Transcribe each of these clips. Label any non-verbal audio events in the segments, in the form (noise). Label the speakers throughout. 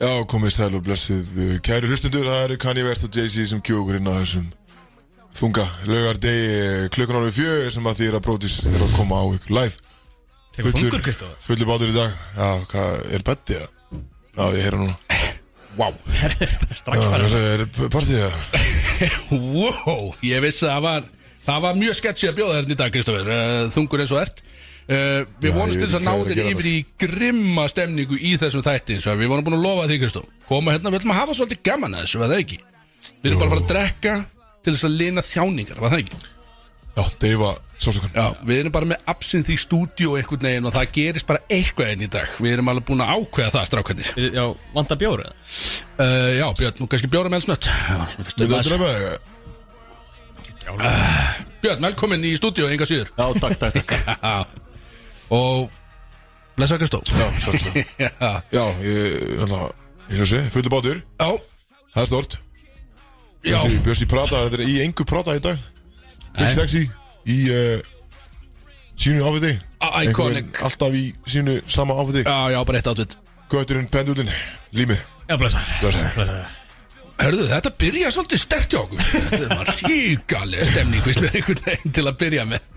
Speaker 1: Já, komið sæl og blessuð uh, Kæru hlustundur, það eru Kanye West og Jay-Z sem kjóðu okkur inn á þessum þunga laugardegi klukkan árið fjö sem að því er að brótis er að koma á ykkur live
Speaker 2: Þegar þungur Kristóð
Speaker 1: fullu bátur í dag Já, hvað, er bettið það? Já, ég heyra núna
Speaker 3: Wow,
Speaker 2: Strax
Speaker 1: Já,
Speaker 2: fara
Speaker 1: þessi er partíð það
Speaker 3: (laughs) wow, ég vissi að það var Það var mjög sketchy að bjóða þérna í dag, Kristoffer uh, Þungur eins og ert uh, Við
Speaker 1: Já, ég
Speaker 3: vonumst til
Speaker 1: veit
Speaker 3: þess að
Speaker 1: ekki hvað
Speaker 3: ná
Speaker 1: er að
Speaker 3: þér
Speaker 1: gera
Speaker 3: yfir í grimma stemningu í þessum þætti Svo við vorum búin að lofa því, Kristof Koma hérna, við ætlum að hafa svolítið gaman að þessu, var það ekki? Við erum bara að fara að drekka til þess að lina þjáningar, var það ekki?
Speaker 1: Já, deyfa sásakann
Speaker 3: Já, við erum bara með absint í stúdíu einhvern veginn og það gerist bara eitthvað einn í dag Við erum alveg búin að ákveða það, strákarnir
Speaker 2: Já, vanda bjór eða?
Speaker 3: uh, Já, Björn, nú kannski bjóra með elsnött
Speaker 1: Vil það drepa þig?
Speaker 3: Björn, velkomin í stúdíu, enga síður
Speaker 2: Já, takk, takk, takk
Speaker 3: Og blessa Kristó
Speaker 1: Já, sásakann
Speaker 3: (laughs) Já,
Speaker 1: Já, ég, hérna, ég sé, fullu bátur
Speaker 3: já,
Speaker 1: Það er stort
Speaker 3: já
Speaker 1: Bjössi, Bjössi Prata, þetta er í engu Prata í dag Big
Speaker 3: Nei.
Speaker 1: Sexy í uh, sínu áfiti
Speaker 3: Á- iconic.
Speaker 1: Einhvern veginn Alltaf í sínu sama áfiti
Speaker 3: Já, já, bara eitt átveit
Speaker 1: Göturinn, pendulinn, límið
Speaker 2: (laughs) Já, blessa
Speaker 1: Blessaður.
Speaker 3: Hörðu, þetta byrja svolítið sterkt hjá okkur Þetta var ríkaleg stemning Við slum einhvern veginn til að byrja með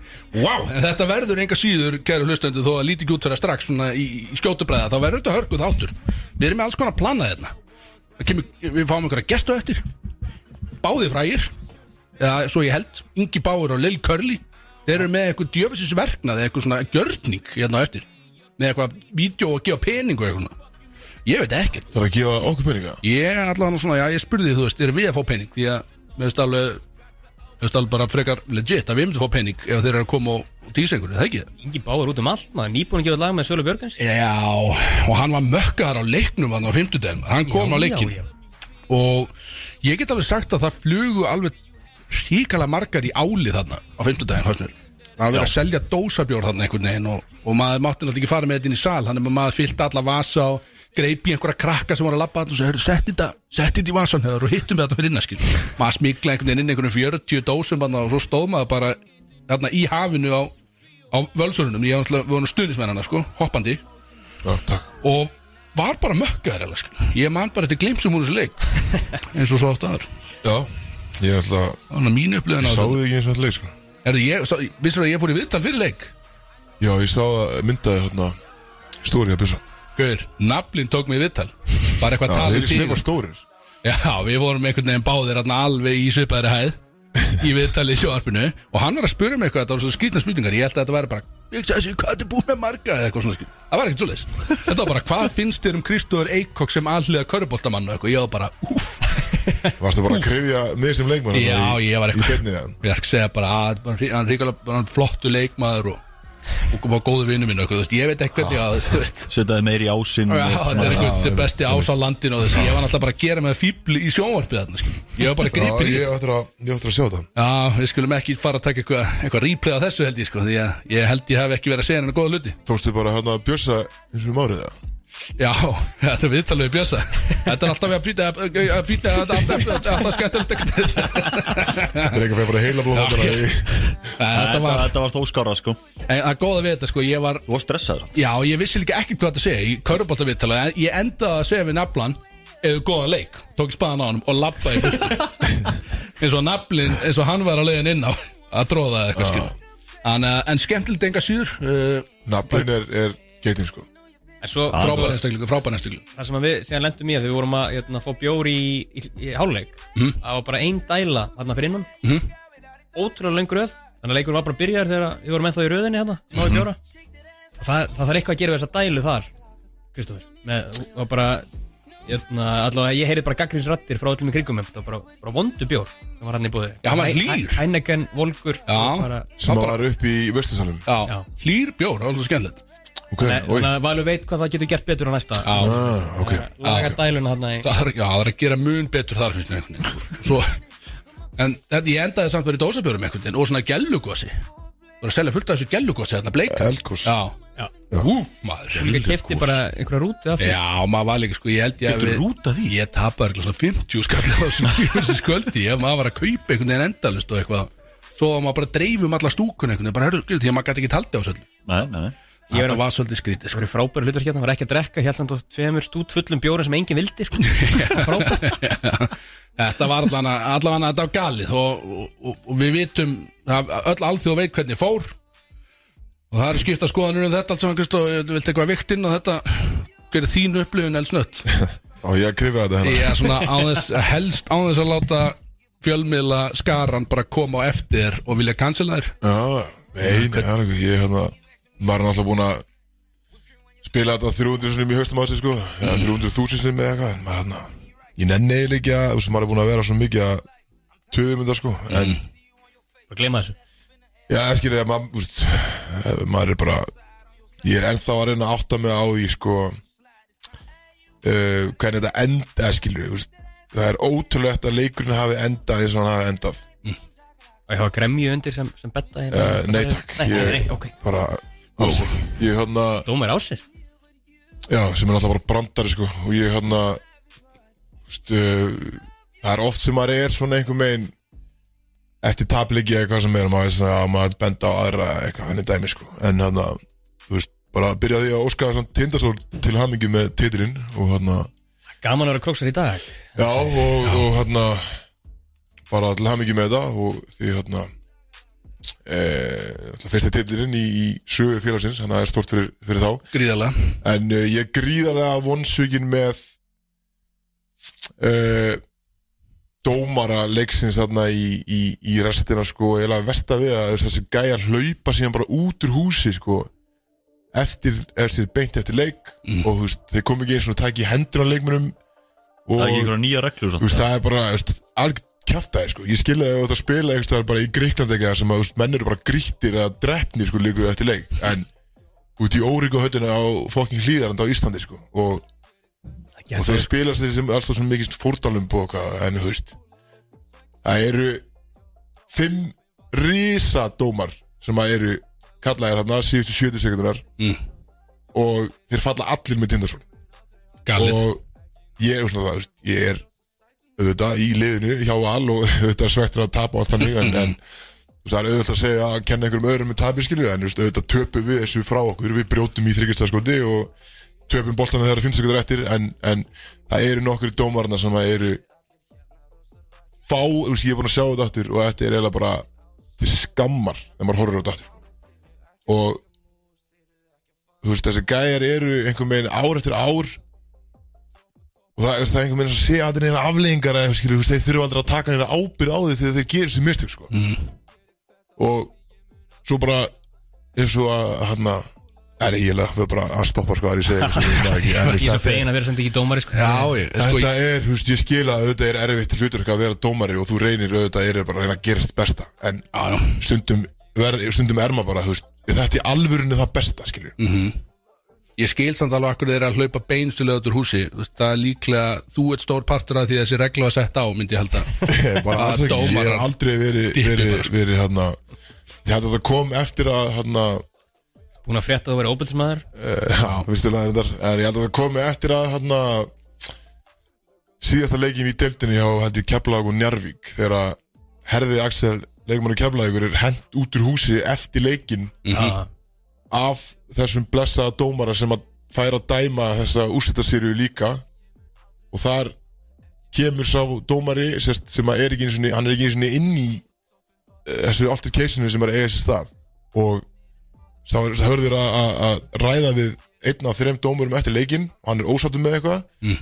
Speaker 3: wow. En þetta verður enga síður, kæru hlustendur Þó að lítið ekki út fyrir að strax svona í, í skjótubræða Þá verður þetta hörkuð áttur Við erum með alls konar planað hérna Það kemur, Við fáum einhverja gestu eftir Báði frægir Eða svo ég held, Ingi Báur og Lil Curly Þeir eru með eitthvað djöfisins verknað Eða eitthvað svona gjörning hérna á eftir Með eitthvað vídeo og gefa pening og eitthvað svona. Ég veit ekkert
Speaker 1: Það er að gefa okkur peninga
Speaker 3: Ég allan svona, já ég spurði því, þú veist, erum við að fá pening Því að mér finnst alveg Mér finnst alveg bara frekar legit að við myndum fá pening Ef þeir eru að koma og, og tísa einhverju, er það ekki það?
Speaker 2: Ingi Báur út um allt, maður nýbúin að gefa lag með Sölu Björgens
Speaker 3: Já, og hann var mökkaðar á leiknum hann á 50 Hann kom
Speaker 2: Já,
Speaker 3: á leikin
Speaker 2: já, já.
Speaker 3: Og ég get alveg sagt að það flugu alveg Ríkala margar í áli þarna Á 50 daginn, fannst mér Það var verið að selja dósabjór þarna einhvern veginn Og, og maður mátti náttúrulega ekki fara með þetta inn í sal Þannig að maður fyllt alla vasa og greip í einhverja krakka sem voru að labba þarna og sagði, "Heyrðu, setti þetta, setti þetta í vasan hefur og hittum við þetta fyrir innaskil maður smikla einhvern veginn inn einhvern 40 dósum þarna og svo stóð maður bara þarna í hafinu á, á völsörunum ég var náttúrulega- við vorum stuðnismennana sko, hoppandi
Speaker 1: Já, takk
Speaker 3: og var bara mökkaður eða, skil. ég man bara þetta glimsum úr þessu leik eins og svo oft aður
Speaker 1: Já, ég ætla að
Speaker 3: þannig að mínu upplöðin
Speaker 1: Sáðu þið
Speaker 3: að
Speaker 1: ekki eins og þetta leik, sko
Speaker 3: er það ég vissur að ég fór í viðtal fyrir leik
Speaker 1: Já, ég sá að myndaði hérna Stóri að Bjössa
Speaker 3: Gaur, naflinn tók mig í viðtal bara eitthvað
Speaker 1: Já,
Speaker 3: talið
Speaker 1: þeir eru
Speaker 3: tíu.
Speaker 1: sveipa stórir
Speaker 3: Já, við vorum einhvern veginn báðir þarna alveg í svipaðri hæð í viðtalið sjóarpinu og hann var að spura mig eitthvað þetta var svo skýtna spurningar, ég held að þetta væri bara ég sagði sér, hvað er búið með marga eða eitthvað svona skýt það var ekkert svoleiðis, þetta var bara, hvað finnst þér um Kristóður Eikok sem alliða köruboltamann og eitthvað, ég var bara, úff
Speaker 1: Varstu bara að krefja mig sem leikmann
Speaker 3: Já,
Speaker 1: hérna í-
Speaker 3: ég var
Speaker 1: Í
Speaker 3: eitthvað
Speaker 1: kefnið það
Speaker 3: Ég er ekki að segja bara að bara hrí- hann ríkala hann flottu leikmaður og, og var góðu vinnu minn og eitthvað, þú veist, ég veit ekki hvernig að þú veist
Speaker 4: Setaði meir í ásinn
Speaker 3: Já,
Speaker 4: og
Speaker 3: þetta
Speaker 4: svona.
Speaker 3: er sko
Speaker 1: já,
Speaker 3: þetta besti ás á landinu og þessi, ég var náttúrulega bara að gera með fíbl í sjónvarpið þarna, skil Ég var bara
Speaker 1: Já,
Speaker 3: gripin í
Speaker 1: ég ætla að, ég ætla að sjá það
Speaker 3: Já, við skulum ekki fara að taka eitthvað eitthva replay á þessu held ég sko, því að ég held ég hafi ekki verið að segja henni góða hluti
Speaker 1: Tókstu bara hérna Bjössa eins og um árið það
Speaker 3: Já, þetta er viðtalið við Bjösa Þetta er alltaf að fýta að fýta að alltaf skættilegt
Speaker 1: Það er ekki að fæða bara heila blóð
Speaker 3: Já, ég- Þetta
Speaker 4: Þetta var,
Speaker 3: var,
Speaker 4: þetta var þó skára sko Þú
Speaker 3: en það er góða við þetta sko, ég var
Speaker 4: var stressað
Speaker 3: Já, ég vissi líka ekki hvað þetta segja í köruboltaviðtala en ég endaði að segja við naflan eða góðan leik, tók í spaðan á honum og labbaði í burtu.
Speaker 2: (laughs)
Speaker 3: eins og naflin, eins og hann var að leiðin inn á að tróða eða eitthvað skil en, en skemmtilegt enga síður uh,
Speaker 1: Naflin er, er geitin, sko
Speaker 2: En svo,
Speaker 3: frábæra einstaklingu, frábæra einstaklingu
Speaker 2: það sem að við síðan lendum í að við vorum að jötna, fá bjór í, í, í háluleik
Speaker 3: Mhm.
Speaker 2: Það var bara ein dæla þarna fyrir innan Ótrúlega löng röð Þannig að leikur var bara byrjar þegar við vorum ennþá í röðinni hérna Náðu
Speaker 3: Mhm.
Speaker 2: bjóra Og það, það þarf eitthvað að gera við þessa dælu þar Kristofur Með, og bara jötna, Allavega ég heyrið bara gaggrinsrattir frá öllum í kringum mig. Það var bara, bara vondu bjór sem var hann í búði
Speaker 3: Já, hann var hlýr.
Speaker 2: Hæneken, volkur
Speaker 3: Já.
Speaker 2: bara,
Speaker 1: Sem var upp í Vestursalum
Speaker 3: Já,
Speaker 2: Já.
Speaker 3: hlýr bjór, það var svo skemmtilegt
Speaker 1: Ok,
Speaker 2: Nei,
Speaker 1: oi
Speaker 2: Þannig að Valur veit hvað það getur gert betur á næsta
Speaker 3: Já,
Speaker 1: Ah, ok
Speaker 2: Laga dæluna þarna í
Speaker 3: það er, já, það er að gera mun betur þar finnst mér einhvern veginn sko. Svo, en þetta ég endaði samt verið dósabjörum einhvern veginn og svona gellugosi Var að selja fullt af þessu gellugosi, þarna bleika
Speaker 1: Eldgos.
Speaker 3: Já,
Speaker 2: Já.
Speaker 3: úf maður
Speaker 2: Ég kefti bara einhverja rúti af því
Speaker 3: Já, maður var líka sko, ég held ég
Speaker 4: Keyptirðu
Speaker 3: hafi-
Speaker 4: rút af því?
Speaker 3: Ég tapar eitthvað svona 50 skallar á þessum (laughs) djúfisins kvöldi Já, maður var að kaupa einhvern veginn endalust um og eitthvað Svo var maður bara að dreifum alla stúkun einhvern veginn Bara hörðu, skil, því að maður gæti ekki taldi á þessu öllu.
Speaker 4: Nei, nei, nei
Speaker 2: Ég var-
Speaker 3: Þetta var svolítið skrítið
Speaker 2: Það
Speaker 3: sko.
Speaker 2: voru frábæri hlutverk hérna, var ekki að drekka Hjæltan á tveimur stút fullum bjóra sem enginn
Speaker 1: (laughs)
Speaker 2: vildi sko.
Speaker 3: (laughs)
Speaker 2: Frábært
Speaker 3: Þetta var allan að, allan að þetta var galið og, og, og, og við vitum að öll alþjóð veit hvernig fór og það eru skipta skoðanur um þetta allt saman Kristó, viltu eitthvað viktinn og þetta hver er þín upplifun elsnött
Speaker 1: Og ég krifið þetta hérna
Speaker 3: ég er svona á þess, helst á þess að láta fjölmiðla skaran bara koma á eftir og vilja cancela þér
Speaker 1: Já, nei, nei, það er ekki Ég hérna, maður er náttúrulega búin að spila þetta 300 sinni í höstum á sig sko
Speaker 3: Mm.
Speaker 1: eða 300.000 sinni eða eitthvað en maður hérna, ég nenni eiginlega ekki að þú veist, maður er búin að vera svo mikið að töðum þetta sko en,
Speaker 2: Bara gleyma þessu
Speaker 1: já, ég skilja, maður, þú veist, eh, maður er bara ég er ennþá að reyna að átta mig á því sko uh, hvernig þetta enda, skilju það er ótrúlegt að leikurinn hafi endað eins og hann hafi endað
Speaker 2: Og ég hafa gremju undir sem, sem betta hérna
Speaker 1: uh, Nei takk,
Speaker 2: Nei, nei,
Speaker 1: ég
Speaker 2: nei, ok
Speaker 1: bara alls ekki Ég hérna,
Speaker 2: Dómar ásins
Speaker 1: Já, sem er alltaf bara brandari sko og ég hérna stu, það er oft sem maður er svona einhver megin eftir tapliki eitthvað sem er maður, er svona, að maður benda á aðra eitthvað hann er dæmi sko en hérna, þú veist, bara byrja á því að óska svona tindasól til hamingju með titilinn og hérna,
Speaker 2: Gaman að vera króksar í dag
Speaker 1: já og, og hérna bara til hamingju með þetta og því hérna e, fyrsti titilinn í, í sögu félagsins, þannig að það er stort fyrir, fyrir þá
Speaker 3: gríðarlega
Speaker 1: En uh, ég er gríðarlega vonsugin með uh, dómara leiksins þarna í, í, í restina sko, ég laði versta við að þessi gæja hlaupa síðan bara út úr húsi sko, eftir, er sér beint eftir leik
Speaker 4: Mm.
Speaker 1: og þú veist, þeir kom ekki eins og tæki hendur á leikmunum og
Speaker 4: Það er ekki einhverja nýja reglur
Speaker 1: þú veist,
Speaker 4: samt.
Speaker 1: það er bara þú veist, algjör kjaftaði sko, ég skilja þegar það spila einhvers staðar bara í Gríkland eitthvað sem að þú veist, menn eru bara grýttir að drefni sko líku eftir leik en út í óríku höllina á fokking hlýðarand á Íslandi sko og, og þeir spila sér sem alltaf svona mikið fórtalum på okkar en þú veist það eru fimm risadómar sem að eru kallaðir hérna síðustu 70 sekundunar
Speaker 3: Mm.
Speaker 1: og þeir falla allir með Tindarsson
Speaker 3: galið
Speaker 1: og ég er svona það, þú veist, ég er auðvitað í liðinu hjá Al og (laughs) auðvitað svektur að tapa og allt þannig en, en þú veist, það er auðvitað að segja að kenna einhverjum öðrum með tapi skilju en þú veist, auðvitað töpum við þessu frá okkur við brjótum í þryggjastaskóti og töpum boltana þegar það finnst ykkur eftir en, en það eru nokkur dómarna sem að eru fá, þú veist, ég er búin að sjá þetta aftur og þetta er eiginlega bara til skammar þegar maður horfir á þetta aftur sko. og þú veist, þessi gæjar eru einhvern veginn ár eftir ár og það, það er einhvern veginn að sé að það er neina afleggingar eða skilur, þú veist, þeir þurfa aldrei að taka neina ábyrð á því þegar þeir gerir sér mistök sko. mm.
Speaker 2: Mhm.
Speaker 1: og svo bara eins og að hann að er ég eiginlega, við bara að stoppa sko að ég segi þessu, ég veit það ekki, en, þú veist,
Speaker 2: Ég er svo
Speaker 1: þetta er-
Speaker 2: fegin að vera sem þetta ekki dómari sko
Speaker 3: já, ég, sko,
Speaker 1: Þetta
Speaker 3: ég,
Speaker 1: er, þú veist, ég skil að auðvitað er erfitt hlutverk að vera dómari og þú reynir auðvitað er bara að reyna að gera þetta besta en
Speaker 3: já, já,
Speaker 1: stundum, ver, stundum er maður bara, þú veist, þetta er alvörunni það besta, skilju
Speaker 3: Mm. ég skil samt alveg akkur þeir eru að hlaupa beinstulega út úr húsi Þú veist, það er líklega, þú ert stór partur af því þessi regla var sett á, myndi ég halda
Speaker 1: bara alls ekki, (laughs) ég
Speaker 3: dómarar
Speaker 1: hef aldrei verið
Speaker 3: dippi
Speaker 1: verið,
Speaker 3: bara,
Speaker 1: verið,
Speaker 3: sko.
Speaker 1: hérna ég held að það kom eftir að hérna,
Speaker 2: Búin að frétta að þú verið óbyldsmaður
Speaker 1: Eh, viðstulega er þetta en ég held að það kom eftir að hérna síðasta leikin í deildinni hjá hendi Keflag og Njarvík þegar að herði Axel leikmannu Keflagur er hent út úr húsi eftir leikin
Speaker 2: Já.
Speaker 1: af þessum blessaða dómara sem að færa að dæma þessa úrstættasýrju líka og þar kemur sá dómari sérst, sem að er ekki einu sinni, hann er ekki einu sinni inn í eh, þessu altercationinu sem er að eiga sér stað og þá er- þá hörður að, að, að ræða við einn af þreim dómurum eftir leikinn og hann er ósáttur með eitthvað mm.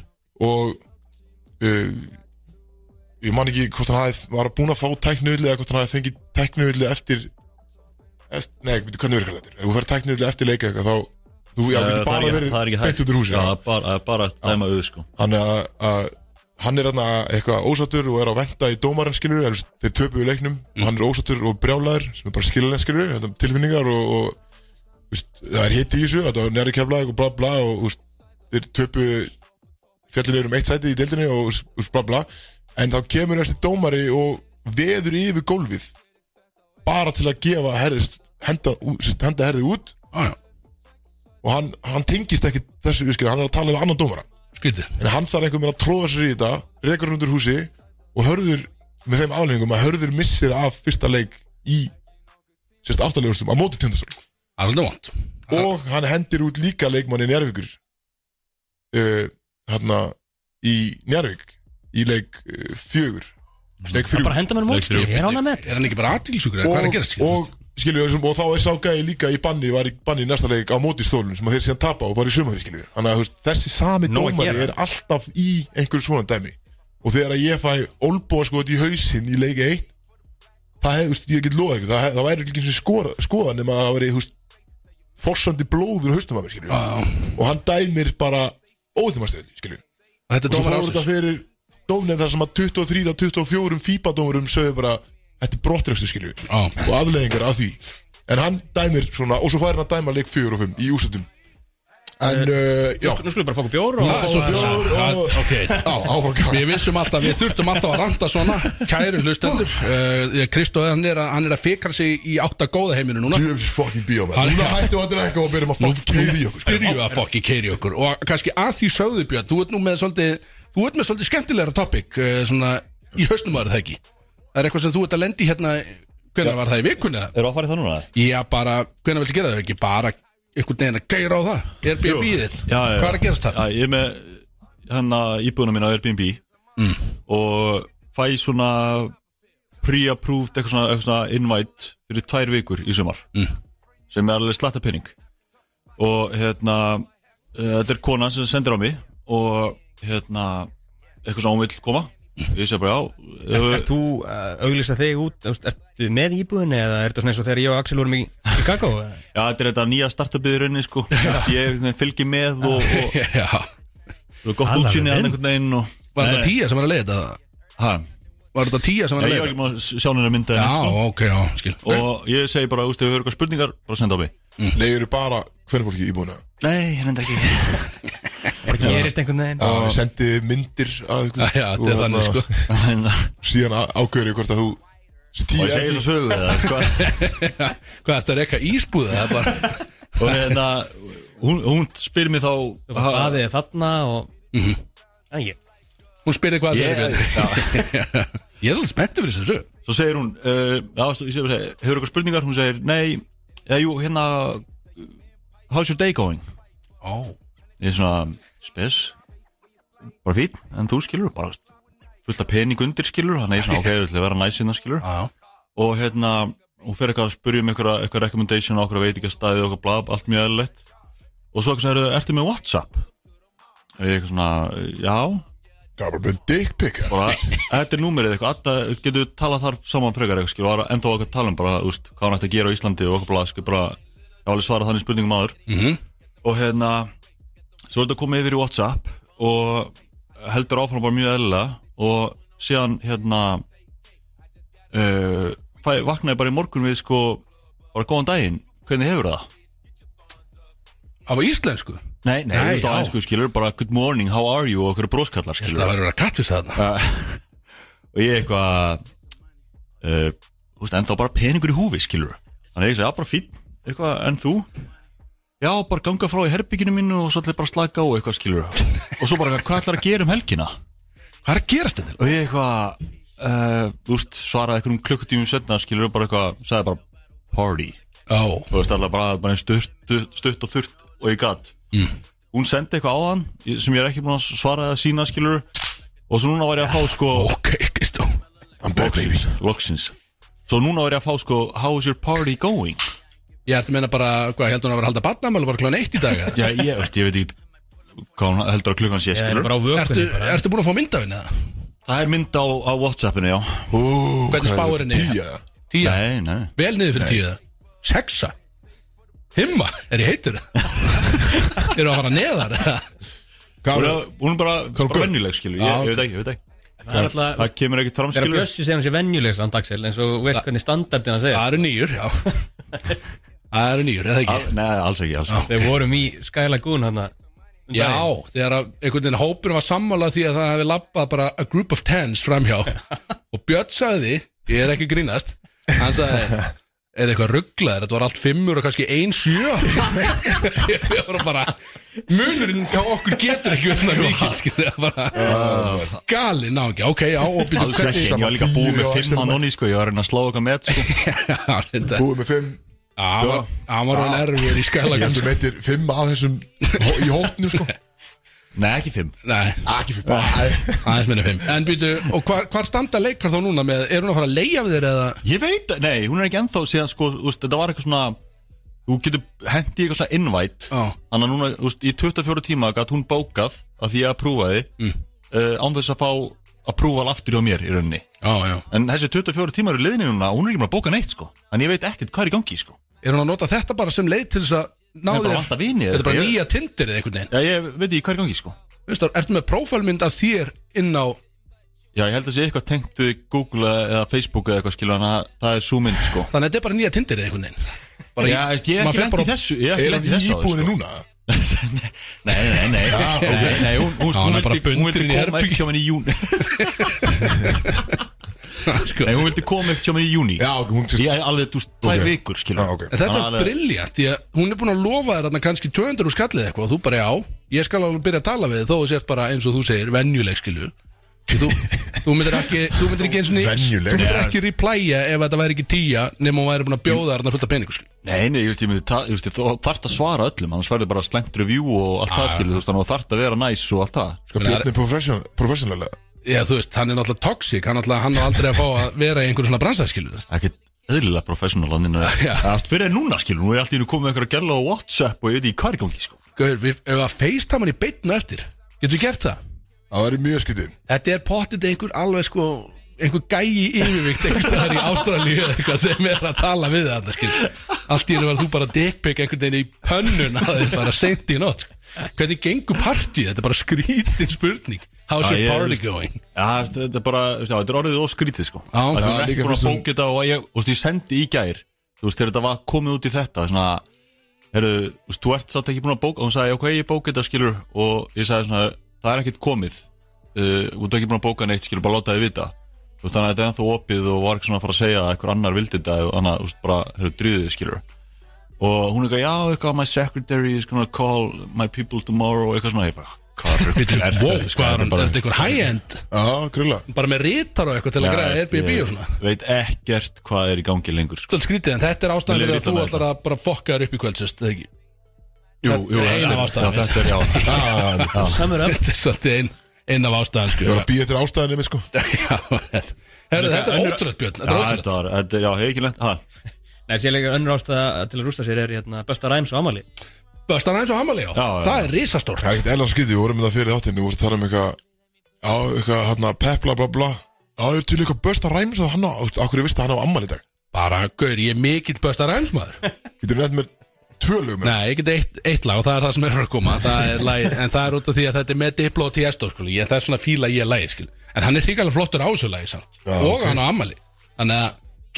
Speaker 1: og uh, ég man ekki hvort hann hafði, var búin að fá tæknuðli eða hvort hann hafði fengið tæknuðli eftir eftir, nei, veitu, hvernig virkar þetta? Ef þú fær tækniðlega eftir leika eitthvað þá þú, já, þú
Speaker 4: Eh, Það er
Speaker 1: getur bara
Speaker 4: ekki- það er
Speaker 1: verið beint
Speaker 4: ekki hægt.
Speaker 1: út úr húsi
Speaker 4: Já, það er bara- það er bara að dæma auð sko
Speaker 1: hann er að, að hann er þarna eitthvað ósattur og er að venda í dómarinn skilur, en þeir töpu í leiknum og hann er ósattur og brjálaður sem er bara skilurinn skilur, þetta er tilfinningar og, og úst, það er hitt í þessu, þetta er næri keflaðið og bla bla og úst, þeir töpu fjallið um eitt sæti í deildinni og úst, úst, bla bla, en þá kemur þessi dómari og veður yfir gólfið bara til að gefa herðist, henda, ú- sem sagt, henda herðið út
Speaker 3: já, já,
Speaker 1: og hann, hann tengist ekki þessu, skilur, hann er að tala við annan dómara
Speaker 3: skrítið
Speaker 1: en hann þarf einhvern veginn að tróða sér í þetta rekur hann undir húsi og hörður með þeim aflengum að hörður missir af fyrsta leik í sérst áttalegustum á móti tindasól
Speaker 3: það er alveg vant, það
Speaker 1: og hann hendir út líka leikmanni Njárvíkur uh, hann í Njárvík í leik uh, fjögur leik
Speaker 2: Það er
Speaker 1: þrjú
Speaker 2: bara að henda mér um út, sko, ég er ánað með þetta.
Speaker 3: Er hann ekki bara aðtilsjúkur Hvað er að gerast?
Speaker 1: og, skilju, og, og þá er sá gæði líka í banni var í banni í næsta leik á móti stólun sem að þeir síðan tapa og var í sumari skilju þannig að þú veist, þessi sami
Speaker 2: Nóg að
Speaker 1: dómari
Speaker 2: gera.
Speaker 1: er alltaf í einhverju svona dæmi og þegar að ég fæ olbúa í hausinn í leiki 1 það hefði, þú veist, ég get loða ekki það, hef- það væri ekki eins og skora, skoða nema að það væri, þú veist forsandi blóður í haustum að mér skilju og hann dæmir bara óþumastöðni skilju
Speaker 3: Þetta
Speaker 1: og
Speaker 3: er
Speaker 1: svo
Speaker 3: dómar
Speaker 1: fór þetta
Speaker 3: ásins
Speaker 1: fyrir dómnefn þar sem að 23 af 24 fípadómurum sögðu bara þetta er brottrekstu skilju
Speaker 3: Á.
Speaker 1: og afleðingar af því en hann dæmir svona og svo fær hann að dæma leik 4 og 5 í úrslutum
Speaker 3: Eh,
Speaker 1: en uh, já
Speaker 2: Nú skulum við bara fá okkur bjór og...
Speaker 3: Það er svo
Speaker 2: og-
Speaker 1: bjór og-
Speaker 3: bjóður Ok
Speaker 1: á, áfram
Speaker 3: Við vissum alltaf, við þurftum alltaf að randa svona Kæru hlustendur uh, Kristó, hann er, að, hann er að fikra sig í átta góða heiminu núna
Speaker 1: djöfis fucking bíó með
Speaker 3: Hann-
Speaker 1: núna hættum við að drekka og byrjum að fucking keiri í okkur sko.
Speaker 3: Byrju að fokki keiri okkur Og kannski að því sögðu Björn Þú ert nú með svolítið Þú ert með svolítið skemmtilegra topic uh, Svona í hausnum var það ekki Það er eitthvað sem þú ert að lendi hérna Hvenær var það í vikunni?
Speaker 4: Eru að fara í það núna?
Speaker 3: Já, bara Hvenær viltu gera það ekki? Bara einhvern veginn að geira á það Airbnb þitt
Speaker 4: Já, já, já.
Speaker 3: Hvað er að gerast það?
Speaker 4: Já, ég er með hérna íbúðuna mína á Airbnb
Speaker 2: Mm.
Speaker 4: og fæ svona pre-approved eitthvað svona, eitthvað svona invite fyrir tvær vikur í sumar
Speaker 2: Mm.
Speaker 4: sem er alveg slatta penning og hérna uh, þetta er kona sem sendir á mig og hérna eitthvað svona hún vill koma ég segi bara já
Speaker 2: Mm.
Speaker 4: eh,
Speaker 2: Ert
Speaker 4: ef-
Speaker 2: ert þú að auglýsa þig út, þú veist, ertu með íbúðinni eða er þetta svona eins og þegar ég og Axel vorum í í kakó?
Speaker 1: (laughs)
Speaker 4: já þetta er þetta nýja startupið í rauninni sko ég einhvern veginn fylgi með og, og,
Speaker 3: (laughs) Já
Speaker 4: og gott
Speaker 2: Allavega
Speaker 4: útsýni
Speaker 2: minn.
Speaker 4: hann einhvern veginn og
Speaker 3: Var þetta tíja sem var að leiða þetta?
Speaker 4: ha,
Speaker 3: Var þetta tíja sem var að
Speaker 4: ég
Speaker 3: leiða
Speaker 4: var ekki
Speaker 3: þetta?
Speaker 4: maður sjá hennar mynda
Speaker 3: Já, ok, já, skil
Speaker 4: og ég segi bara, úst, ef við höfum eitthvað spurningar bara senda á mig
Speaker 3: Mm.
Speaker 1: leiður bara hvernig fólki í búinu
Speaker 4: Nei, hérna ekki
Speaker 2: Bara gerist einhvern veginn?
Speaker 1: að sendi myndir að ykkur
Speaker 3: (laughs) Já,
Speaker 1: og
Speaker 3: þetta er
Speaker 4: hérna-
Speaker 1: þarna-
Speaker 3: þannig sko
Speaker 4: Og
Speaker 1: síðan á- ákveður ég hvort að þú sem tíu
Speaker 4: ég segi
Speaker 1: ekki-
Speaker 4: það sögu eða, sko.
Speaker 3: Hvað er þetta reyka ísbúða? Það er bara
Speaker 4: Og hérna hún, hún spyr mér þá ha-
Speaker 2: Aðið þarna og...
Speaker 1: Mhm.
Speaker 2: Það er ekki.
Speaker 3: Hún spyrir hvað það
Speaker 4: (laughs) Ég-
Speaker 3: er Ég er svolítið spenntur fyrir þessu
Speaker 4: Svo segir hún uh, já, svo- ég segi bara, Hefur eitthvað spurningar? Hún segir, nei Já, jú, hérna How's your day going?
Speaker 3: Ó
Speaker 4: Ég er svona, spes Bara fín, en þú skilur bara fullt af pening undir skilur Þannig ég er svona, ok, við ætlum að vera næsina skilur
Speaker 3: Já
Speaker 4: og hérna hún fer eitthvað að spyrja um eitthvað, eitthvað recommendation á okkur veitingastæði og okkur blab, allt mjög eðlilegt og svo eitthvað sem eru, ertu með Whatsapp? og ég eitthvað svona, já
Speaker 1: gaf bara með dick pic eða?
Speaker 4: bara, þetta er númerið eitthvað alltaf getur við talað þar saman frekar eitthvað skil og var ennþá okkur að tala um bara, úst, hvað hann ætti að gera á Íslandi og okkur blab, skil bara ég var alveg svarað þannig spurningum áður -hmm. og hérna svo er þetta komið yfir í Whatsapp og heldur áfram bara mjög eðlilega og síðan hérna uh, fæ, vaknaði bara í morgun við sko bara góðan daginn, hvernig hefur það?
Speaker 3: Á íslensku
Speaker 4: Nei,
Speaker 3: Nei,
Speaker 4: nei, nei á
Speaker 3: já.
Speaker 4: einsku skilur bara good morning, how are you og okkur bróskallar
Speaker 3: Ég held
Speaker 4: skilur
Speaker 3: að það verður að kattfisa þarna
Speaker 4: uh, og ég eitthvað uh, þú veist, ennþá bara peningur í húfi skilur þannig að ég segi, já bara fín eitthvað, en þú? Já, bara ganga frá í herbygginu mínu og svo ætla ég bara að slaka á eitthvað skilur og svo bara, hvað ætlar að gera um helgina?
Speaker 3: Hvað er að gerast þetta?
Speaker 4: og ég eitthvað uh, þú veist, svaraði eitthvað um klukkutímum setna skilur bara eitthvað, sagði bara party
Speaker 3: Ó
Speaker 4: og þú veist alltaf bara, bara eins stutt, stutt og þurrt og ég gatt mm. hún sendi eitthvað á hann ég- sem ég er ekki búin að svara eða sína skilur og svo núna var ég að fá sko
Speaker 3: Ok, Kristó
Speaker 1: I'm back baby
Speaker 4: loksins, loksins svo núna var ég að fá sko how is your party going
Speaker 3: Ég ætti að meina bara Hvað, heldur hún að vera að halda batnamölu bara klón eitt í dag eða?
Speaker 4: já ég, þú veist, ég veit ekki hvað hún heldur að klukkan
Speaker 2: (laughs)
Speaker 4: sé
Speaker 2: Ég er
Speaker 4: skilur
Speaker 2: bara á vökunni
Speaker 3: Ertu,
Speaker 2: bara.
Speaker 3: ertu búin að fá mynd af henni eða?
Speaker 4: það er mynd á, á Whatsappinu já
Speaker 1: Ú,
Speaker 3: Hvernig
Speaker 1: hvað
Speaker 3: spáir
Speaker 1: er
Speaker 3: henni?
Speaker 1: þetta, Pía?
Speaker 3: Tíja
Speaker 4: nei, nei
Speaker 3: Vel niður fyrir tíja Sexa Himma Er ég heitur?
Speaker 2: (laughs)
Speaker 3: Eru að fara neðar? eða?
Speaker 1: Hvað
Speaker 4: hún
Speaker 1: er
Speaker 4: er, hún er bara, bara vennileg skilur ég,
Speaker 3: Já,
Speaker 4: ég veit ekki, ég veit ekki
Speaker 2: Það er alltaf...
Speaker 4: það kemur ekkert fram
Speaker 2: Það er að
Speaker 4: skilur
Speaker 2: Bjössi segja hann sé venjuleg samt Axel eins og þú veist hvernig standardina segja
Speaker 3: Það eru nýjur, já Það eru nýjur, eða ekki?
Speaker 4: Al- nei, alls ekki, alls ekki
Speaker 2: Þegar við vorum í Sky Lagoon hann
Speaker 4: um
Speaker 3: Já, þegar að einhvern veginn hópur var sammála því að það hefði lappað bara a group of tens framhjá
Speaker 4: (laughs)
Speaker 3: og Björn sagði, ég er ekki að grínast hann sagði, er það eitthvað rugglaður þetta var allt fimmur og kannski ein sjö (laughs) ég var bara munurinn hjá okkur getur ekki unna mikið, skilja, bara gali náðingi, ok, já, og byrju
Speaker 4: Ah. Alls ekki,
Speaker 3: (laughs)
Speaker 1: Sama
Speaker 4: ég var líka búið
Speaker 1: tíu
Speaker 4: með
Speaker 1: og
Speaker 4: fimm
Speaker 1: sem-
Speaker 4: (laughs) að nonni sko, ég var að reyna að slá okkar með sko
Speaker 3: hvernig
Speaker 1: Búið með fimm
Speaker 3: hann var- hann var hann erfur í
Speaker 1: Ég
Speaker 3: skælagan
Speaker 1: heldur meitir fimm að þessum hó- í hóknum sko
Speaker 4: Nei, ekki fimm
Speaker 3: Nei,
Speaker 1: Ekki fimm Nei.
Speaker 3: aðeins minna fimm En býtu, og hvar, hvar standa leikar þá núna með Er hún að fara að leigja við þér eða
Speaker 4: Ég veit, nei, hún er ekki ennþá síðan sko, úst, þetta var eitthvað svona þú getur hendi eitthvað svona invite
Speaker 3: Já.
Speaker 4: þannig að núna, úst, í 24 tíma gæt hún bókað að því ég að prúfa þið mm. án þess að fá að prúfa aftur hjá mér í rauninni
Speaker 3: Já, já
Speaker 4: en þessi 24 tíma eru liðni núna hún er ekki með að bóka neitt sko en ég veit ekkert hvað er í gangi sko
Speaker 3: Er hún að nota þetta bara sem leið til þess að ná
Speaker 4: Nei, bara
Speaker 3: þér
Speaker 4: vanta vini eða
Speaker 3: Þetta er bara
Speaker 4: eitthvað, ég-
Speaker 3: nýja tindir eða einhvern veginn
Speaker 4: Já, ég veit ekki hvað er í gangi sko
Speaker 3: Veistu, ertu með prófælmynd af þér inn á
Speaker 4: Já, ég held að sé eitthvað tengt við Google eða- eða Facebook eða eitthvað skilur en að það er súmynd sko
Speaker 3: Þannig að þetta er bara nýja tindir eða einhvern veginn Bara í-
Speaker 4: Já, veist, ég er
Speaker 3: maður fer
Speaker 4: ekki lent í
Speaker 3: bara-
Speaker 4: þessu Ég er ekki
Speaker 1: Er
Speaker 4: lent
Speaker 1: hann
Speaker 4: í
Speaker 1: í
Speaker 4: þessu áður,
Speaker 1: íbúinu
Speaker 4: sko.
Speaker 1: núna?
Speaker 4: Nei, nei, nei, nei, nei Hún, hún,
Speaker 3: Já,
Speaker 4: hún,
Speaker 3: hún er bara
Speaker 4: vildi, hún
Speaker 3: bundin í
Speaker 4: vildi koma upp
Speaker 3: herbergi.
Speaker 4: hjá henni í júni
Speaker 3: (laughs) sko.
Speaker 4: Nei, hún vildi koma upp hjá mér í júni
Speaker 1: Já, ok, hún til
Speaker 4: Ég er alveg, þú veist, tvær
Speaker 1: Ok.
Speaker 4: vikur, skilur
Speaker 1: Já, ok.
Speaker 3: En þetta
Speaker 4: Þannig
Speaker 3: er
Speaker 4: að-
Speaker 3: briljant Því að hún er búin að lofa þér þarna kannski 200 úr skallið eitthvað og þú bara já, ég skal alveg byrja að tala við þig, þó þú sért bara eins og þú segir venjuleg skilu þú,
Speaker 4: (laughs)
Speaker 3: þú myndir ekki, þú myndir ekki eins og
Speaker 1: Venjuleg.
Speaker 3: þú myndir ekki replya ef þetta væri ekki tíja nema hún væri búin að bjóða þarna fullt af peningu skilu
Speaker 4: Nei, nei, ég veist, ég myndi ta- ég veist, þú þarft að svara öllum Annars verður bara slengt review og allt það, skilur Þú veist, þannig að þú þarft að vera næs og allt það
Speaker 1: Sko björnir profession, professionalega
Speaker 3: Já, þú veist, hann er náttúrulega toxic, hann, náttúrulega, hann á aldrei að fá að vera í einhverjum svona bransaskilu
Speaker 4: Það er ekkert eðlilega professional hann
Speaker 3: Já.
Speaker 4: Allt fyrir en núna, skilur Nú er allt í hennu komið með eitthvað að gæla á WhatsApp og ég veit í hvað er í gangi, sko
Speaker 3: Gauður, við, ef að facetime hann í beitnu eftir Getur við gert það?
Speaker 1: Það er mjög skytið
Speaker 3: Þetta er pottið einhver alveg sko einhver gæi yfirvikt einhver staðar í Ástralíu eða eitthvað sem er að tala við þetta skil allt í hennu var þú bara dickpick einhvern veginn í pönnun að þeir bara sent í nótt sko. hvernig gengur partíð, þetta er bara skrítin spurning how's
Speaker 4: Já,
Speaker 3: your
Speaker 4: ég-
Speaker 3: party
Speaker 4: veist-
Speaker 3: going
Speaker 4: Já, veist, þetta er bara, veist, já, þetta er orðið of skrítið sko
Speaker 3: Já.
Speaker 4: Það
Speaker 1: Já,
Speaker 4: er ekki
Speaker 1: líka
Speaker 4: búin að
Speaker 1: fyrst um-
Speaker 4: bóka þetta og ég, þú veist, ég sendi í gær Þú veist, þegar þetta var komið út í þetta Svona, heyrðu, þú veist, þú ert satt ekki búin að bóka Og hún sagði, ok, ég bóka þetta skilur Og ég sagði svona, það er ekkert komið uh, Þú ert ekki búin að bóka neitt skilur, bara láta þið vita Þú veist, þannig að þetta er ennþá opið og var ekki svona að fara að segja að einhver annar vildi þetta og annað, þú veist, bara, heyrðu, dríðu þið skilur og hún er eitthvað, já, eitthvað, my secretary is gonna call my people tomorrow og eitthvað svona, ég bara, hvað er
Speaker 3: Bittu,
Speaker 4: er
Speaker 3: wow,
Speaker 4: þetta, sko?
Speaker 3: hvað er hann,
Speaker 4: Þetta
Speaker 3: er þetta einhver high end
Speaker 1: Já, grilla
Speaker 3: bara með rítar og eitthvað til að
Speaker 4: Já,
Speaker 3: græða
Speaker 4: veist,
Speaker 3: Airbnb
Speaker 4: ég
Speaker 3: og svona
Speaker 4: Veit ekkert hvað er í gangi lengur sko.
Speaker 3: Svolítið skrítið, en þetta er ástæðan fyrir
Speaker 4: Mér
Speaker 3: að þú
Speaker 4: líður illa með
Speaker 3: ætlar að bara fokka þér upp í kvöldsist eða ekki
Speaker 4: Jú,
Speaker 3: jú, þetta er-
Speaker 4: Já, þetta er, (laughs) já, já, já,
Speaker 2: Samur upp
Speaker 3: (laughs) Þetta er svolítið ein, ein af ástæðan
Speaker 1: Ég
Speaker 3: sko
Speaker 1: var að býja eftir ástæðinni með sko
Speaker 3: (laughs) Já, þetta- Herðu, þetta er
Speaker 4: Önnur-
Speaker 3: ótrúlega Björn, þetta
Speaker 4: já,
Speaker 3: er
Speaker 4: þetta
Speaker 3: ótrúlega
Speaker 4: var, þetta er, já, hef ekki lent ha,
Speaker 2: Nei, sé líka önnur ástæða til að rústa sér er hérna, besta ræms og amali
Speaker 3: Böstan eins og Hamali á,
Speaker 4: Já, já,
Speaker 3: það
Speaker 4: já.
Speaker 3: er risastór
Speaker 1: Það er ekkert eðlan skytið, við vorum með það fyrir þáttinni Við vorum að tala um eitthvað Já, eitthvað hann að pep, bla, bla, bla Já, það er til eitthvað börsta ræmis að hann á þú veist, Akkur ég vist að hann á ammal í dag
Speaker 3: Bara, gaur, ég er mikill Böstan eins maður
Speaker 1: Getur nefnt mér tvö lögum
Speaker 3: Nei, ég get eitt, eitt lag og það er það sem er að koma það er lag, En það er út af því að þetta er með Diplo og Tiesto sko, ég, Það er svona fíla ég lagi skil. En hann er hríkalega flottur á þessu lagi samt
Speaker 1: Já,
Speaker 3: Og
Speaker 1: ok.
Speaker 3: hann á Hamali Þannig að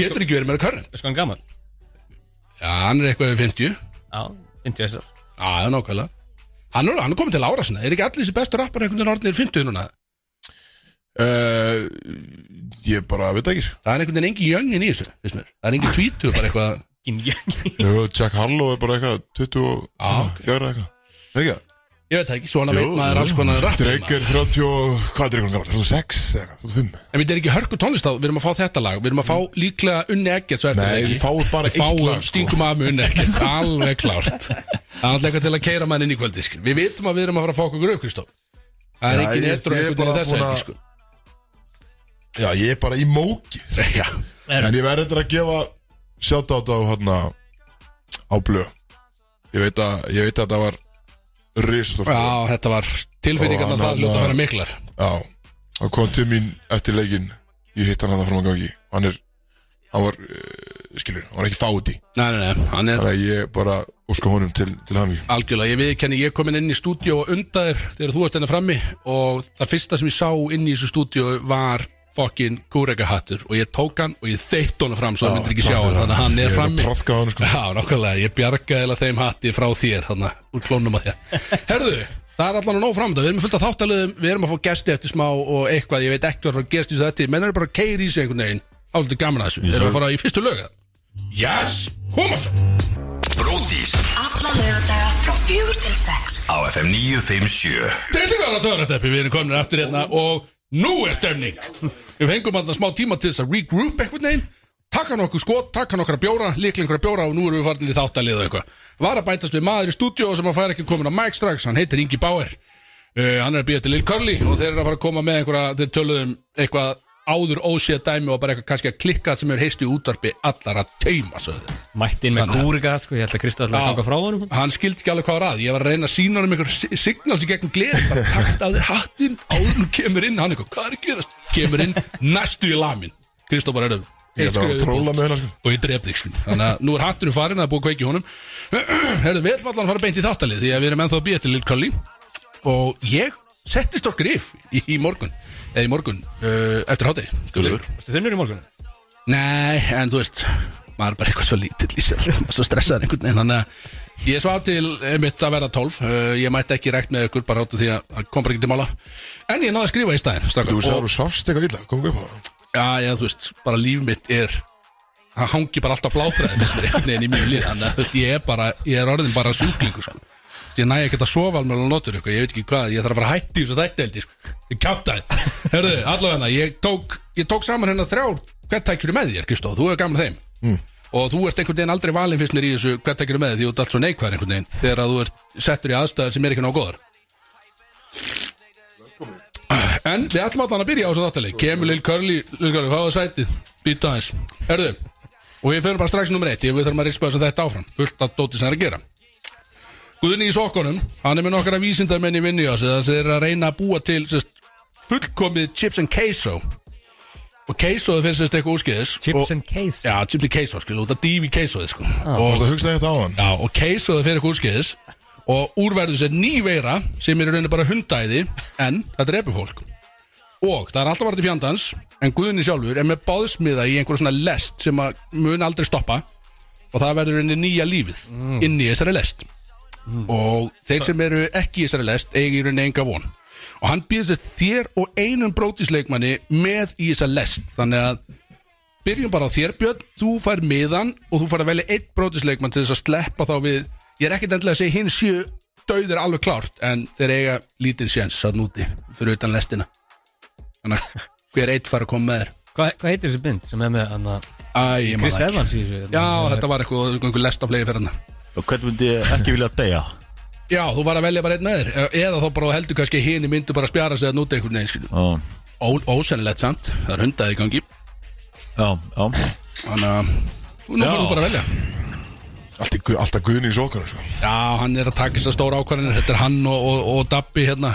Speaker 3: getur ekki verið meira körn
Speaker 2: Best sko hann gammal
Speaker 3: Já, hann er eitthvað yfir 50
Speaker 2: Já, 50 þessar
Speaker 3: Já, já, nákvæmlega Hann er, hann er komin til ára sinna, er ekki allir þessi bestu rappar einhvern veginn orðnir 50 núna
Speaker 1: uh, Ég bara veit það ekki sko.
Speaker 3: Það er einhvern veginn engin jöngin í þessu, finnst mér Það er engin tvítu, bara eitthvað (laughs)
Speaker 2: Ginn
Speaker 1: Jú, Jack Harlow er bara eitthvað 24 eitthvað Er Ekki það?
Speaker 3: Ég veit það ekki, svona Ah, veit maður alls konar rapp
Speaker 1: Drake er 30, og- hvað er Drake hann gammal? 36 eða 25
Speaker 3: En við erum ekki hörku tónlist á, við erum að fá þetta lag Við erum að fá líklega Unni Eggert svo eftir
Speaker 1: Nei,
Speaker 3: ekki.
Speaker 1: við fáum bara
Speaker 3: Við fáum,
Speaker 1: eitt lag, sko.
Speaker 3: Stingum af með Unni Eggert, alveg klárt Það er alltaf eitthvað til að keira mann inn í kvöldi skil. Við vitum að við erum að fara að fá okkur upp, Kristof Það er
Speaker 1: Já,
Speaker 3: engin
Speaker 1: ég-
Speaker 3: eftir
Speaker 1: ég
Speaker 3: og
Speaker 1: er
Speaker 3: einhvern veginn
Speaker 1: bara
Speaker 3: þess
Speaker 1: búin
Speaker 3: að
Speaker 1: að- Já, ég er bara í móki
Speaker 3: Já,
Speaker 2: Er-
Speaker 1: En ég verður þetta að gefa Shoutout á hérna Á blöð Ég veit að, ég veit að þetta var Risastórt
Speaker 3: (laughs) já, þetta var tilfinningarna
Speaker 1: Og hann
Speaker 3: það ljóta að
Speaker 1: þarna-
Speaker 3: vera miklar
Speaker 1: Já, hann kom til mín eftir leikin Ég hitt hann hann fram að gangi Hann er, hann var uh, Skilur, hann var ekki fáti
Speaker 3: Nei, nei, nei, hann er
Speaker 1: Þannig að ég bara óska honum til, til hann
Speaker 3: Algjörlega, ég viðkenni, ég kom inn inn í stúdíó og undaðir þegar þú varst hennar frammi og það fyrsta sem ég sá inn í þessu stúdíó var fokkin kúrekahattur og ég tók hann og ég þeitt honum fram svo það myndir ekki sjá hann, þannig að
Speaker 1: Ég
Speaker 3: hann er
Speaker 1: er að
Speaker 3: frammi
Speaker 1: traðka á honum, sko.
Speaker 3: Já, nákvæmlega, (laughs) ég bjargaði eiginlega þeim hatti frá þér, þannig að úr klónum (laughs) að þér Herðu, það er allan að nóg framönda, við erum með fullt af þáttalöðum, við erum að fá gesti eftir smá og eitthvað, ég veit ekkert hvað er að fara að gerst í þessu þetta, menn eru bara að keira í sig einhvern veginn, áldur gaman að þessu, erum við að fara í fyrstu lög Yes, koma svo
Speaker 5: Bródís
Speaker 6: Alla lögadaga frá fjögur til sex
Speaker 5: á FM 957
Speaker 3: Tiltingar á törrætteppi, við erum komin aftur hérna og nú er stemning Við fengum hann smá tíma til þess að regroup einhvern veginn taka nokkuð skot, taka nokkra bjóra, líklega einhverja bjóra og nú erum við farin í þáttalið og eitthvað. Var að bætast við maður í stúdíó sem að færa ekki komin á Mike strax, hann heitir Ingi Bauer. Uh, hann er að býja til Lil Curly og þeir eru að fara að koma með einhverja, þeir töluðum eitthvað áður óséð dæmi og bara eitthvað kannski að klikka sem er heist í útvarpi allar að teima, sögðu. þeir.
Speaker 2: Mættin með
Speaker 3: Þannig að-
Speaker 2: kúrika, sko, ég held að Kristof ætla að ganga frá honum
Speaker 3: Hann skildi ekki alveg hvað var að Ég var að reyna að sína hann um einhver si- signals í gegnum gleð Bara takt á þér hattinn áður en þú kemur inn Hann eitthvað, hvað er að gerast? Kemur inn næstu í lamin Kristóf bara erum
Speaker 1: Ég ætla að tróla með hérna sko
Speaker 3: og ég dref þig sko Þannig að nú er hatturinn farinn það er búið að kveiki í honum (clears throat) Herðu, við ætlum allan að fara beint í þáttalið Því að við erum ennþá að býja til Lil Cully Og ég settist á grif í, í morgun Eða í morgun, uh, eftir hátegi
Speaker 4: Gullur
Speaker 2: Þú þunnur í morgun?
Speaker 3: Nei, en þú veist maður er bara eitthvað svo lítill í sér alltaf, maður er svo stressaður einhvern veginn þannig að ég svá til mitt að verða 12 uh, ég mætti ekki rækt með ykkur bara áttu því að að kom bara ekki til mála en ég náði að skrifa í stæðin
Speaker 1: Þú
Speaker 3: strákar.
Speaker 1: sagður þú sást eitthvað illa, kom upp á það
Speaker 3: já, já, þú veist, bara líf mitt er það hangi bara alltaf blátræði þess vegna einhvern veginn í mjög líf þannig að þú veist, ég er bara, ég er orðin bara sjúklingu sko. ég næ ekki að sofa alveg alveg notur eitthvað, ég veit ekki hvað, ég þarf að fara að hætti þessu þætteldi, sko, ég kjáta þér herðu, allavega, ég tók ég tók saman hérna þrjár, hvert tækjur með þér Kristóð, þú er gaman af þeim og þú ert einhvern veginn aldrei valin fyrst mér í þessu hvert tækjur með þér, því þú ert allt svo neikvæðar einhvern veginn þegar að þú ert settur í aðstæður sem er ekki nóg góðar En við ætlum allan að byrja á þessu þáttaleg Kemur Lil Curly, Lil Curly, fáðu sætið Býta aðeins, herðu Og ég fyrir bara strax nummer eitt, ég- við þurfum að rispa þessu þetta áfram Fullt að dóti sem er að gera Guðni í sokkunum, hann er með nokkara vísindarmenn í vinnu á sig Það er að reyna að búa til sest, fullkomið chips and queso Og quesoðu finnst sérst eitthvað úrskeiðis
Speaker 2: Chips
Speaker 3: og,
Speaker 2: and Ah. case
Speaker 3: Já, chips and queso, skil, út að dýfi quesoði sko
Speaker 1: Þú
Speaker 3: Og
Speaker 1: varst að hugsa þetta á hann
Speaker 3: Já, og keisaði fyrir húskeiðis og úrverður sér ný veira sem er í rauninni bara hundæði en það drepur fólk og það er alltaf varðið fjandans en Guðni sjálfur er með báðsmiða í einhver svona lest sem að mun aldrei stoppa og það verður í rauninni nýja lífið inn í þessari lest og þeir sem eru ekki í þessari lest eigi í rauninni enga von og hann býður sér þér og einum brótisleikmanni með í þessa lest þannig að byrjum bara á þér Björn þú fær miðan og þú fær að velja eitt brótisleikmann til þess að sleppa þá við ég er ekkert endilega að segja hinn séu dauðir alveg klárt en þeir eiga lítinn séns að núti fyrir utan lestina þannig að hver eitt fær að koma með þér
Speaker 2: Hvað hvað heitir þessi mynd sem er með anna,
Speaker 3: Æ, ég man
Speaker 2: Chris
Speaker 3: það ekki.
Speaker 2: Evans í þessu? hérna?
Speaker 3: Já, þetta var eitthvað, eitthvað lestaflegi fyrir hann
Speaker 4: Og hvernig myndi ég ekki vilja að deyja?
Speaker 3: Já, þú var að velja bara einn með þér eða þá bara heldur kannski hinn myndu bara að spjara sig að núti einhvern veginn skilur.
Speaker 4: Já,
Speaker 3: Ó- Ósennilegt samt, það er hundaði í gangi
Speaker 4: já, já
Speaker 3: Þannig að nú
Speaker 4: Já.
Speaker 3: fyrir þú bara að velja
Speaker 1: Allt í gu- Alltaf guðni í sokkunum sko
Speaker 3: Já, hann er að taka þessar stóra ákvarðanir Þetta er hann og, og, og Dabbi hérna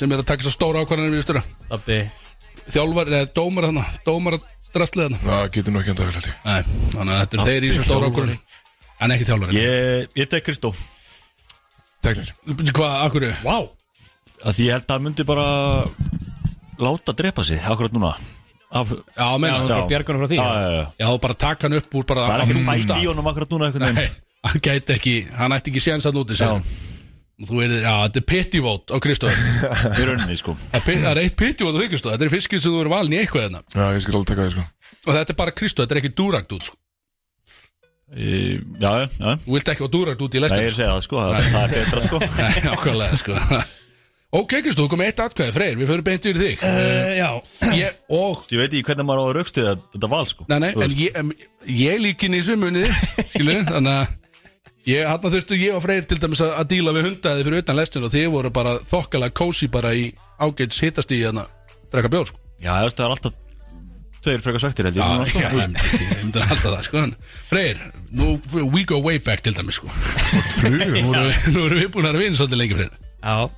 Speaker 3: sem er að taka þessar stóra ákvarðanir við stjóra
Speaker 2: Dabbi
Speaker 3: Þjálfar, eða dómar þarna, dómar drastlið þarna
Speaker 1: Það getur nú ekki enda vel held ég
Speaker 3: Nei, þannig að þetta er þeir í þessar stóra
Speaker 4: þjálfari.
Speaker 3: ákvarðanir En ekki þjálfari
Speaker 4: Ég, ég tek Kristó
Speaker 1: Teknir
Speaker 3: yeah. Hvað, akkur
Speaker 2: Vá
Speaker 4: að Því ég held að hann myndi bara Láta drepa sig, akkurat núna Af,
Speaker 3: Já, meina,
Speaker 2: Já.
Speaker 3: já,
Speaker 2: bara bjarga honum frá því,
Speaker 4: Já,
Speaker 2: já.
Speaker 4: já, já
Speaker 3: já þú bara taka hann upp úr bara
Speaker 4: Það er
Speaker 3: á
Speaker 4: ekkert
Speaker 3: þungum
Speaker 4: fætt
Speaker 3: stað.
Speaker 4: í honum akkurat núna einhvern
Speaker 3: Nei,
Speaker 4: veginn
Speaker 3: hann gæti ekki, hann ætti ekki séns að núti sér
Speaker 4: Já.
Speaker 3: Þú verður, já, þetta er pittivót á Kristof
Speaker 4: (laughs) Í rauninni, sko
Speaker 3: Það er eitt pittivót á þig, Kristof Þetta er fiskir sem þú verður valin í eitthvað þarna
Speaker 1: Já, ég skal alveg taka þér sko
Speaker 3: Og þetta er bara Kristof, þetta er ekki dúrakt út sko.
Speaker 4: Í- Já, já, já
Speaker 3: Þú vilt ekki á dúrakt út í
Speaker 4: Nei,
Speaker 3: lestum
Speaker 4: ég er að segja það, sko Það það er betra, sko
Speaker 3: (laughs) Nei, ákvæmlega sko Ok, Kristó, þú kom með eitt atkvæði, Freyr, við förum beint yfir þig uh,
Speaker 2: Já
Speaker 3: ég, Og,
Speaker 4: Ég veit ekki hvernig maður á að raukstuða þetta val, sko
Speaker 3: nei, nei, en
Speaker 4: Þú veist.
Speaker 3: ég, em, ég lík inn í þessu munið Skilu, þannig að Ég, hann þurftu ég og Freyr til dæmis að, að díla við hundaði fyrir utan lestin og þið voru bara þokkalega kósi bara í ágætis hittast í hérna drekka bjór sko. Ah,
Speaker 4: Já, þú veist, það er alltaf Tveir frekar svektir, held ég núna, sko.
Speaker 3: já, ég
Speaker 4: Þú veist.
Speaker 3: myndi alltaf það sko. en Freyr, nú, we go way back til dæmis sko.
Speaker 1: Flugur
Speaker 3: nú, erum við, nú erum við búin að vinna svolítið lengi Freyr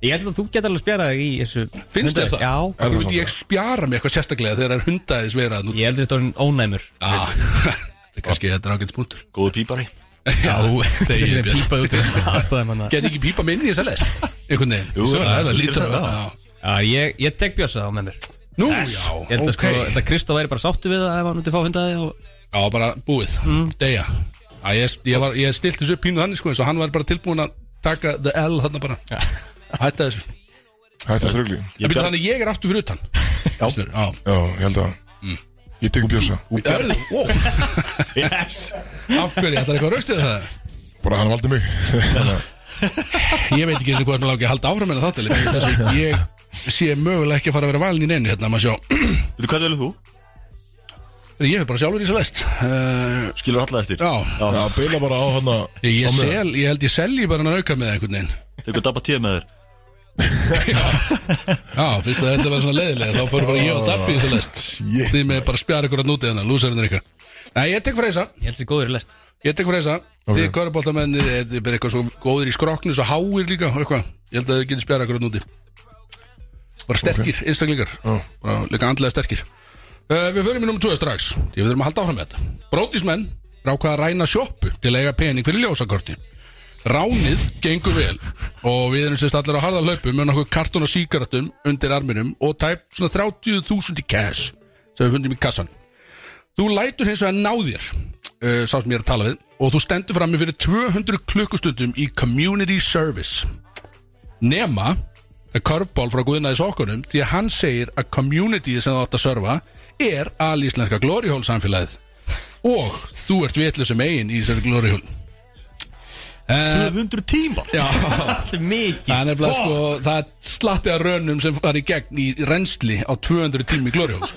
Speaker 2: Ég held að þú get alveg spjarað þig í þessu
Speaker 3: Finnst þér
Speaker 2: hundaði-
Speaker 3: það?
Speaker 2: Já
Speaker 1: Er
Speaker 3: Ég,
Speaker 1: það
Speaker 3: veit,
Speaker 1: svona?
Speaker 3: ég spjara mig eitthvað sérstaklega þegar það er hundaðis verað nú
Speaker 2: Ég held að þetta er orðinn ónæmur
Speaker 3: Já, Ah, (laughs) þetta er kannski þetta er ágætt spúntur
Speaker 4: Góðu pípari
Speaker 3: (laughs) Já, þetta er
Speaker 2: Ég
Speaker 3: ég björn
Speaker 2: pípaði út í (laughs) aðstæðum hann
Speaker 3: Get ekki pípa minni í þess að lest Einhvern veginn
Speaker 4: Jú,
Speaker 3: það er það
Speaker 4: þú
Speaker 3: lítur
Speaker 4: getur
Speaker 3: að-
Speaker 4: það.
Speaker 3: já.
Speaker 2: Já, ég, ég tek bjössa á með mér Ég
Speaker 3: Nú, já,
Speaker 2: held
Speaker 3: ok
Speaker 2: að sko, ég held að Kristó væri bara sáttu við það ef hann myndi fá hundaði og
Speaker 3: Já, bara búið,
Speaker 2: Mm.
Speaker 3: deyja Já, ég, ég, var, ég stilt þessu upp pínu þannig sko eins og hann var bara tilbúin að taka the L þarna bara Hætta þessu
Speaker 1: Hætti að strugli
Speaker 4: Ég
Speaker 3: Ég byrja
Speaker 4: bjarg-
Speaker 3: þannig ég er aftur fyrir
Speaker 4: (laughs)
Speaker 3: utan Já, já
Speaker 1: Já, ég held að
Speaker 3: Mm.
Speaker 1: Ég tek Björsa
Speaker 3: Hörðu, ó,
Speaker 4: Yes
Speaker 3: af hverju, þetta er eitthvað raustið það
Speaker 1: Bara hann valdi mig
Speaker 3: Ég veit ekki eins og hvað sem lági að halda áfram en þáttil Þessu, ég sé mögulega ekki að fara að vera valin í neinu hérna, maður sjá
Speaker 4: Veitu, hvað velur þú?
Speaker 3: Ég hef bara sjálfur í þessu vest uh,
Speaker 4: Skilur alla eftir
Speaker 3: Já.
Speaker 1: (laughs) Já, beila bara á hann að
Speaker 3: ég,
Speaker 1: Eh, á mig.
Speaker 3: sel, ég held ég selji bara hann auka með einhvern veginn
Speaker 4: Tekur dabba tíð með þér
Speaker 3: Já, fyrst að þetta var svona leiðilega Þá fóru bara ég og Dabbi í þessu lest
Speaker 1: Shit,
Speaker 3: Þið með bara spjara ykkur að nútið hennar, lúsarinn ykkar Nei, ég tek freysa
Speaker 2: Ég held sér góður í lest
Speaker 3: Ég tek freysa okay. Þið köruboltamenni, þið er bara eitthvað svo góðir í skroknu Svo háir líka, og eitthvað Ég held að þið getur spjara ykkur að núti Bara sterkir, einstaklingar
Speaker 1: Já.
Speaker 3: Bara líka andlega sterkir uh, Við förum í nummer 2 strax Ég við þurfum að halda áfram með þetta Brótismenn rákaða að ræna sjoppu Til að eiga pening fyrir ljósakorti Ránið gengur vel og við erum sérst allir á harða hlaupum með nokkuð kartón og síkaratum undir arminum og tæp svona 30.000 í cash sem við fundum í kassan. Þú lætur hins vegar ná þér, uh, sá sem ég er að tala við, og þú stendur frammi fyrir 200 klukkustundum í community service. Nema að körfból frá Guðnaði Sokkunum því að hann segir að communityið sem þú átt að serva er alíslenska glóriól samfélagið og þú ert vitlega sem eigin í þessari glóriól.
Speaker 4: 200 tímar
Speaker 3: (laughs) Já,
Speaker 2: Þetta er mikið
Speaker 3: Það er nefnilega sko, það er slatti af raunum sem fari í gegn í reynsli á 200 tími í Glóriós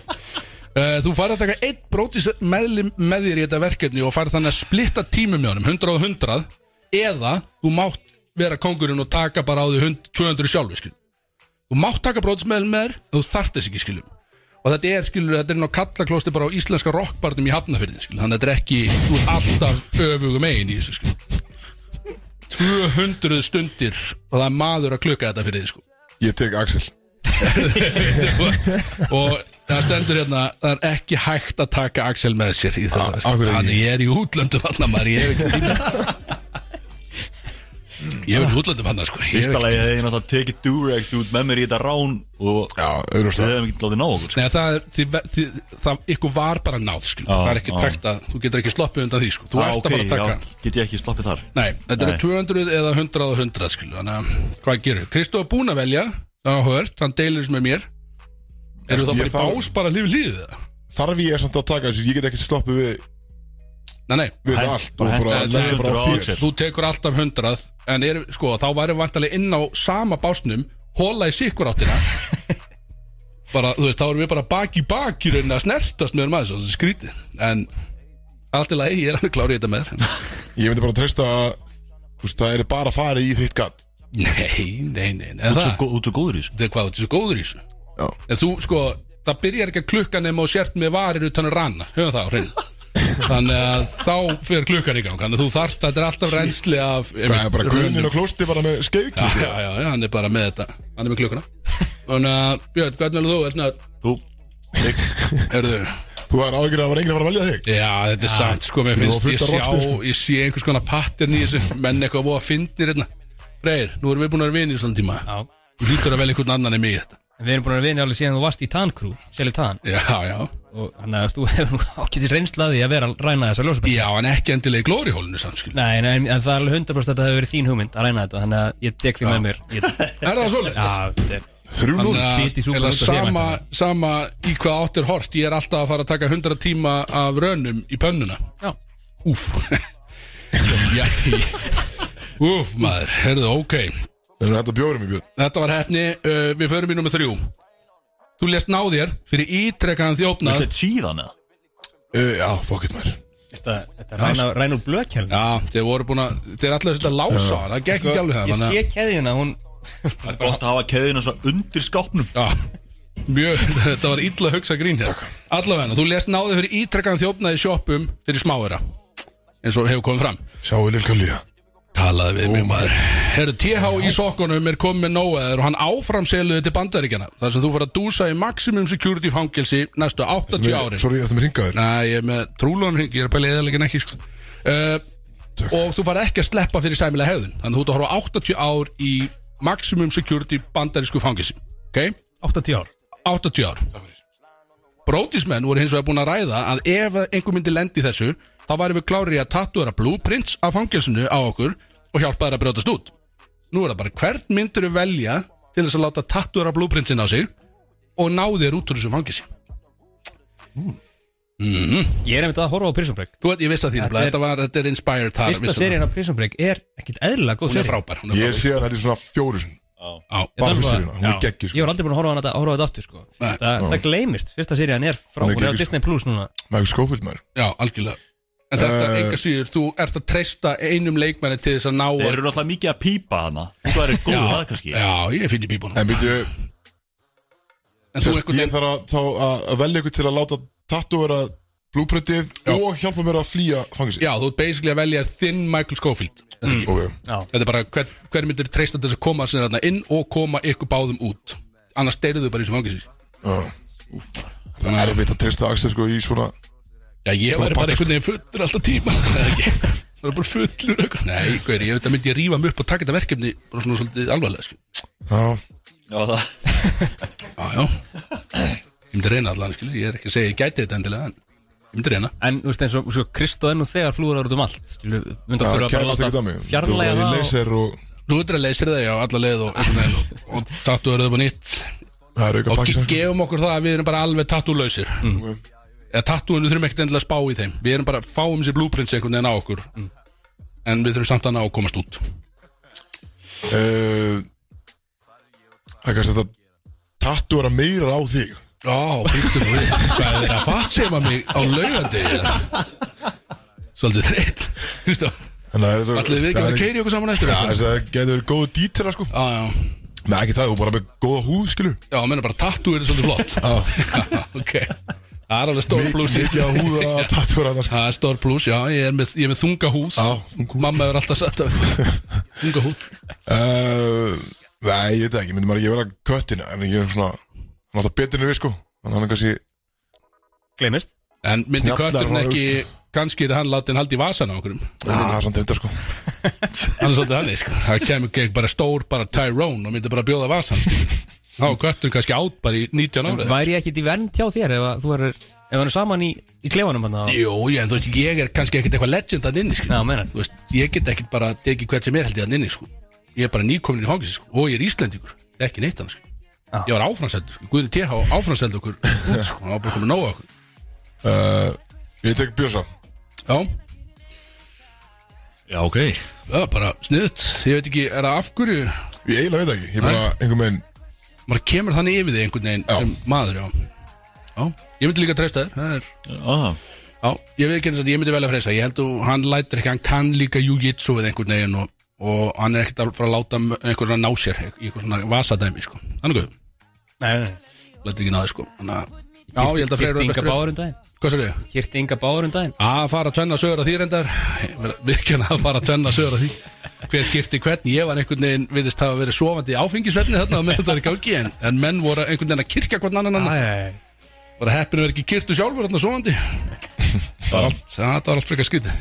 Speaker 3: Þú farið að taka einn brótis meðlim með þér í þetta verkefni og farið þannig að splitta tímum með honum 100 og 100 eða þú mátt vera kongurinn og taka bara á því 100 200 sjálfu skil Þú mátt taka brótis meðlim með þér en þú þarft þess ekki skilum og þetta er skilur, þetta er ná kallaklosti bara á íslenska rockbarnum í hafnafyrðin skilur þannig að þetta er ekki, þú er alltaf öfugum eigin í þessu skilur 200 stundir og það er maður að klukka þetta fyrir því sko.
Speaker 1: Ég tek Axel
Speaker 3: og það stendur hérna það er ekki hægt að taka Axel með sér í þetta
Speaker 1: Ah, af hverju
Speaker 3: sko.
Speaker 1: ekki?
Speaker 3: hann er í útlöndum hann maður ég
Speaker 1: (laughs)
Speaker 3: hef ekki tíma ég er í útlöndum hann sko. Ég hef ekki-
Speaker 4: Ístalagi hefði ég náttúrulega tekið Durect út með mér í þetta rán Og
Speaker 1: Já,
Speaker 4: við
Speaker 1: auðvitað
Speaker 4: hefðum ekki látið ná okkur sko.
Speaker 3: Nei, það, er, þið, þið, það ykkur var bara náð skil.
Speaker 4: Já,
Speaker 1: Ah,
Speaker 3: það er ekki
Speaker 4: já.
Speaker 3: tækt að þú getur ekki sloppið undan því sko. þú
Speaker 4: Á,
Speaker 3: ert
Speaker 4: ok,
Speaker 3: að fara að taka
Speaker 4: já, Get ég ekki sloppið þar
Speaker 3: Nei, þetta eru
Speaker 4: Nei.
Speaker 3: 200 eða 100 og 100 skilu, þannig að hvað gerir Kristof er búinn að velja, það er hört, hann deilir þessu með mér Eru
Speaker 1: Ég
Speaker 3: það bara í
Speaker 1: þarf-
Speaker 3: bás bara lífið lífið það?
Speaker 1: Þarf ég samt að taka þessu, ég get ekki stoppið við,
Speaker 3: Nei, nei,
Speaker 1: við
Speaker 4: Hæ,
Speaker 1: allt
Speaker 4: bara
Speaker 1: og bara
Speaker 4: henda
Speaker 1: leiði bara á
Speaker 4: 200 á
Speaker 1: þér
Speaker 4: Axel.
Speaker 3: þú tekur alltaf 100 en er, sko, þá væri vantarlega inn á sama básnum, hóla í sikkur (laughs) áttina bara, þú veist, þá erum við bara bak í bak í rauninni að snertast með um aðeins og það er skrítið en allt í lagi, ég er alveg klárið þetta með þér
Speaker 1: Ég myndi bara treysta að þú veist, það er bara að fara í þitt gatt
Speaker 3: (laughs) Nei, nei, nei, nei er
Speaker 4: Þú ert
Speaker 3: það-
Speaker 4: svo gó- Þú ert svo góður í þessu
Speaker 3: þetta er hvað, þetta er svo góður í þessu
Speaker 1: Já.
Speaker 3: en þú, sko, það byrjar ekki að klukka nema og sért með varir utan að ranna höfum það á (laughs) hreinu þannig að þá fyrir klukkan í gang þannig að þú þarft, þetta er alltaf reynsli af
Speaker 1: Það er bara guðnin
Speaker 3: rönnum.
Speaker 1: og klósti bara með
Speaker 3: já,
Speaker 1: skeiðklisti
Speaker 3: já, já, já, hann er bara með þetta hann er með klukkuna þannig að, Björn, hvernig er þú, er svona
Speaker 4: Þú, ég,
Speaker 3: erðu,
Speaker 1: Þú er ágjörð að það var enginn að fara að velja þig
Speaker 3: já, þetta er samt, sko, mér finnst
Speaker 1: Nú,
Speaker 3: ég
Speaker 1: fullt af rockstíl,
Speaker 3: sjá
Speaker 1: sko.
Speaker 3: ég sé einhvers konar pattern í þessu menn eitthvað voða fyndnir hérna Freyr, nú erum við búin að vera vinni í svona tíma
Speaker 2: Já
Speaker 3: Þú hlýtur að velja einhvern annan en mig í þetta
Speaker 2: En Við erum búin að vinja alveg síðan þú varst í Tankrú Seli Tan
Speaker 3: Já, já
Speaker 2: Og hann að þú (laughs) hefur ákveðið reynslaði að vera að ræna þessa ljósabæk
Speaker 3: Já, en ekki endilega í glórihólinu samt, skil
Speaker 2: Nei, nei, en það er alveg 100% að það hefur verið þín hugmynd að ræna þetta Þannig að ég tek því með mér (laughs) Ég-
Speaker 3: Er það svoleiðis?
Speaker 2: Já, þetta er-
Speaker 1: Þrjú núll
Speaker 2: Shit í súpunni
Speaker 3: eða
Speaker 2: út af þér,
Speaker 3: sama,
Speaker 2: væntanlega.
Speaker 3: sama í hvað áttir hort Ég er alltaf að fara að taka 100 tíma af rönnum í pönnuna
Speaker 2: já
Speaker 3: Úf Já, ég- Úf maður, herðu, ok
Speaker 1: En þetta bjórum í björn
Speaker 3: Þetta var hefni, uh, við förum í nummer þrjú Þú lest ná þér fyrir ítrekkaðan
Speaker 4: þú
Speaker 3: þjófnað
Speaker 4: sett síðan eða
Speaker 1: Uh, Já, fuck it maður
Speaker 2: Þetta þetta er ræna- ræna úr blökjáln
Speaker 3: Já, þeir voru búin að, þeir er alltaf að setja lása á hann, Það gekk ekki alveg það
Speaker 2: Sko, Ég
Speaker 3: þannig að-
Speaker 2: sé keðjuna, hún
Speaker 4: Það er gott að hafa keðina svona undir skápnum
Speaker 3: Já, mjög, (laughs) þetta var illa hugsa grín hér Allavega, þú lest náði fyrir ítrekkan þjófnaði sjoppum fyrir smáera eins og hefur komið fram
Speaker 1: Sjáu Lilka Lía
Speaker 3: Talaði við mjög maður Herru, TH í sokkunum er komið með nóaður og hann áframseluði til bandaríkjana þar sem þú fyrir að dúsa í maximum security fangelsi næstu 80 árin
Speaker 1: Sorry, þetta er með ringaður
Speaker 3: Nei, ég er með trúlónum hring, ég er að pæla eðalegin ekki sko. uh, Og þú farið ekki að sleppa fyrir sæmilega hefðin Þannig að þú ert að horfa á 80 ár í maximum security bandarísku fangilsi Ok?
Speaker 2: 80 ár
Speaker 3: 80 ár Brótismenn voru hins vegar búin að ræða að ef að einhver myndi lendi í þessu þá væri við klárið að tatuera blueprints af fangelsinu á okkur og hjálpa þær að brjótast út Nú er það bara hvern myndir við velja til þess að láta tatuera blueprintsin á sig og ná þér út úr þessu fangelsi
Speaker 2: Ég er einmitt að horfa á Prison Break
Speaker 3: Þú veit, ég vissi að því
Speaker 2: Þetta
Speaker 3: nefnilega,
Speaker 2: er-
Speaker 3: þetta, var, þetta er inspired þar
Speaker 2: Fyrsta serían af Prison Break er ekkit eðlilega góð
Speaker 3: Hún er
Speaker 2: serían
Speaker 3: frábær, hún er
Speaker 1: Ég
Speaker 3: frábær
Speaker 1: sé hann hætti svona fjóru sinn
Speaker 3: á
Speaker 2: Ég
Speaker 1: Bara
Speaker 2: þarf
Speaker 1: fyrst
Speaker 2: bara-
Speaker 1: seríuna, hún er
Speaker 2: Já.
Speaker 1: geggjuð, sko.
Speaker 2: Ég var aldrei búin að horfa á hana þetta- horfa á þetta aftur sko.
Speaker 3: Nei.
Speaker 2: Þa, Það gleymist, fyrsta serían er frá
Speaker 1: Hún er
Speaker 2: Hún er á
Speaker 1: geggjuð,
Speaker 2: Disney Plus núna
Speaker 1: Michael Schofield maður
Speaker 3: Já, algjörlega En þetta,
Speaker 1: Eh,
Speaker 3: enga síður, þú ert að treysta einum leikmanni til þess að ná
Speaker 4: Þeir
Speaker 3: að
Speaker 4: eru náttúrulega mikið að pípa hana Þú væri góð að það kannski
Speaker 3: Já, ég finn í bíbunum
Speaker 1: En byrju,
Speaker 3: En þú
Speaker 1: sérst, ég
Speaker 3: einhvern veginn
Speaker 1: þarf að, þá, að, að velja ykkur til að láta tattu vera blúprintið og hjálpa mér að flýja fangins
Speaker 3: Já, þú ert basically að velja þinn Michael Schofield
Speaker 1: Ok,
Speaker 3: Þetta er bara, hver, hver myndir treysta til þess að koma sér þarna inn og koma ykkur báðum út Annars deyruðu bara í sem fangis
Speaker 1: já Það er erfitt að treysta Axel sko í svona
Speaker 3: Já, ég væri bara einhvern veginn fullur alltaf tíma (laughs) Það er ekki- það er bara fullur eitthvað. Nei, hver, ég veit að myndi ég rífa mig upp og taka þetta verkefni bara svona svolítið alvarlega sko. skil.
Speaker 1: Já,
Speaker 4: Já, það
Speaker 3: Já, já Ég myndi reyna allan, skil. ég er ekki að segja ég gæti þetta endilega en ég myndi reyna
Speaker 2: En þú veist eins og sko, Kristó er nú þegar flúrar út um allt Skilu, mynda
Speaker 1: já
Speaker 2: þurfa bara að
Speaker 1: kærast ekki dæmi
Speaker 2: láta fjarlæga
Speaker 1: Þú
Speaker 2: það og,
Speaker 1: leysir og
Speaker 3: Þú ert að leysir það, já, alla leið og, einhvern veginn og, og tattu eru upp á nýtt
Speaker 1: það er auka
Speaker 3: og
Speaker 1: pakki
Speaker 3: ge-
Speaker 1: sko
Speaker 3: gefum okkur það að við erum bara alveg tattúlausir mm. eða tattúinu þurfum ekkert endilega að spá í þeim við erum bara, fáum sér blúprints einhvern veginn á okkur
Speaker 1: Mm.
Speaker 3: en við þurfum samt að ná að komast út
Speaker 1: Eh, Það er kannski þetta tattu vera meira á þig
Speaker 3: Já, býttum við Hvað er það fatt sem að mig á laugandi Svolítið þreitt Hlustu,
Speaker 1: En það er
Speaker 3: allir við ekki að keiri okkur saman eftir
Speaker 1: Já,
Speaker 3: Já,
Speaker 1: þess að það getur verið góðu dítela sko
Speaker 3: já,
Speaker 1: Nei, ekki það, þú bara með góða húð, skilu
Speaker 3: já, menna bara tattú er svolítið flott Já, (laughs) ok Það er alveg stór blús í-
Speaker 1: Mikið að
Speaker 3: (laughs)
Speaker 1: húða að tattu sko. vera annars
Speaker 3: Það er stór blús, já, ég er með, ég er með þunga hús
Speaker 1: Já, þung húð.
Speaker 3: Mamma er alltaf
Speaker 1: (laughs)
Speaker 3: satt af þunga hús
Speaker 1: Eh, Nei, ég veit það ekki, myndi maður ekki vera köttina En ég er svona, hann er alltaf betur en við sko Þannig að hann er kannski,
Speaker 2: Gleymist
Speaker 3: En myndi
Speaker 1: Snjallar
Speaker 3: kötturinn
Speaker 1: var,
Speaker 3: ekki Kannski er hann látið haldi í vasana okkur
Speaker 1: að það er samt þetta sko
Speaker 3: Hann er svolítið þannig, sko Það kemur gegn bara stór, bara Tyrone og myndi bara bjóða vasan Þá er kötturinn kannski átt bara í 19 árið
Speaker 2: Væri ég ekkit í vernd hjá þér ef, að þú er, ef hann er saman í, í klefanum hann Já,
Speaker 3: Jú, ég, þú veist, ég er kannski ekkert eitthvað legend að inni, sko
Speaker 2: meinar
Speaker 3: Þú veist, ég get ekkert bara tekið hvert sem er held ég að inni, sko Ég er bara nýkomin í hóngis, sko, og ég er Íslendingur Ekki neitt hann, sko
Speaker 2: Já.
Speaker 3: Ég var áframseldur, sko, Guðni TH áframseldur
Speaker 2: (laughs)
Speaker 3: okkur út, sko, hann var bara komið nóg okkur
Speaker 1: Eh, Ég tek Björsa
Speaker 3: Já,
Speaker 4: Já, ok
Speaker 3: það er bara sniðut Ég veit ekki, er það af hverju
Speaker 1: Ég eiginlega veit það ekki, ég bara einhvern veginn
Speaker 3: Maður kemur þannig yfir þig einhvern veginn
Speaker 1: Já.
Speaker 3: sem maður, já Já, ég myndi líka treysta þér, það er
Speaker 4: Já,
Speaker 3: Já, ég veit ekki eins og ég myndi velja að freysa Ég held að hann lætur ekki, hann kann líka jujitsu við einhvern veginn og, og hann er ekkert að fara að láta einhvern að ná sér í einhvern svona vasadæmi, sko Þannig að
Speaker 2: Nei, nei, nei
Speaker 3: lætur ekki náði, sko Þannig að, já, ég held að freyra
Speaker 2: Kirti Inga Báður um daginn
Speaker 3: Hvað sér ég?
Speaker 2: Kirti Inga Báður um daginn
Speaker 3: Að fara að tvenna sögur að því reyndar Ég verð að Virkjana að fara að tvenna sögur að því Hver gifti hvern, ég var einhvern veginn Viðist hafa verið sofandi í áfengisvenni þarna og menn þetta var í gangi en, en menn voru einhvern veginn að kirkja hvern annan annan
Speaker 2: Æ,
Speaker 3: bara heppinu verið ekki kyrtu sjálfur þarna
Speaker 4: (laughs)
Speaker 3: sofandi það var allt það var allt frekar skrítið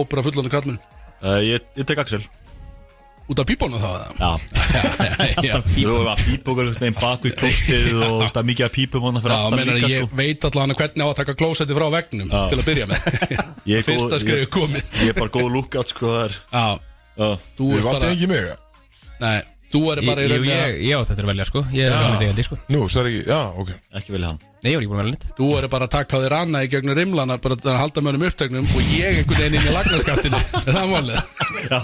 Speaker 3: ópera fullan og kallmenn
Speaker 4: uh, ég, ég tek Axel
Speaker 3: út af pípónu þá eða?
Speaker 4: Já
Speaker 3: (laughs) já,
Speaker 4: Þú hefur að pípa okkur einhvern veginn bak við klostið og það er mikið að pípa um hana fyrir
Speaker 3: já
Speaker 4: aftan
Speaker 3: menar
Speaker 4: líka
Speaker 3: ég
Speaker 4: sko
Speaker 3: veit allan að hvernig á að taka klósetti frá vegnum til að byrja með
Speaker 4: (laughs) Ég er góð-
Speaker 3: fyrsta skrifu
Speaker 4: ég-
Speaker 3: komið
Speaker 4: (laughs) Ég er bara góð lookout sko það er
Speaker 3: já,
Speaker 4: Já,
Speaker 3: þú
Speaker 1: Ég
Speaker 3: er
Speaker 1: valdi
Speaker 3: bara
Speaker 1: ekki mig
Speaker 3: nei, þú er bara
Speaker 2: Ég,
Speaker 3: í
Speaker 2: ég,
Speaker 3: rauninni
Speaker 2: ég,
Speaker 3: að-
Speaker 2: ég átt eftir að velja sko Ég er alveg þegandi sko
Speaker 1: Nú, sagði ekki, já, ok
Speaker 4: ekki velja hann
Speaker 2: Nei, ég var ekki búin að velja nýtt
Speaker 3: þú er bara að taka á þér annað í gegnum rimlana bara að halda mönnum upptögnum og ég einhvern veginn inn í
Speaker 4: (laughs)
Speaker 3: lagnaskaftinu er það málið?
Speaker 4: Já,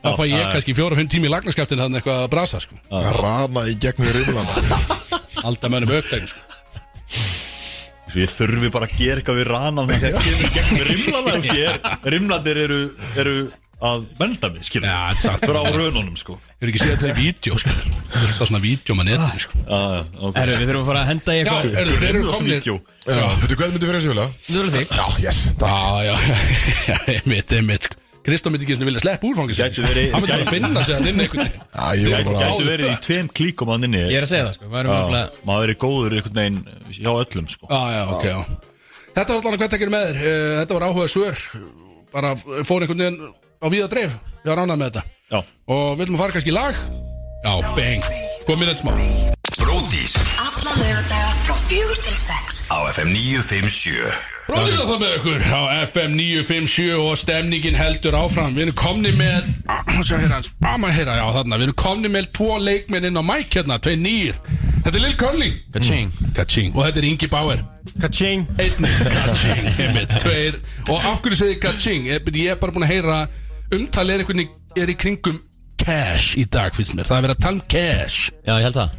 Speaker 3: þá fæ ég kannski fjóra-fimm tími í lagnaskaftinu þannig eitthvað að brasa sko
Speaker 4: Ah.
Speaker 1: Að Rana í gegnum
Speaker 4: (laughs)
Speaker 1: riflana
Speaker 3: halda mönnum upptögnum sko
Speaker 4: Svo ég þurfi bara að gera eitthvað við ranan þegar ég kemur í gegnum rimlana þú veist, ég er- Rimlandir eru, eru að venda mig skilur
Speaker 3: Já, þetta er satt.
Speaker 4: Frá rönunum sko
Speaker 3: Ég er ekki séð þessi vídeo sko. Það er alltaf svona vídeo maður netinu sko.
Speaker 4: Já, já, ok
Speaker 2: Herru, við þurfum að fara að henda í
Speaker 4: Ah,
Speaker 3: Já,
Speaker 2: eitthvað
Speaker 3: er, þeir eru
Speaker 4: Rimlans
Speaker 3: komnir Já,
Speaker 4: vídeó.
Speaker 1: Já, veitu hvað myndi fyrir þessu vilja?
Speaker 2: Nú erum þig
Speaker 1: Já, yes, það
Speaker 3: já, (laughs) já, einmitt, einmitt sko. Kristó myndi ekki einu sinni vilja sleppa úrfangi sér
Speaker 4: Gæti
Speaker 3: sko.
Speaker 4: verið-
Speaker 3: Hann myndi bara
Speaker 4: gæti-
Speaker 3: finna sér hann inn einhvern
Speaker 4: (laughs)
Speaker 3: veginn
Speaker 1: Já, ég var
Speaker 4: Gæ-
Speaker 1: bara
Speaker 4: Gætu verið í tveim klíkum að nynni
Speaker 2: Ég er að segja það sko Við erum alveg
Speaker 4: Maður er góður einhvern veginn hjá öllum sko
Speaker 3: Ah, Já, já, ok, já Þetta var allan að hvað tekir með þér Eh, Þetta var áhuga svör Bara fór einhvern veginn á víða dreif Ég var ránað með þetta
Speaker 4: Já
Speaker 3: Og viljum að fara kannski í lag Já, bang, komið þetta smá
Speaker 5: Bródís
Speaker 6: Alla lögadaga frá fjögur til sex
Speaker 5: á FM 957
Speaker 3: Bróðis að það með ykkur á FM 957 og stemningin heldur áfram Við erum komni með (clears throat) Sjá hér hans, amma heyra, já þarna Við erum komni með tvo leikmenn inn á mæk hérna, tvei nýr Þetta er Lil Curly
Speaker 2: Kaching
Speaker 3: Kaching Og þetta er Ingi Bauer
Speaker 2: Kaching
Speaker 3: Einnig Kaching, (laughs) einmitt, tveir Og af hverju segir Kaching? Ég ég er bara búin að heyra Umtalið er einhvernig, er í kringum cash í dag finnst mér Það er verið að tala um cash
Speaker 7: Já, ég held það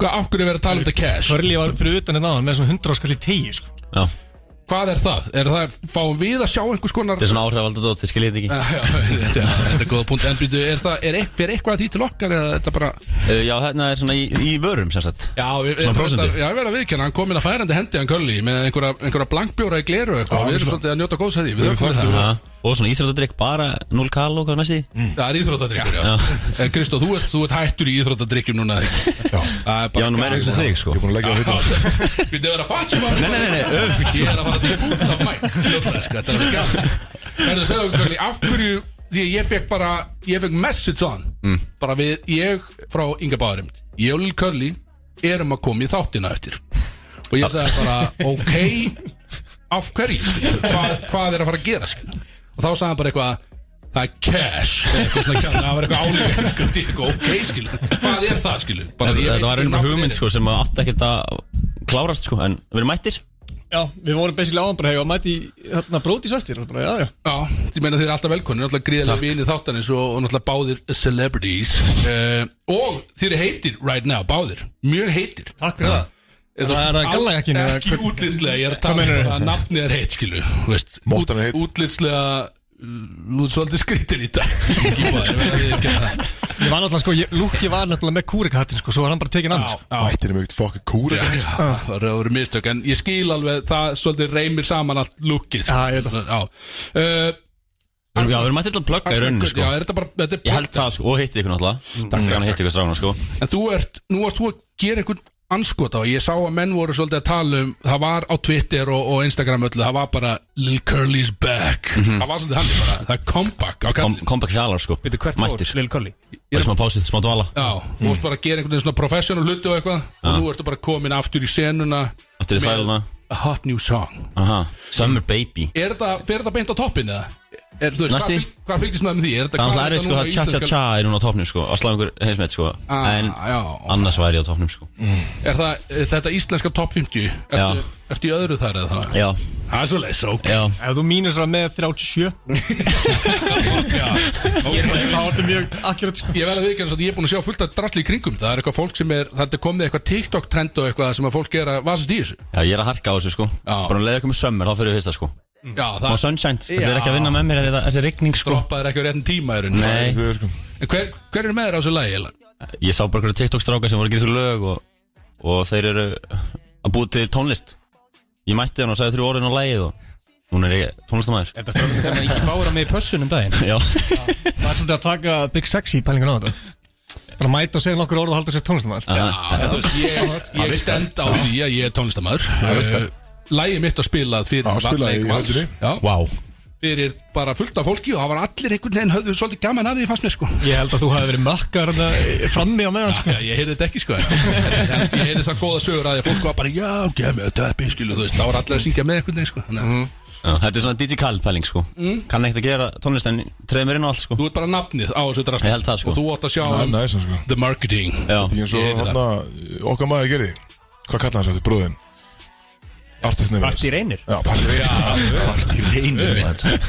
Speaker 3: Hvað af hverju er verið að tala um þetta cash?
Speaker 2: Körli var fyrir utan hérna áðan með svona 100 áskall í tegi sko.
Speaker 7: Já,
Speaker 3: Hvað er það? Er það, fáum við að sjá einhvers konar
Speaker 7: þetta er svona áhrifaldur dót, þið skiljið þetta ekki
Speaker 3: Já, já, þetta þetta er góða punkt En býtu, er það, er eitthvað, er eitthvað að því til okkar eða þetta bara
Speaker 7: uh, Já, hérna er svona í, í vörum sem sagt
Speaker 3: Já, við,
Speaker 7: Svona
Speaker 3: við-
Speaker 7: prósentu?
Speaker 3: Já, ég verð að viðkjanna, hann kom inn að færandi hendi hann Kölli með einhverja, einhverja blankbjóra í gleru og eitthvað
Speaker 1: Já,
Speaker 3: og Við erum
Speaker 1: svona-
Speaker 3: svolítið að njóta góðs að því, við
Speaker 1: Við erum
Speaker 3: þökkum við það
Speaker 7: Ha, Og svona íþróttadrykk, bara 0 kaló, hvað næst því?
Speaker 3: Það er íþróttadrykkur, já En Kristó, þú ert, þú ert hættur í íþróttadrykkjum núna eða ekki?
Speaker 1: Já.
Speaker 3: Það er
Speaker 7: Já,
Speaker 3: bara
Speaker 7: nú meira ykkur sem þig, sko
Speaker 1: Ég er búin að leggja á hittum
Speaker 3: Við erum að fatja maður
Speaker 7: Nei, nei, nei, nei, öfugt, sko.
Speaker 3: Ég er að fara til búið af mæk fljótlega, sko, Þetta er alveg gæmt Herðu, segðu okkur, Kölli, af hverju Því að ég fekk bara, ég fekk message on
Speaker 7: Mm.
Speaker 3: Bara við, ég frá Inga Báðurum Ég og Lil Curly erum að koma í þáttina eftir Og ég sagði bara, ok Af hverju, sko, hvað, hvað er að fara að gera, sko Og þá sagði hann bara eitthvað Það er cash Eða eitthvað svona kjána, Það var eitthvað álíka sko, ég eitthvað, Ok, skilu, hvað er það, skilu Bara ég veit ekki
Speaker 7: Þetta var einhver
Speaker 3: nákvæmlega.
Speaker 7: hugmynd, sko, sem átti ekkert að klárast, sko En við erum mættir
Speaker 2: Já, við vorum besilega áðan bara hefur að mæti hérna bróti svæstir og bara já, já
Speaker 3: Já, ég meina þeir eru alltaf velkonni Náttúrulega gríðilega vinið þáttanins og, og náttúrulega báðir celebrities uh, Og þeir eru heitir right now, báðir Mjög heitir
Speaker 2: Takk fyrir það
Speaker 3: Eh, þú
Speaker 2: Það
Speaker 3: veist,
Speaker 2: er það
Speaker 3: al-
Speaker 2: gallajakkinn eða
Speaker 3: Ekki
Speaker 2: hvern-
Speaker 3: útlýslega, ég er að tala um að nafnið er heit skilu þú veist,
Speaker 1: Móttan er heit.
Speaker 3: Útlýslega, þú ert svolítið skrítir í dag (laughs) Ég verð að um. viðurkenna það.
Speaker 2: Ég var náttúrulega sko, ég, Lúki var náttúrulega með kúrikahattin sko, svo var hann bara tekin annars
Speaker 3: Já, já
Speaker 1: Mættir er mjög fokkin kúra
Speaker 3: Já, já,
Speaker 2: Ah.
Speaker 3: það voru mistök en ég skil alveg, það svolítið reymir saman allt lukkið sko.
Speaker 2: Já, ég veit
Speaker 3: Já, uh,
Speaker 7: Já, við erum mættir til að plugga í rauninni,
Speaker 3: já,
Speaker 7: sko
Speaker 3: er Mm. þetta bara þetta er
Speaker 7: Ég held það, sko, og hitti ykkur náttúrulega Takk fyrir að hitti ykkur strána, sko
Speaker 3: En þú ert, nú varst þú að gera einhvern anskota og ég sá að menn voru svolítið að tala um það var á Twitter og, og Instagram öllu það var bara Lil Curly's back það var svolítið hann bara, það er comeback á
Speaker 7: Mhm. Kom-
Speaker 3: kallin
Speaker 7: Comeback sjalar, sko
Speaker 2: Veitu hvert
Speaker 7: Mættir,
Speaker 2: fór, Lil Curly
Speaker 7: bara smá pási, smá dvala
Speaker 3: Já, þú varst bara að gera einhvern veginn svona professional hluti og eitthvað og nú ertu bara komin aftur í senuna
Speaker 7: Aftur í
Speaker 3: með
Speaker 7: þvæluna.
Speaker 3: A hot new song
Speaker 7: Aha, Summer Baby
Speaker 3: Er þetta, fer þetta beint á toppin eða? Er, þú veist,
Speaker 7: Næsti.
Speaker 3: hvað, fylg, hvað fylgist maður með því? Er þetta,
Speaker 7: Það
Speaker 3: hvað
Speaker 7: er alltaf
Speaker 3: er
Speaker 7: erfitt sko
Speaker 3: núna
Speaker 7: að tja-tja-tja
Speaker 3: íslenska-
Speaker 7: er núna á topnum sko að slá einhver heimsmeitt sko
Speaker 3: Ah,
Speaker 7: en
Speaker 3: já.
Speaker 7: annars væri ég á topnum sko
Speaker 3: Er það, er þetta íslenska top 50?
Speaker 7: Já.
Speaker 3: Ertu, ertu í öðru þar eða það?
Speaker 7: Já,
Speaker 3: Það er svo leys, ok
Speaker 7: já
Speaker 2: Ef þú mínus það með 37 Það var þetta mjög akkurat sko
Speaker 3: Ég verð að viðkjörna að ég er búin að sjá fullt af drasli í kringum Það er eitthvað fólk sem er, það er komið eitthvað TikTok trend og eitthvað sem að fólk er að vasast í þessu
Speaker 7: Já, ég er að harka á þessu sko
Speaker 3: Já.
Speaker 7: Bara um leiða komið sömmar, þá fyrir við fyrsta sko
Speaker 3: Já,
Speaker 7: Og
Speaker 3: það
Speaker 7: sunshine,
Speaker 3: Já.
Speaker 7: þetta er ekki að vinna með mér þetta þetta er rigning sko
Speaker 3: droppaður ekki á réttin tíma í rauninni.
Speaker 7: Nei,
Speaker 1: Þau, sko.
Speaker 3: En hver, hver er með þér á þessu lagi? eiginlega?
Speaker 7: ég sá bara einhverju TikTok stráka sem voru að gera ykkur lög og, og þeir eru að búið til tónlist Ég mætti hann og sagði þrjú orðin á lægið og núna er ég tónlistamæður
Speaker 2: Þetta stráðum sem að ekki bára mig í pössunum daginn
Speaker 7: Já,
Speaker 2: Það er svolítið að taka Big Sexy pælingun á þetta Bara mæta og segja nokkur orð og halda sér tónlistamæður
Speaker 7: Aha.
Speaker 3: Já, þú veist, Ég, ég stend á því að ég er tónlistamæður Lægi mitt að spila fyrir
Speaker 1: Já, spilað
Speaker 3: Vatneyk
Speaker 1: í
Speaker 3: Vals.
Speaker 1: höllinni.
Speaker 3: Já,
Speaker 7: Vá
Speaker 3: Fyrir bara fullt af fólki og það var allir einhvern veginn höfðu svolítið gaman að því fast mér sko
Speaker 2: Ég held að þú hafi verið mökkar þarna frammi á meðan sko
Speaker 3: Já, ég heyrði þetta ekki sko En (laughs) Ég heyrði þess að góða sögur að því að fólk var bara Já, gef mér teppi, skilu, þú veist Það var allir að syngja með einhvern veginn sko Þannig, að
Speaker 7: Já, Þetta er svona DJ Khaled pæling sko
Speaker 2: Mm.
Speaker 7: Kann ekkert að gera tónlist en treði mér inn á allt sko
Speaker 3: Þú ert bara nafnið á þessu drast
Speaker 7: Ég held það,
Speaker 3: Og
Speaker 7: sko.
Speaker 3: þú átt að sjá
Speaker 1: Það er
Speaker 3: um
Speaker 1: næst sko.
Speaker 3: the marketing
Speaker 7: Já,
Speaker 1: Þetta er eins
Speaker 3: Ég
Speaker 1: og
Speaker 3: heyrði
Speaker 1: hann okkar maður gerði Hvað kallaði hans eftir bróðin? Artist nefnir
Speaker 2: Parti reynir
Speaker 1: Já, Parti reynir Parti reynir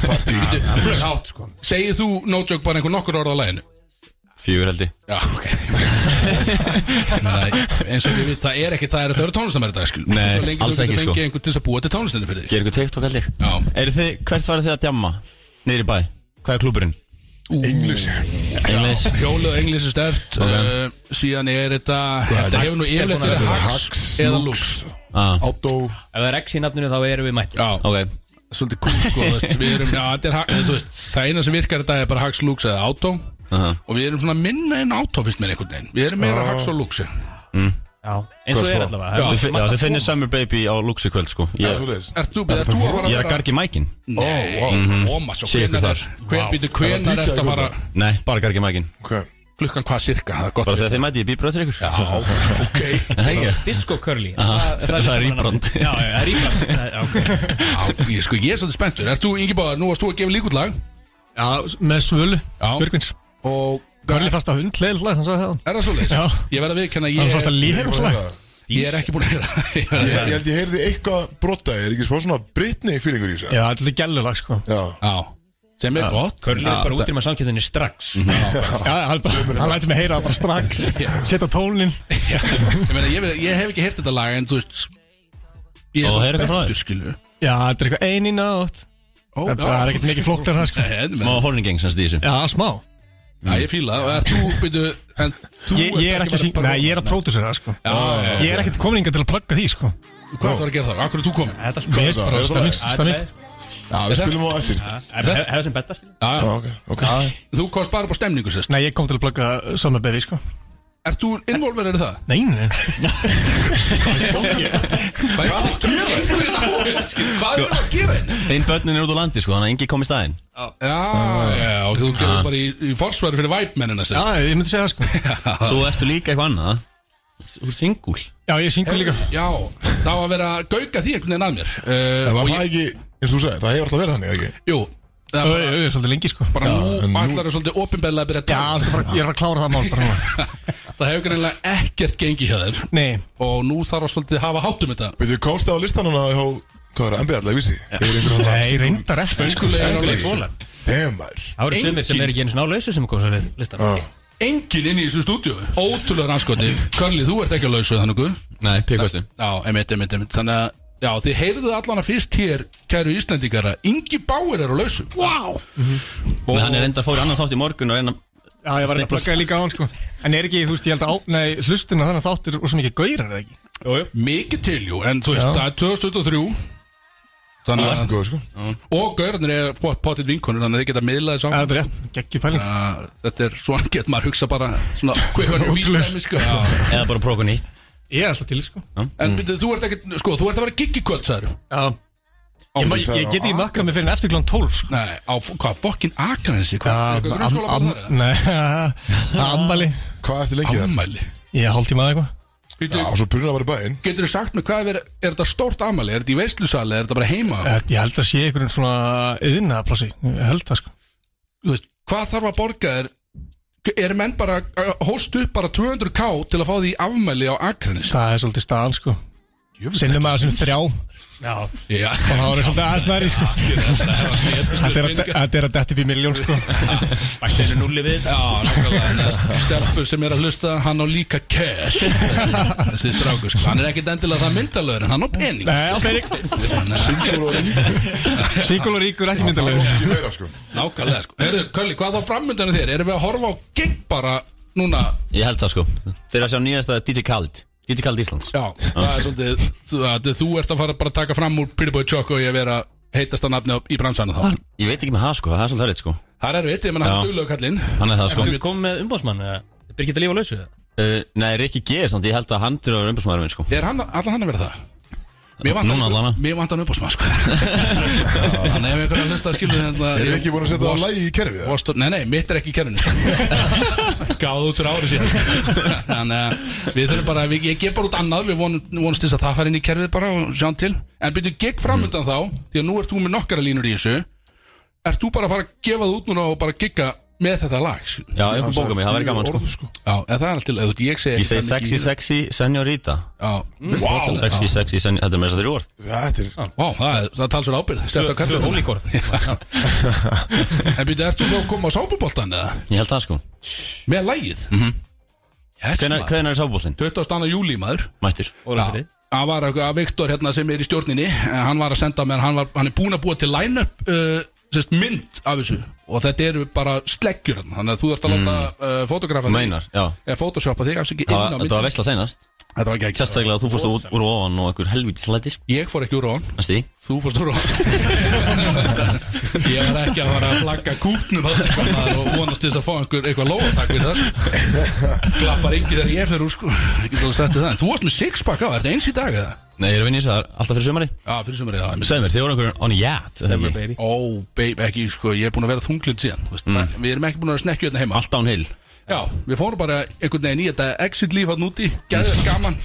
Speaker 1: Parti
Speaker 2: Flög hátt sko
Speaker 3: Segir þú no joke bara einhver nokkur orð á læginu?
Speaker 7: fjögur held ég
Speaker 3: Já,
Speaker 7: (laughs)
Speaker 3: ok Nei, eins og ég veit, það er ekki það er að það eru tónlistamæri dag skil
Speaker 7: Nei,
Speaker 3: Svo lengi
Speaker 7: alls
Speaker 3: sem þú
Speaker 7: ekki,
Speaker 3: getur
Speaker 7: sko.
Speaker 3: fengið einhvern til þess að búa til tónlistinu fyrir þig
Speaker 7: Gerðu ykkur TikTok held ég
Speaker 3: Já.
Speaker 7: Eru þið, hvert farið þið að djamma? Niður í bæ? Hvað er klúburinn?
Speaker 1: English
Speaker 7: Englis?
Speaker 3: Hjólið og englisi stert
Speaker 7: Ok.
Speaker 3: okay. uh, síðan er þetta þetta hefur nú
Speaker 2: Hacks er
Speaker 3: yfirleitt
Speaker 2: búin að
Speaker 3: verið
Speaker 1: vera-
Speaker 3: hacks
Speaker 1: Hacks,
Speaker 3: eða
Speaker 1: Lux.
Speaker 3: lux
Speaker 7: Ah,
Speaker 1: Auto
Speaker 2: Ef það er X í nafninu þá erum við mættir
Speaker 3: Já,
Speaker 7: ok
Speaker 3: svolítið kúl sko þú veist,
Speaker 7: (laughs)
Speaker 3: Við erum, já, þetta er hacks þú veist, Það eina sem virkar þetta er bara hacks, lux eða auto
Speaker 7: Aha.
Speaker 3: Og við erum svona minna en auto fyrst með einhvern veginn Við erum meira hacks og lux
Speaker 2: Já Eins og er allavega
Speaker 3: Já.
Speaker 2: Það
Speaker 7: Þið
Speaker 2: er
Speaker 7: fi-
Speaker 2: margt
Speaker 7: Já,
Speaker 2: að
Speaker 7: þið
Speaker 2: koma.
Speaker 7: finnir Summer Baby á Luxi kvöld sko
Speaker 1: Það er
Speaker 7: Ég,
Speaker 1: svo leiðis
Speaker 3: Ert þú, ert þú að fara
Speaker 7: ég er að gargi mækin
Speaker 3: Nei, oh, óma svo
Speaker 7: Sé Mhm. ykkur
Speaker 3: hvenar
Speaker 7: þar.
Speaker 3: er Hven býtu hvenar
Speaker 1: Er það
Speaker 3: er þetta
Speaker 1: DJ
Speaker 3: að fara
Speaker 7: Nei, bara gargi mækin
Speaker 3: Klukkan hvað cirka, það er gott
Speaker 7: Bara
Speaker 3: að
Speaker 7: þegar þið mæti ég býbröð til ykkur
Speaker 3: vita.
Speaker 7: (laughs)
Speaker 3: Ok,
Speaker 2: Disco Curly
Speaker 7: Aha. Það er
Speaker 2: svona
Speaker 7: íbrand.
Speaker 2: nafnið. Já, já, það er íbrand Það er- ok.
Speaker 3: já, ég, sko, ég er svolítið spenntur Ert þú, Ingi Báðar, nú varst þú að gefa líkut lag
Speaker 2: Já, með svölu
Speaker 3: Já.
Speaker 2: Björgvins
Speaker 3: Og
Speaker 2: Curly fast að hund Leil lag, hann sagði það
Speaker 3: Er það svolítið?
Speaker 2: Já.
Speaker 3: Ég verð að viðkenna,
Speaker 2: Hann fast að
Speaker 3: ég,
Speaker 2: líða lag
Speaker 3: ég er ekki búin að heyra Ég verð að
Speaker 1: Ég
Speaker 3: segja.
Speaker 1: held ég heyrði eitthvað brotta Er ekki smá svona Britney feelingur í þessu
Speaker 2: Já, þetta er gælulag sko
Speaker 1: Já
Speaker 3: (laughs) Já, sem er gott
Speaker 2: Körli er bara út í maður samkjöndinni strax
Speaker 8: Já, já, hann, bara- hann lætur mig heyra það bara
Speaker 2: (laughs)
Speaker 8: strax Setta tónin
Speaker 3: Já, ég, meina, ég, veit- ég hef ekki heyrt þetta lag en þú veist ég er
Speaker 7: Og
Speaker 3: svo
Speaker 7: það er eitthvað frá
Speaker 3: spenntur
Speaker 7: þér?
Speaker 3: skilu
Speaker 8: Já, þetta er eitthvað ein í nátt
Speaker 3: Ó,
Speaker 8: Það það er ekkert mikið flokknar það sko
Speaker 7: Má horningengs hans í þessu
Speaker 8: Já, smá
Speaker 3: Já, ég fíla það og er þú, byrju, en þú
Speaker 8: Ég, ég er ekki að syngja, nei, ég er að pródusera það sko
Speaker 3: Já,
Speaker 8: Ég er ekkert komin inga til að plugga því sko
Speaker 3: hvað þú var að gera það? Akkur er þú komin?
Speaker 8: Þetta sko Ég er bara
Speaker 1: er það
Speaker 8: stemming,
Speaker 1: lag?
Speaker 8: stemming
Speaker 1: Já, við spilum á eftir Já,
Speaker 2: Hefðu sem betta skilur
Speaker 3: Já,
Speaker 1: ok, ok
Speaker 3: þú komst bara upp á stemningu sérst
Speaker 8: Nei, ég kom til að plugga Summer Baby sko
Speaker 3: Er þú involverið í það?
Speaker 8: Nei, nei
Speaker 3: Hvað er það að gera? Einhverjum á henni,
Speaker 8: Sko.
Speaker 3: skilur, Hvað er það að gera henni?
Speaker 7: Einn börnin er út á landi sko, þannig að engi kom í staðinn
Speaker 3: Já, já, og þú gerður bara í, í forsværi fyrir væpmennina
Speaker 8: Já,
Speaker 3: sérst
Speaker 8: ég myndi segja það sko
Speaker 7: Svo ertu líka eitthvað annað Þú ert singul
Speaker 8: Já, ég syngur líka
Speaker 3: Já, það var að vera að gauka því einhvern veginn að mér
Speaker 1: En
Speaker 3: uh,
Speaker 1: var
Speaker 3: og
Speaker 1: það
Speaker 3: ég,
Speaker 1: ekki, eins og þú segir, það hefur alltaf verið þannig, ekki?
Speaker 3: Jú, það
Speaker 8: Ö,
Speaker 3: er bara,
Speaker 8: ö, Svolítið lengi sko
Speaker 3: bara
Speaker 1: en
Speaker 3: nú
Speaker 1: nú-
Speaker 3: allar er svolítið opinbæðlega að byrja að
Speaker 8: Já,
Speaker 3: tala
Speaker 8: þetta er bara- ég er að klára það mál bara núna
Speaker 3: Það hefur greinlega ekkert gengið hjá þér
Speaker 8: Nei,
Speaker 3: Og nú þarf að svolítið hafa hátum þetta
Speaker 1: Veitu, komst það á listan hana hjá, hvað er það, MBL, ég vissi Hefur einhver hann
Speaker 8: nei, reyndar ekki sko
Speaker 3: Fengulegur á leik
Speaker 1: Fengulegur. Damn, maður
Speaker 2: Það eru sumir sem er ekki einu svona á lausu sem kom svo listan
Speaker 1: Já.
Speaker 3: Engin inn í þessu stúdíu Ótrúlega rannskoti Körli, þú ert ekki að lausu þannig guð.
Speaker 7: Nei, píkvæstu
Speaker 3: Já, emitt, emitt, emitt Þannig að Já, þið heyrðuð allan að fyrst hér, kæru Íslendingara Ingi Báir er á lausu Vá
Speaker 7: Og hann er
Speaker 3: wow.
Speaker 7: enda að fóra annan þátt í morgun og reyna
Speaker 8: Já, ég var að plugga líka á hann sko En er ekki, þú veist, ég held að ápna í hlustuna þannig að þáttir og sem ekki gaurar eða ekki
Speaker 3: Mikið til, jú, en þú veist,
Speaker 8: Já.
Speaker 3: það er 2023 Þannig
Speaker 1: Það er
Speaker 3: að
Speaker 1: góð, sko
Speaker 3: Og gaurnir er fótt potið vinkonur Þannig að þið geta miðlaði
Speaker 8: Er
Speaker 3: saman
Speaker 8: þetta rétt? Gekki pæling
Speaker 3: Að Þetta er svona get maður hugsa bara Svona, hvað
Speaker 8: (laughs)
Speaker 3: er
Speaker 8: Ótrúlegur.
Speaker 3: vídæmi, sko Já.
Speaker 7: eða bara prófa nýtt
Speaker 8: Ég er alltaf til sko
Speaker 3: En byrju, þú ert ekki, sko, þú ert að vera giggikvöld, sagður
Speaker 8: Já Ég, ma- ég get ekki makkað mig fyrir en eftir klán 12 sko.
Speaker 3: Nei, á f- hvað, fokkin Akranesi, hvað, eitthvað grunnskóla bara þar eða?
Speaker 8: Nei, ammali
Speaker 1: Hvað eftir lengi það?
Speaker 3: Ammæli
Speaker 8: Ég hálf tíma eða eitthvað
Speaker 1: Já,
Speaker 3: Býtu,
Speaker 1: svo purinn að vera í bæinn
Speaker 3: getur þú sagt mér hvað er, er þetta stórt ammæli, er þetta í veislusali, er þetta bara heima
Speaker 8: Eh, Ég held að sé einhverjum svona yðna plassi, ég held það sko
Speaker 3: Þú veist, hvað þarf að borga þér er menn bara, að hóst upp bara 200k til að fá því afmæli á Akranesi
Speaker 8: Það er svolítið staðan sko Sinnum að sem þrjá
Speaker 3: Já, (laughs)
Speaker 8: og það voru svolítið aðeins næri sko Þetta er að- þetta er að detti fyrir miljón sko
Speaker 2: Bætti henni núli við þetta
Speaker 3: Já, nákvæmlega Stelfur sem er að hlusta, hann á líka cash Þessi strákur, sko Hann er ekkit endilega það myndalöður, en hann á pening
Speaker 2: Eh.
Speaker 8: Nei, á pening
Speaker 1: Singur og ríkur
Speaker 8: Singul og ríkur ekki
Speaker 1: Það er
Speaker 8: myndalega
Speaker 1: ekki meira, sko
Speaker 3: Nákvæmlega, sko Herðu, Kölli, hvað þá framöndan þér? Erum við að horfa á gig bara núna
Speaker 7: Ég held það sko Þeir eru að sjá nýjasta DJ Khaled DJ Khaled Íslands
Speaker 3: Já, það er svolítið þú, að, þú ert að fara bara að taka fram úr Pretty Boy Choco og ég vera heitasta nafni á- í bransana þá
Speaker 7: Ég veit ekki með það sko, það er svolítið hærrið sko
Speaker 3: Það er veit, ég menna hann
Speaker 7: Já.
Speaker 3: duglegu kallinn
Speaker 7: Hann er það sko
Speaker 2: Ertu komið með umbóðsmann eða? Birgitta líf á lausu eða?
Speaker 7: uh, Nei, Rikki G er samt, ég held að hann er umbúrsmaður minn sko
Speaker 3: Er hann, allan hann að vera það? Mér vant
Speaker 7: Núna allan
Speaker 3: hann,
Speaker 7: að.
Speaker 3: mér vant hann upp á smá sko (laughs) Þannig ef einhverja hlusta hérna, skilu
Speaker 1: Er ekki búin að setja það lægi í kerfið? það?
Speaker 3: Vostop, nei, nei, mitt er ekki í kerfinu Gáð út fyrir ári síðan Þannig að við þurfum bara við, Ég gef bara út annað, við von, vonast þess að það fari inn í kerfið bara og sjáum til En byrju gegn framöndan þá, því að nú ert þú með nokkara línur í þessu Ert þú bara að fara að gefa það út núna og bara gigga með þetta lag skilur?
Speaker 7: Já, einhver bóka mig, það væri gaman
Speaker 1: Fjögur
Speaker 7: sko
Speaker 1: orð, sko
Speaker 3: Já, eða það er alltaf, eða þú veit, ég segi
Speaker 7: Ég segi
Speaker 3: ekki þannig
Speaker 7: sexy,
Speaker 3: í-
Speaker 7: sexy, senorita
Speaker 3: Já,
Speaker 1: Vá,
Speaker 7: Sexy, sexy, senorita, þetta er með þess að þrjú orð
Speaker 1: þetta er
Speaker 3: Vá, það, er- það tals verið ábyrð Sett á
Speaker 2: Tvö
Speaker 3: kallinu (laughs)
Speaker 2: ólíkorð
Speaker 3: En byrju, ert þú þá að koma á sápuboltan eða?
Speaker 7: Ég held það sko
Speaker 3: Með lagið? Mm -hmm. Yes,
Speaker 7: Hvenær
Speaker 3: maður.
Speaker 7: hvenær er sábúllin?
Speaker 3: 22. júli, maður
Speaker 7: Mættur
Speaker 2: Ólafsfirði.
Speaker 3: Það var eitthvað að Viktor hérna sem er í stjórninni eh, Hann var að senda mér, hann, var, hann er búin að búa til line-up uh, sérst, mynd af þessu Og þetta eru bara sleggjur hérna Þannig að þú þarft að láta uh, fotografa
Speaker 7: Mm. Meinar, já
Speaker 3: Eða photoshopa þig, afsaki inn
Speaker 7: Það
Speaker 3: á
Speaker 7: var- Þetta var
Speaker 3: myndinni.
Speaker 7: veistla seinast
Speaker 3: Þetta var ekki ekki
Speaker 7: Sérstaklega að þú fórst út úr ofan og einhver helvítið slæti sko
Speaker 3: Ég fór ekki úr á hann,
Speaker 7: Næstu því?
Speaker 3: þú fórst úr á hann (laughs) Ég var ekki að fara að flagga kútnum þarna eitthvað maður Og vonast til þess að fá einhver, eitthvað lóðatak við það sko. Klappar engi þegar ég fer úr sko Ég get alveg sagt þér það En þú varst með sixpack á, er þetta eins í dag eða?
Speaker 7: Nei, ég er að vinna í þessar alltaf fyrir sumari
Speaker 3: Já, fyrir sem er ég að
Speaker 7: Segð mér, þið voru einhverjum on a yacht eða ekki?
Speaker 2: baby
Speaker 3: Ó, babe, ekki, sko, ég er búin að vera þunglind síðan þú veist, mm. Við erum ekki búin að vera snekkju hérna heima
Speaker 7: Allt downhill
Speaker 3: Já, við fórum bara einhvern veginn í þetta exit líf hann úti Gæður gaman,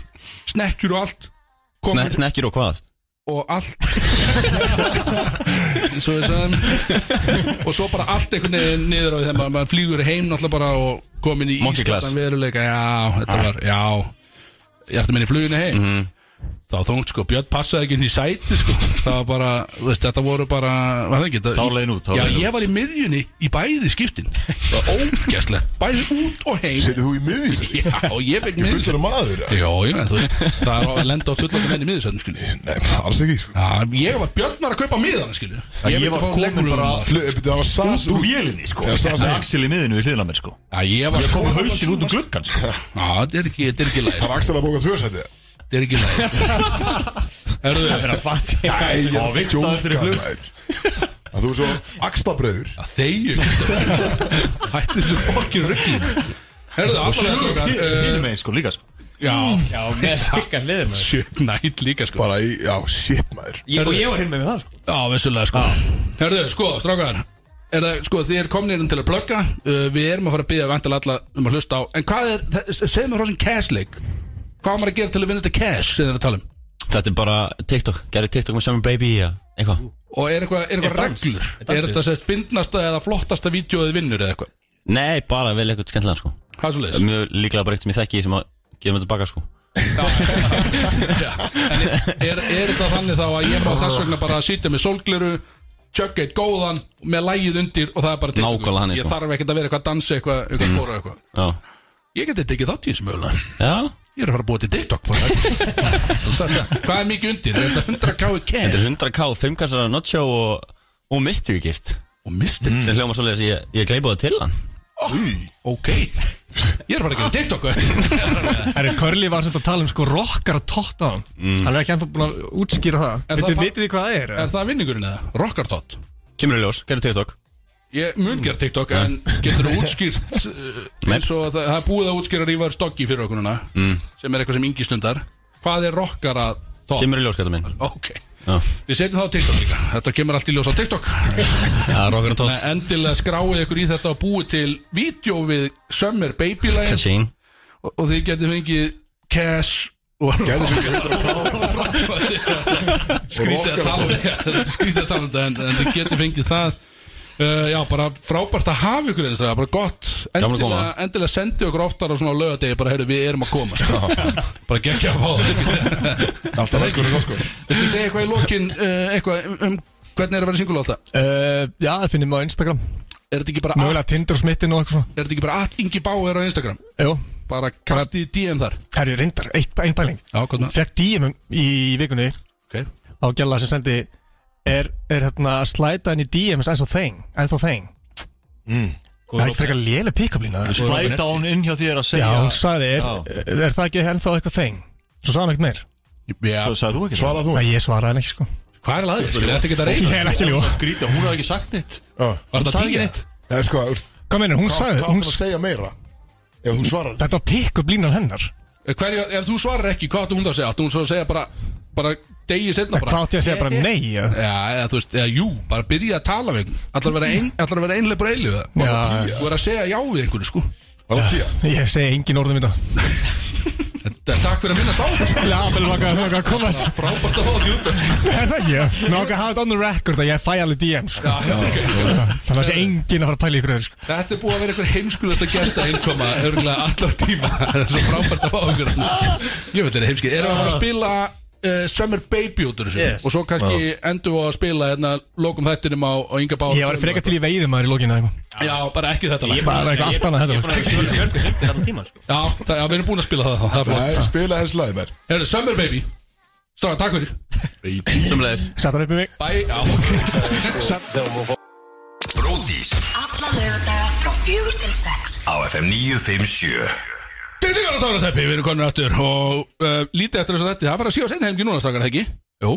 Speaker 3: snekkjur og allt
Speaker 7: Sne-
Speaker 3: Komur
Speaker 7: Snekkjur og hvað?
Speaker 3: og allt (laughs) Eins og við sagðum Og svo bara allt einhvern veginn niður á því Þegar maður- maður flýgur heim náttúrulega bara Og komin í
Speaker 7: Monkey class.
Speaker 3: veruleika Já, þetta var, já Ég ætti minni fluginu heim Það var þungt sko, Björn passaði ekki inn í sæti sko Það var bara, þú veist, þetta voru bara Var það ekki? Það-
Speaker 4: Þá leiðin út, þá
Speaker 3: Já,
Speaker 4: leiðin
Speaker 3: ég var í miðjunni í bæði skiptin Það var ógæslegt, bæði út og heim
Speaker 1: Setur þú í miðið?
Speaker 3: Já, ég fekk
Speaker 1: Ég
Speaker 3: miðjunni
Speaker 1: fullt maður eða?
Speaker 3: Já, já, þú veist, það er á að lenda á fullandi menni miðjusöndum skilju
Speaker 1: Nei, alls ekki sko.
Speaker 3: Já, ég var, Björn var að kaupa miðan skilju
Speaker 4: ég
Speaker 3: vildi
Speaker 4: var
Speaker 3: fá
Speaker 4: komin
Speaker 3: leggmúlum
Speaker 4: bara
Speaker 3: á það.
Speaker 1: Flu- eh, Það var sas
Speaker 4: Úr vélinni sko
Speaker 1: Já, sagði
Speaker 4: Með
Speaker 1: hann.
Speaker 4: Axel í miðinu við hliðina mér sko
Speaker 3: Já, ég var
Speaker 4: Ég kom
Speaker 3: svo-
Speaker 4: með hausin út um gluggan sko
Speaker 3: Já, þetta er ekki, þetta er ekki læg
Speaker 1: Það var Axel að bóka tvö sæti
Speaker 3: Þetta er ekki læg Erðu,
Speaker 2: að fatta
Speaker 1: Nei, ég
Speaker 4: Ó,
Speaker 1: er
Speaker 4: vigtaður fyrir flug.
Speaker 1: maður. Að Þú er svo axlabröður
Speaker 3: að þeir Hættu þessu fokkin rökkin Erðu, allavega eh,
Speaker 4: Hinn
Speaker 3: þetta
Speaker 4: megin sko líka sko
Speaker 3: Já,
Speaker 2: Já,
Speaker 3: (laughs)
Speaker 2: með sikkar liður maður
Speaker 3: Sjökk nætt líka sko
Speaker 1: Bara í, já, shit maður
Speaker 2: Ég- Og ég var hinn með það sko
Speaker 3: Já, vissulega sko Herðu, sko, strákar Er það, sko, þið er komnir inn til að plugga uh, Við erum að fara að byggja vantilega alla um að hlusta á En hvað er, þe- segjum við frá sem cash leik Hvað á maður að gera til að vinna þetta cash sem þið er að tala um
Speaker 7: Þetta er bara TikTok, gerði TikTok með Summer Baby í það, eitthvað
Speaker 3: Og er eitthvað, er eitthvað
Speaker 2: Er dans?
Speaker 3: reglur
Speaker 2: Er
Speaker 3: Er
Speaker 2: dansið?
Speaker 3: þetta sérst fyndnasta eða flottasta vídeo þið vinnur eða eitthvað
Speaker 7: Nei, bara vel eitthvað skemmtilega sko
Speaker 3: Hvað er svo
Speaker 7: Það er Mjög líklega bara eitt sem ég þekki sem að gefa mig tilbaka sko
Speaker 3: (laughs) er, er þetta þannig þá að ég má þess vegna bara að sitja með sólgleru Chugga eitt góðan með lægið undir og það er bara TikTok.
Speaker 7: Nákvæmlega þannig,
Speaker 3: Ég
Speaker 7: sko.
Speaker 3: þarf ekkert að vera eitthvað að dansa eitthvað, eitthvað mm. spora eitthvað
Speaker 7: Já,
Speaker 3: Ég geti tekið þátt í þessu mögulega
Speaker 7: já
Speaker 3: Ég er að fara að búa til TikTok bara. Þú sagði það. Hvað er mikið undir? Er þetta 100k í
Speaker 7: Þetta
Speaker 3: cash?
Speaker 7: er 100k, 5 kassar af Nacho og, og Mystery Gift
Speaker 3: Og mistir
Speaker 7: Það hljóma svolítið að ég, ég gleypa það til hann
Speaker 3: Ok Ég er að fara að gera TikTok á eftir.
Speaker 8: Herri, Curly var sem að tala um sko rockar að totta hann Hann er ekki ennþá búin að útskýra það
Speaker 3: Er það
Speaker 8: Vitið
Speaker 3: fa-
Speaker 8: vitið þið hvað það er?
Speaker 3: Er það vinningurinn eða? Rockartott
Speaker 7: Kemur í ljós, gerði TikTok
Speaker 3: Ég mun gera TikTok en getur þú útskýrt uh, eins og það, það er búið að útskýra Rívar Stoggi fyrir okkur núna mm. sem er eitthvað sem yngi stundar Hvað er rockartott?
Speaker 7: Kemur í ljós, gæta minn
Speaker 3: Ok
Speaker 7: Já.
Speaker 3: Við setjum það á TikTok líka Þetta kemur allt í ljós á TikTok
Speaker 7: (laughs) Já, rockarinn tótt
Speaker 3: Nei, Endilega skráið ykkur í þetta og búið til Vídeó við Summer Baby Lion
Speaker 7: Kachín
Speaker 3: og, og þið getið fengið Cash og
Speaker 1: Gæði sem getur að
Speaker 3: skrítið að tala um þetta Skrítið að tala um þetta en, en þið getið fengið það uh, Já, bara frábært að hafa ykkur eins og það Bara gott
Speaker 7: Gaman að
Speaker 3: Endilega,
Speaker 7: koma.
Speaker 3: endilega sendi okkur oftar á svona lögadegi Bara, heyrðu, við erum að koma Bara geggja að fá það
Speaker 1: Alltaf velkomin það sko
Speaker 3: Viltu segja eitthvað í lokin uh, Eitthvað um hvernig er að vera singul alltaf
Speaker 8: Uh, já, það finnum við á Instagram
Speaker 3: Er þetta ekki bara at-
Speaker 8: Mögulega Tinder og smittin og eitthvað svona
Speaker 3: Er þetta ekki bara at Ingi Báer á Instagram
Speaker 8: Jú,
Speaker 3: Bara kastið í DM þar
Speaker 8: herri, reyndar, eitt, ein pæling
Speaker 3: Já, hvað með
Speaker 8: Fekk DM um í vikunni
Speaker 3: okay.
Speaker 8: á gæla sem sendi Er, er hérna að slæta henni DMs eins og þeng Eins og þeng Mm. Það er ekki frekar léle pick-up-lína eða?
Speaker 4: Slæta hún inn hjá þér að
Speaker 8: Já,
Speaker 4: segja
Speaker 8: hún sagði, er,
Speaker 4: Já.
Speaker 8: er það ekki ennþá eitthvað þeng? Svo sagði hann ekkert meir
Speaker 3: Já,
Speaker 4: Það sagði þú ekki það?
Speaker 1: Svara þú
Speaker 8: Nei, ég svaraði henni ekki sko
Speaker 3: hvað er laðið? Er þetta ekki að reyna?
Speaker 8: Ég er ekki ljóð
Speaker 4: Grítið, hún hafði ekki sagt neitt
Speaker 1: Já.
Speaker 3: Var
Speaker 4: Hún
Speaker 3: þetta
Speaker 4: sagði ekki
Speaker 3: tíu?
Speaker 4: neitt
Speaker 1: Ah. Nei, sko, þú veist,
Speaker 8: Hvað meinir, hún
Speaker 1: hvað hvað
Speaker 8: sagði hún,
Speaker 1: áttu að segja meira? Ef þú svarar
Speaker 8: Þetta var pick-up-línan hennar
Speaker 3: Eh, Hverju, ef þú svarar ekki, hvað áttu hún þá að segja? Áttu hún svo að segja bara, bara degi setna bara
Speaker 8: Hvað átti ég að segja bara nei eða?
Speaker 3: Já, eða þú veist, eða jú, bara byrja að tala við einhvern. Ætlar að
Speaker 8: (laughs)
Speaker 3: vera ein- Ætlar að vera einlega bara eilu við
Speaker 8: Já,
Speaker 3: það Þú er að segja já við einhverju, sko
Speaker 1: Var það tíja?
Speaker 8: Ég segi engin orðum í þetta
Speaker 3: Þetta- Takk fyrir að minnast á þessu
Speaker 8: (laughs) Já, bara langaði langaði að koma þessu
Speaker 3: Frábært að fá þetta út af þessu.
Speaker 8: Er það ekki? Ná, okkar hafa þetta on the record að ég fæ alveg DMs sko.
Speaker 3: Já, já, ok.
Speaker 8: Þannig að sé enginn að fara að pæla í ykkur öðru sko.
Speaker 3: Þetta er búið að vera einhver heimskulasta gesta einkoma Örgulega allar tíma (laughs) Það er svo frábært að fá einhverju Ég veit þetta heimskið Erum við að fara að spila uh, Summer Baby út úr þessu
Speaker 2: Yes.
Speaker 3: Og svo kannski endur við á að spila hérna, Lókum þættinum á, á Inga Báð
Speaker 8: Ég var frekar til í veiðum aður í lókinu eða eitthvað.
Speaker 3: Já, bara ekki þetta lag.
Speaker 8: Bara eitthvað allt annað
Speaker 2: Ég er
Speaker 8: þetta
Speaker 2: búin að hugsa um Björgu 50 allan tíma sko
Speaker 3: Já, það, já, við erum búin að spila það þá, Það
Speaker 1: Það
Speaker 3: er flott
Speaker 1: er spila þessi lagi mér
Speaker 3: Herru, Summer Baby Stráða, takk fyrir
Speaker 7: Sumleis
Speaker 8: Sættar upp í mig
Speaker 3: Bæ, já, ok
Speaker 5: Bródís
Speaker 6: Alla lögadaga frá fjögur til sex
Speaker 5: á FM 957
Speaker 3: Dillingar og Tórateppi, við erum konur aftur og uh, lítið eftir þessu þetta, það var að síða seinhelgi núna stakar það ekki? Jú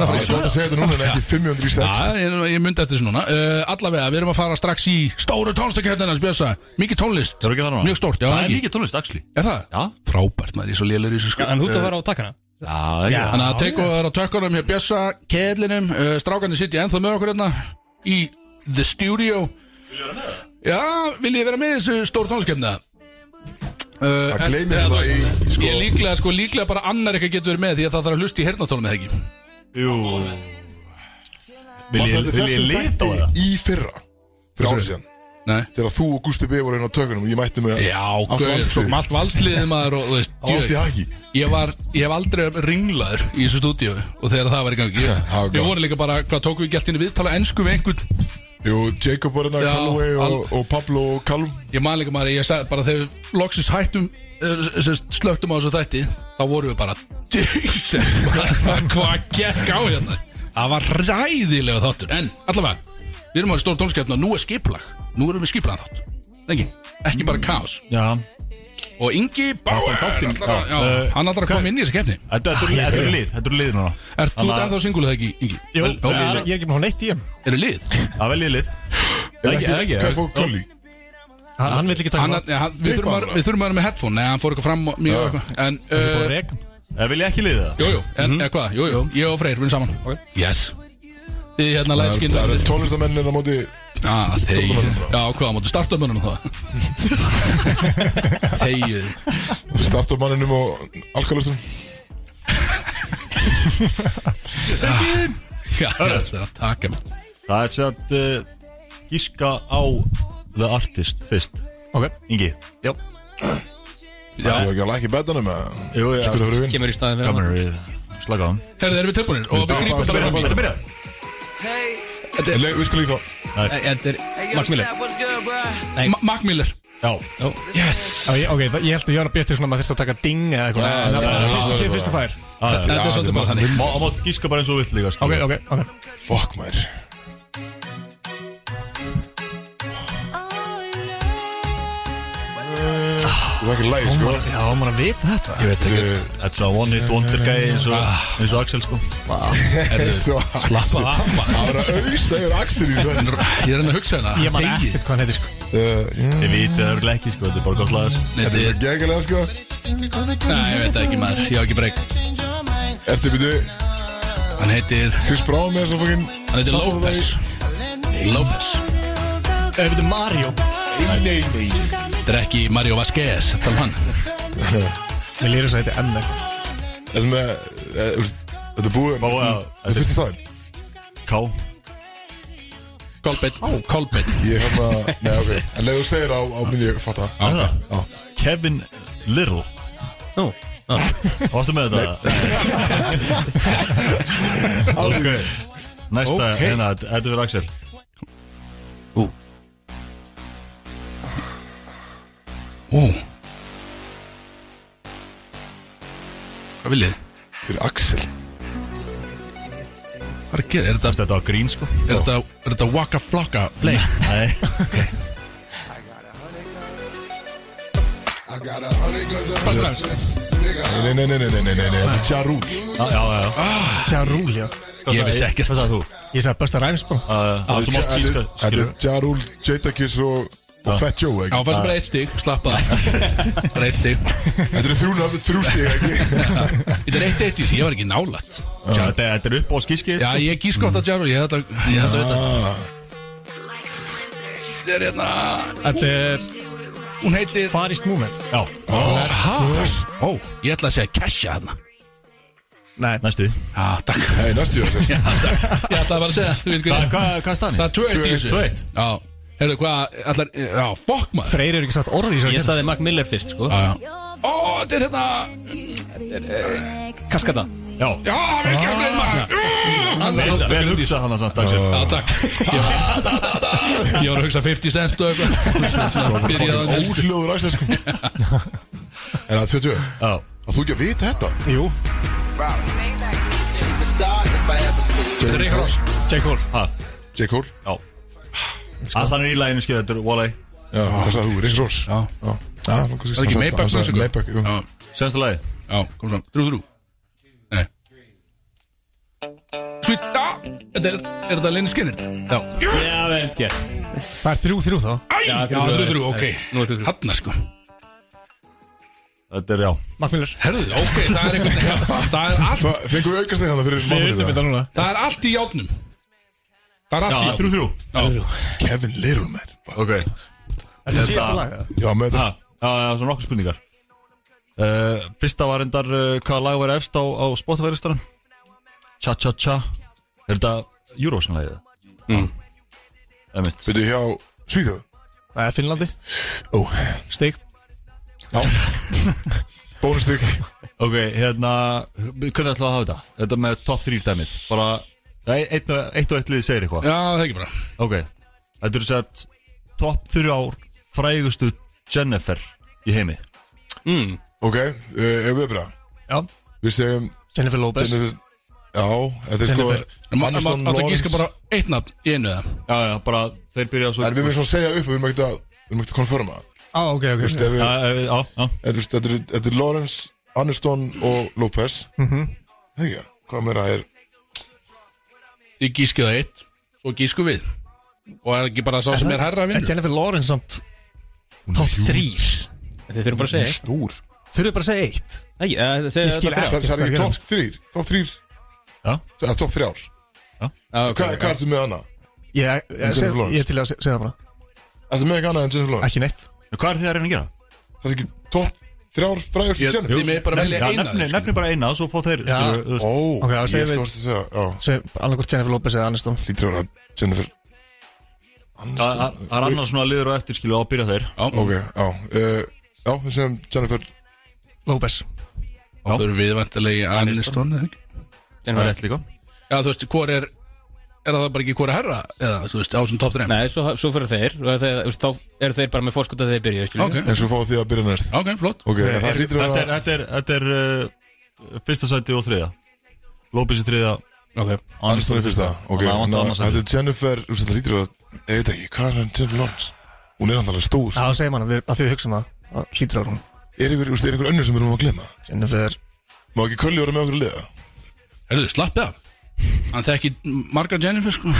Speaker 1: Það
Speaker 4: (laughs)
Speaker 1: er gott að segja þetta núna en ekki 500 í
Speaker 3: Já,
Speaker 1: sex
Speaker 3: ég, ég myndi eftir þessu núna uh, Allavega, við erum að fara strax í stóru tónstakertina Spjösa, mikið tónlist
Speaker 4: Það er ekki það núna
Speaker 3: Mjög stórt, já,
Speaker 4: Það er
Speaker 3: ekki.
Speaker 4: mikið tónlist, Axli
Speaker 3: Er það?
Speaker 4: Já.
Speaker 3: Frábært, maður, ég er svo lélur í þessu sko
Speaker 2: En þú ert að fara á takkana
Speaker 4: Já, já
Speaker 3: Þannig að teikum við þar á tökkunum hjá Bjössa, Kedlinum, uh, strákandi sitja ennþá með okkur hérna í The Studio. Já, vil ég vera með í þessu stór tónskemna? Uh,
Speaker 1: Það
Speaker 3: en-
Speaker 1: gleymir
Speaker 3: eða,
Speaker 1: þetta
Speaker 3: þú veist,
Speaker 1: í, sko-
Speaker 3: Ég líklega, sko, líklega bara annar eitthvað getur verið með því að það þarf að hlusta í hernatólum eða ekki.
Speaker 4: Jú Vil
Speaker 1: Varstu
Speaker 4: ég- vil ég
Speaker 1: þessum
Speaker 4: lita á það?
Speaker 1: þætti Í fyrra Fyrir árið síðan
Speaker 3: Nei.
Speaker 1: Þegar þú og Gusti B voru inn á tökunum Ég mætti með
Speaker 3: Já,
Speaker 1: allt
Speaker 3: gauð,
Speaker 1: valsliðið.
Speaker 3: svo allt valsliðið maður og, þú veist,
Speaker 1: Það var allt í
Speaker 3: ég,
Speaker 1: haki
Speaker 3: ég var, ég hef aldrei ringlaður í þessu stúdíu og þegar það var í
Speaker 1: (laughs)
Speaker 3: gangi ég,
Speaker 1: það var
Speaker 3: ég
Speaker 1: gaman.
Speaker 3: voru líka bara, hvað tókum við gælt inn í viðtala ensku við einhvern,
Speaker 1: Jú, Jacob var hérna,
Speaker 3: Já,
Speaker 1: Callaway og,
Speaker 3: al-
Speaker 1: og Pablo og Callum
Speaker 3: ég man líka maður ég sagði bara þegar við loksins hættum eh, sem sagt, slöktum á þessu þætti þá vorum við bara, Jesus maður, hvað gekk á hérna það var ræðilega þáttur, en allavega, við erum á stór tónskefna og nú er skiplag, nú erum við skiplag þátt ekki, ekki bara kaos
Speaker 4: Já
Speaker 3: og Ingi Bauer
Speaker 4: þáttinn,
Speaker 3: ætlar að-
Speaker 4: já.
Speaker 3: já,
Speaker 4: Eh,
Speaker 3: hann ætlar að koma inn í þessi kefni
Speaker 4: Þetta þetta eru þetta eru lið, þetta eru lið
Speaker 3: Er
Speaker 4: núna
Speaker 3: þú
Speaker 4: Þannig
Speaker 3: þetta
Speaker 4: að-
Speaker 3: ennþá singul eða ekki, Ingi?
Speaker 7: Jú.
Speaker 3: Vel- vel-
Speaker 8: Ég er ekki með hún eitt í hann
Speaker 3: Eru lið?
Speaker 4: Það veljið (gasps) lið Það er ekki, það er
Speaker 1: Hvað
Speaker 4: ekki
Speaker 1: fór Kalli?
Speaker 8: Hann hann vill ekki taka
Speaker 3: Hann,
Speaker 8: hann
Speaker 3: ja, hann, við, þurfum að, við þurfum að vera með headphone Nei, hann fór eitthvað fram og mjög
Speaker 1: Já.
Speaker 3: eitthvað En,
Speaker 8: Það er
Speaker 3: uh,
Speaker 8: bara að
Speaker 4: Það veljið ekki liðið það
Speaker 3: jú, jú, en eða hvað, jú, jú Ég og Freyr, við erum saman Yes Þið hérna lætskinn
Speaker 1: Það eru tónlistamennir á móti
Speaker 3: Ah, þegið
Speaker 1: Stjórnarmönnum.
Speaker 3: Já, hvað, á móti starta mönnum það Þegið
Speaker 1: Startumanninum og alkalustum
Speaker 3: Já, þetta er að taka mig
Speaker 4: Það er sér að uh, gíska á The Artist fyrst
Speaker 8: Ok.
Speaker 4: Ingi Já
Speaker 1: Já
Speaker 3: Já,
Speaker 1: Ég ekki að lækja betanum að
Speaker 4: Jú, já
Speaker 1: Spila fyrir vinn
Speaker 2: Kemur í staðin fyrir
Speaker 4: Kamera við Slaka á hann
Speaker 3: herðu, erum við tilbúinir Og við grípum
Speaker 1: Þetta byrja,
Speaker 3: þetta fram í
Speaker 1: þetta byrja
Speaker 3: Þetta er-
Speaker 1: Le- Við skulum líka þá
Speaker 2: hann Þetta er Max Miller
Speaker 3: Ma- Mac Miller
Speaker 4: Já
Speaker 3: Yes
Speaker 8: Já, ég- Ok, það- ég held að ég var að bjösta svona að maður þurfti að taka ding eða eitthvað En það
Speaker 1: já,
Speaker 8: var fyrst-
Speaker 1: já,
Speaker 8: kemur
Speaker 1: já.
Speaker 8: fyrst að fær
Speaker 4: Það
Speaker 3: Þetta er svolítið bara þannig
Speaker 4: Má má gíska bara eins og þú vill líka sko.
Speaker 8: Ok, ok, ok
Speaker 1: Fuck maður Þú er ekki læg, sko
Speaker 8: Já, maður að vita þetta
Speaker 3: Ég veit ekki
Speaker 4: Þetta er svona one hit wonder gæði eins og eins og Axel sko
Speaker 1: Svo
Speaker 3: Slappa af maður.
Speaker 1: Það var að auðsa yfir Axel í þetta (laughs)
Speaker 3: Ég er enn að hugsa hérna
Speaker 8: Ég maður
Speaker 3: Þegið.
Speaker 8: ekkert hvað hann heitir sko
Speaker 1: Þetta
Speaker 4: Ég veit það er ekki sko, þetta er bara gott lagar
Speaker 3: Nei,
Speaker 1: er
Speaker 3: þetta er-
Speaker 1: geggjælega, sko
Speaker 3: Nei, ég veit það ekki maður, ég á ekki breyk
Speaker 1: Ertu byrju
Speaker 3: Hann heitir,
Speaker 1: Chris Brown með þessu fokkin
Speaker 3: hann heitir López López
Speaker 8: Ef þetta er Mario
Speaker 1: Nei, nei, nei
Speaker 3: Þetta er ekki Mario Vasquez, tala um hann
Speaker 8: Mér lýri þess að þetta er M eitthvað
Speaker 1: Þetta er með eh, þú veist, Þetta er búið
Speaker 4: Má, já,
Speaker 1: Þetta er fyrst í staðin
Speaker 4: K
Speaker 3: Kolbett, Kolbett
Speaker 1: Ég hef maður Nei, ok En leið þú segir á á minni ég fatta
Speaker 4: Er það?
Speaker 1: Já.
Speaker 4: Kevin Little
Speaker 2: Nú
Speaker 4: Varstu með þetta? Ok Næsta,
Speaker 3: Ok.
Speaker 4: hérna, þetta þetta fyrir Axel
Speaker 3: Ú Hvað viljið?
Speaker 1: Fyrir Axel
Speaker 3: Hvað er að gera? Er þetta,
Speaker 4: Þetta var grín sko
Speaker 3: er þetta, er þetta Waka Flocka play?
Speaker 4: Nei
Speaker 1: Nei, nei, nei, nei, nei, nei, nei, nei Þetta er Tjarú
Speaker 4: Já, já, já
Speaker 8: Sjá rúl, já
Speaker 3: Ég vissi ekkert
Speaker 4: Hvað það þú?
Speaker 8: Ég sagði Busta Rhymes bara
Speaker 4: Þú þú mátt gíska,
Speaker 1: Þetta
Speaker 4: skilur
Speaker 1: er Tjarú, Jadakiss og og Fat Joe,
Speaker 3: Já,
Speaker 1: ekki?
Speaker 3: fannst bara eitt stig, slappa Bara eitt stig
Speaker 1: Þetta eru þrjú nafn, þrjú stig, ekki?
Speaker 3: (laughs) Þetta er eitt eitt, ég var ekki nálægt
Speaker 4: Já, Þetta er- þetta er upp á skískið
Speaker 3: Já,
Speaker 4: sko
Speaker 3: ég gís gott að Jaro, ég ætla ég ætla að vita
Speaker 1: Ah,
Speaker 3: Þetta er hérna,
Speaker 8: Þetta er
Speaker 3: hún heitir
Speaker 8: Farist Movement
Speaker 4: Já,
Speaker 3: Ha? Ó, ég ætla að segja Kesha hérna
Speaker 8: Nei,
Speaker 4: næstu
Speaker 3: Já, takk
Speaker 1: Nei, næstu ég að segja
Speaker 3: Já, takk Ég ætla að bara að segja þú veit
Speaker 4: Hvað
Speaker 3: hvernig-
Speaker 4: hvað er
Speaker 3: Það
Speaker 4: stanni?
Speaker 3: er 2-1 í þessu
Speaker 4: 2-1
Speaker 3: Já, heyrðu hvað allar, Já, fokk maður
Speaker 8: Freyr er ekki satt orð í
Speaker 2: Ég
Speaker 8: þessu
Speaker 2: saði Mac Miller fyrst sko
Speaker 3: Já, já. Ó, þetta er hérna
Speaker 2: Kaskata
Speaker 4: Já
Speaker 3: Já, vel kemur maður
Speaker 4: Vel hugsað hann að samt Axel
Speaker 3: Já, takk Ég var- Ég var að hugsa 50 cent og eitthvað Byrjaði að elsku
Speaker 1: Óhljóður Axel,
Speaker 3: (laughs)
Speaker 1: sko Er það 20?
Speaker 4: Já
Speaker 1: Að þú ekki að vita þetta?
Speaker 8: Jú,
Speaker 3: Þetta er Ríkar Ross
Speaker 8: J. Cole
Speaker 4: Ha,
Speaker 1: J. Cole?
Speaker 4: já Að þannig í læginu skilur þetta er Wall-E
Speaker 1: Já, hvað sagði þú? Rick Ross?
Speaker 3: Ah. Já.
Speaker 1: Já, það er
Speaker 3: Það er ekki Maybach
Speaker 1: Maybach
Speaker 3: Ross
Speaker 1: Maybach, jú
Speaker 3: Já,
Speaker 4: Senstu lægi
Speaker 3: já, kom svo Þrjú, þrjú Nei Sweet Já, þetta er Er þetta Lenny Skinner?
Speaker 2: Já, vel gert
Speaker 8: Það er þrjú þrjú þá
Speaker 3: Æ, já, þrjú, þrjú, ok
Speaker 2: Nú er þetta þrjú
Speaker 3: Hanna sko
Speaker 4: Þetta er já
Speaker 8: Mac Miller
Speaker 3: Herðu, ok, það er einhvern veginn Það er allt
Speaker 1: Fa- Fengum við aukast þegar það fyrir
Speaker 8: Við
Speaker 1: mannum
Speaker 8: vitum þetta núna
Speaker 3: Það er allt í játnum Það er allt í
Speaker 4: Já,
Speaker 3: játnum
Speaker 4: 3-3
Speaker 1: Kevin Little, man
Speaker 4: Ok
Speaker 8: Þetta er síðasta lag eða?
Speaker 1: Já, með
Speaker 4: Já,
Speaker 3: Ah.
Speaker 1: þetta
Speaker 4: já, já, svona nokkuð spurningar uh, Fyrsta var endar uh, Hvaða lag var efst á, á Spotify-listanum? Cha Cha Cha Er þetta Eurovision-lagið? Mm. Það er mitt
Speaker 1: Byrju hjá Svíþjóð
Speaker 8: Það er Finnlandi
Speaker 1: Ó,
Speaker 8: Stig
Speaker 1: já Bónustug
Speaker 4: Ok, hérna, hvernig ætlaðu að hafa þetta? Þetta með top 3 dæmið Bara, nei, einn og eitt, og eitt liðið segir eitthvað
Speaker 3: Já, það er ekki bara
Speaker 4: Ok, þetta eru sett top 3 ár frægustu Jennifer í heimi
Speaker 1: Ok, uh, ef við bara
Speaker 4: Já
Speaker 1: Við segjum
Speaker 8: Jennifer Lopez
Speaker 1: Jennifer, Já, þetta er sko
Speaker 8: Jennifer.
Speaker 3: Máttu
Speaker 1: Aniston,
Speaker 3: að
Speaker 1: Lawrence.
Speaker 3: gíska bara eitt nafn í einu eða?
Speaker 4: Já, já, bara þeir byrja svo
Speaker 1: En við erum svona að segja upp og við erum ekkert að Við erum ekkert að konfirma
Speaker 8: Á, Ah, ok, ok
Speaker 1: Þú veist, ef við-
Speaker 4: Já, já, já, já.
Speaker 1: en þú veist, Þetta er- þetta er Lawrence, Aniston og Lopez
Speaker 8: Mhm.
Speaker 1: Það ekki, hvað meira er
Speaker 3: Þið gískið það eitt Svo gísku við Og er ekki bara sá sem er herra að
Speaker 8: Er
Speaker 3: vinna
Speaker 8: Jennifer Lawrence samt Top 3
Speaker 2: Þið þurfum bara að segja eitt.
Speaker 1: Stór
Speaker 8: Þurfið bara að segja eitt
Speaker 2: Nei, eh, þið segja
Speaker 8: Ég skil
Speaker 2: þetta
Speaker 1: Það er- það er
Speaker 2: fyrir
Speaker 8: Hvað
Speaker 1: ekki
Speaker 8: gerðum?
Speaker 1: top 3 Top 3
Speaker 4: Já.
Speaker 1: Það er top 3 ár
Speaker 8: Ah,
Speaker 2: á ok,
Speaker 1: Hvað
Speaker 2: ok.
Speaker 1: hvað ertu með hana?
Speaker 8: Ég, ég, ég,
Speaker 1: Jennifer Ah.
Speaker 8: seg-
Speaker 1: Lawrence.
Speaker 8: ég er til að se- segja það bara
Speaker 1: Ertu með eitthvað annað en Jennifer Lawrence?
Speaker 8: Ekki neitt
Speaker 4: Hvað er þið að reyna að gera?
Speaker 1: Það er ekki top 3 ár frægast
Speaker 3: Ég-
Speaker 1: Jennifer?
Speaker 3: Þið með bara
Speaker 4: Nefni,
Speaker 3: velja
Speaker 4: já,
Speaker 3: eina
Speaker 4: nefni,
Speaker 3: þið,
Speaker 4: nefni bara eina, svo fá þeir skilur, þú veist.
Speaker 1: Ó,
Speaker 8: Ok, þá
Speaker 1: ég
Speaker 8: segjum
Speaker 1: skal
Speaker 8: við-
Speaker 1: varst að segja Já,
Speaker 8: Annarkort Jennifer Lopez eða Aniston
Speaker 1: lítur að vera Jennifer
Speaker 4: Það það- það er annars svona liður á eftir skilu og byrja þeir
Speaker 1: Ok, já uh, Já, við segjum Jennifer
Speaker 8: Lopez
Speaker 3: Þau eru viðvæntilegi Aniston eða ekki?
Speaker 4: Það er rétt líka
Speaker 3: Já, þú veist, hvor er Er það bara ekki hvor er herra? Eða, þú veist, á sem top 3
Speaker 2: Nei, svo, svo fyrir þeir og þeir, þú veist, þá eru þeir bara með fórskot að þeir byrja skilur
Speaker 3: Ok,
Speaker 2: við.
Speaker 1: En svo fáum því að byrja næst
Speaker 3: ok, flott
Speaker 1: Ok, en það lítur að
Speaker 4: Þetta er,
Speaker 1: vera
Speaker 4: þetta er, þetta er uh, fyrsta sæti og þriðja López í þriðja
Speaker 3: Ok
Speaker 1: Aniston í fyrsta Ok,
Speaker 4: Þannig að
Speaker 1: ná,
Speaker 4: vantar annað
Speaker 1: þetta
Speaker 4: sæti.
Speaker 1: er Jennifer þú veist, Þetta lítur að vera Ég veit ekki, hvað er hann Jennifer Lawrence? Hún er alltaf stór
Speaker 8: Já, þá segja maður að því við hugsaum það Það hlýtur að vera hún
Speaker 1: Er ykkur, þú veist, er ykkur önnur sem við erum að glemma?
Speaker 8: Jennifer
Speaker 1: Má ekki Kölli vera með okkur að liða?
Speaker 3: Herðu, slappið af Hann þekki marga Jennifer sko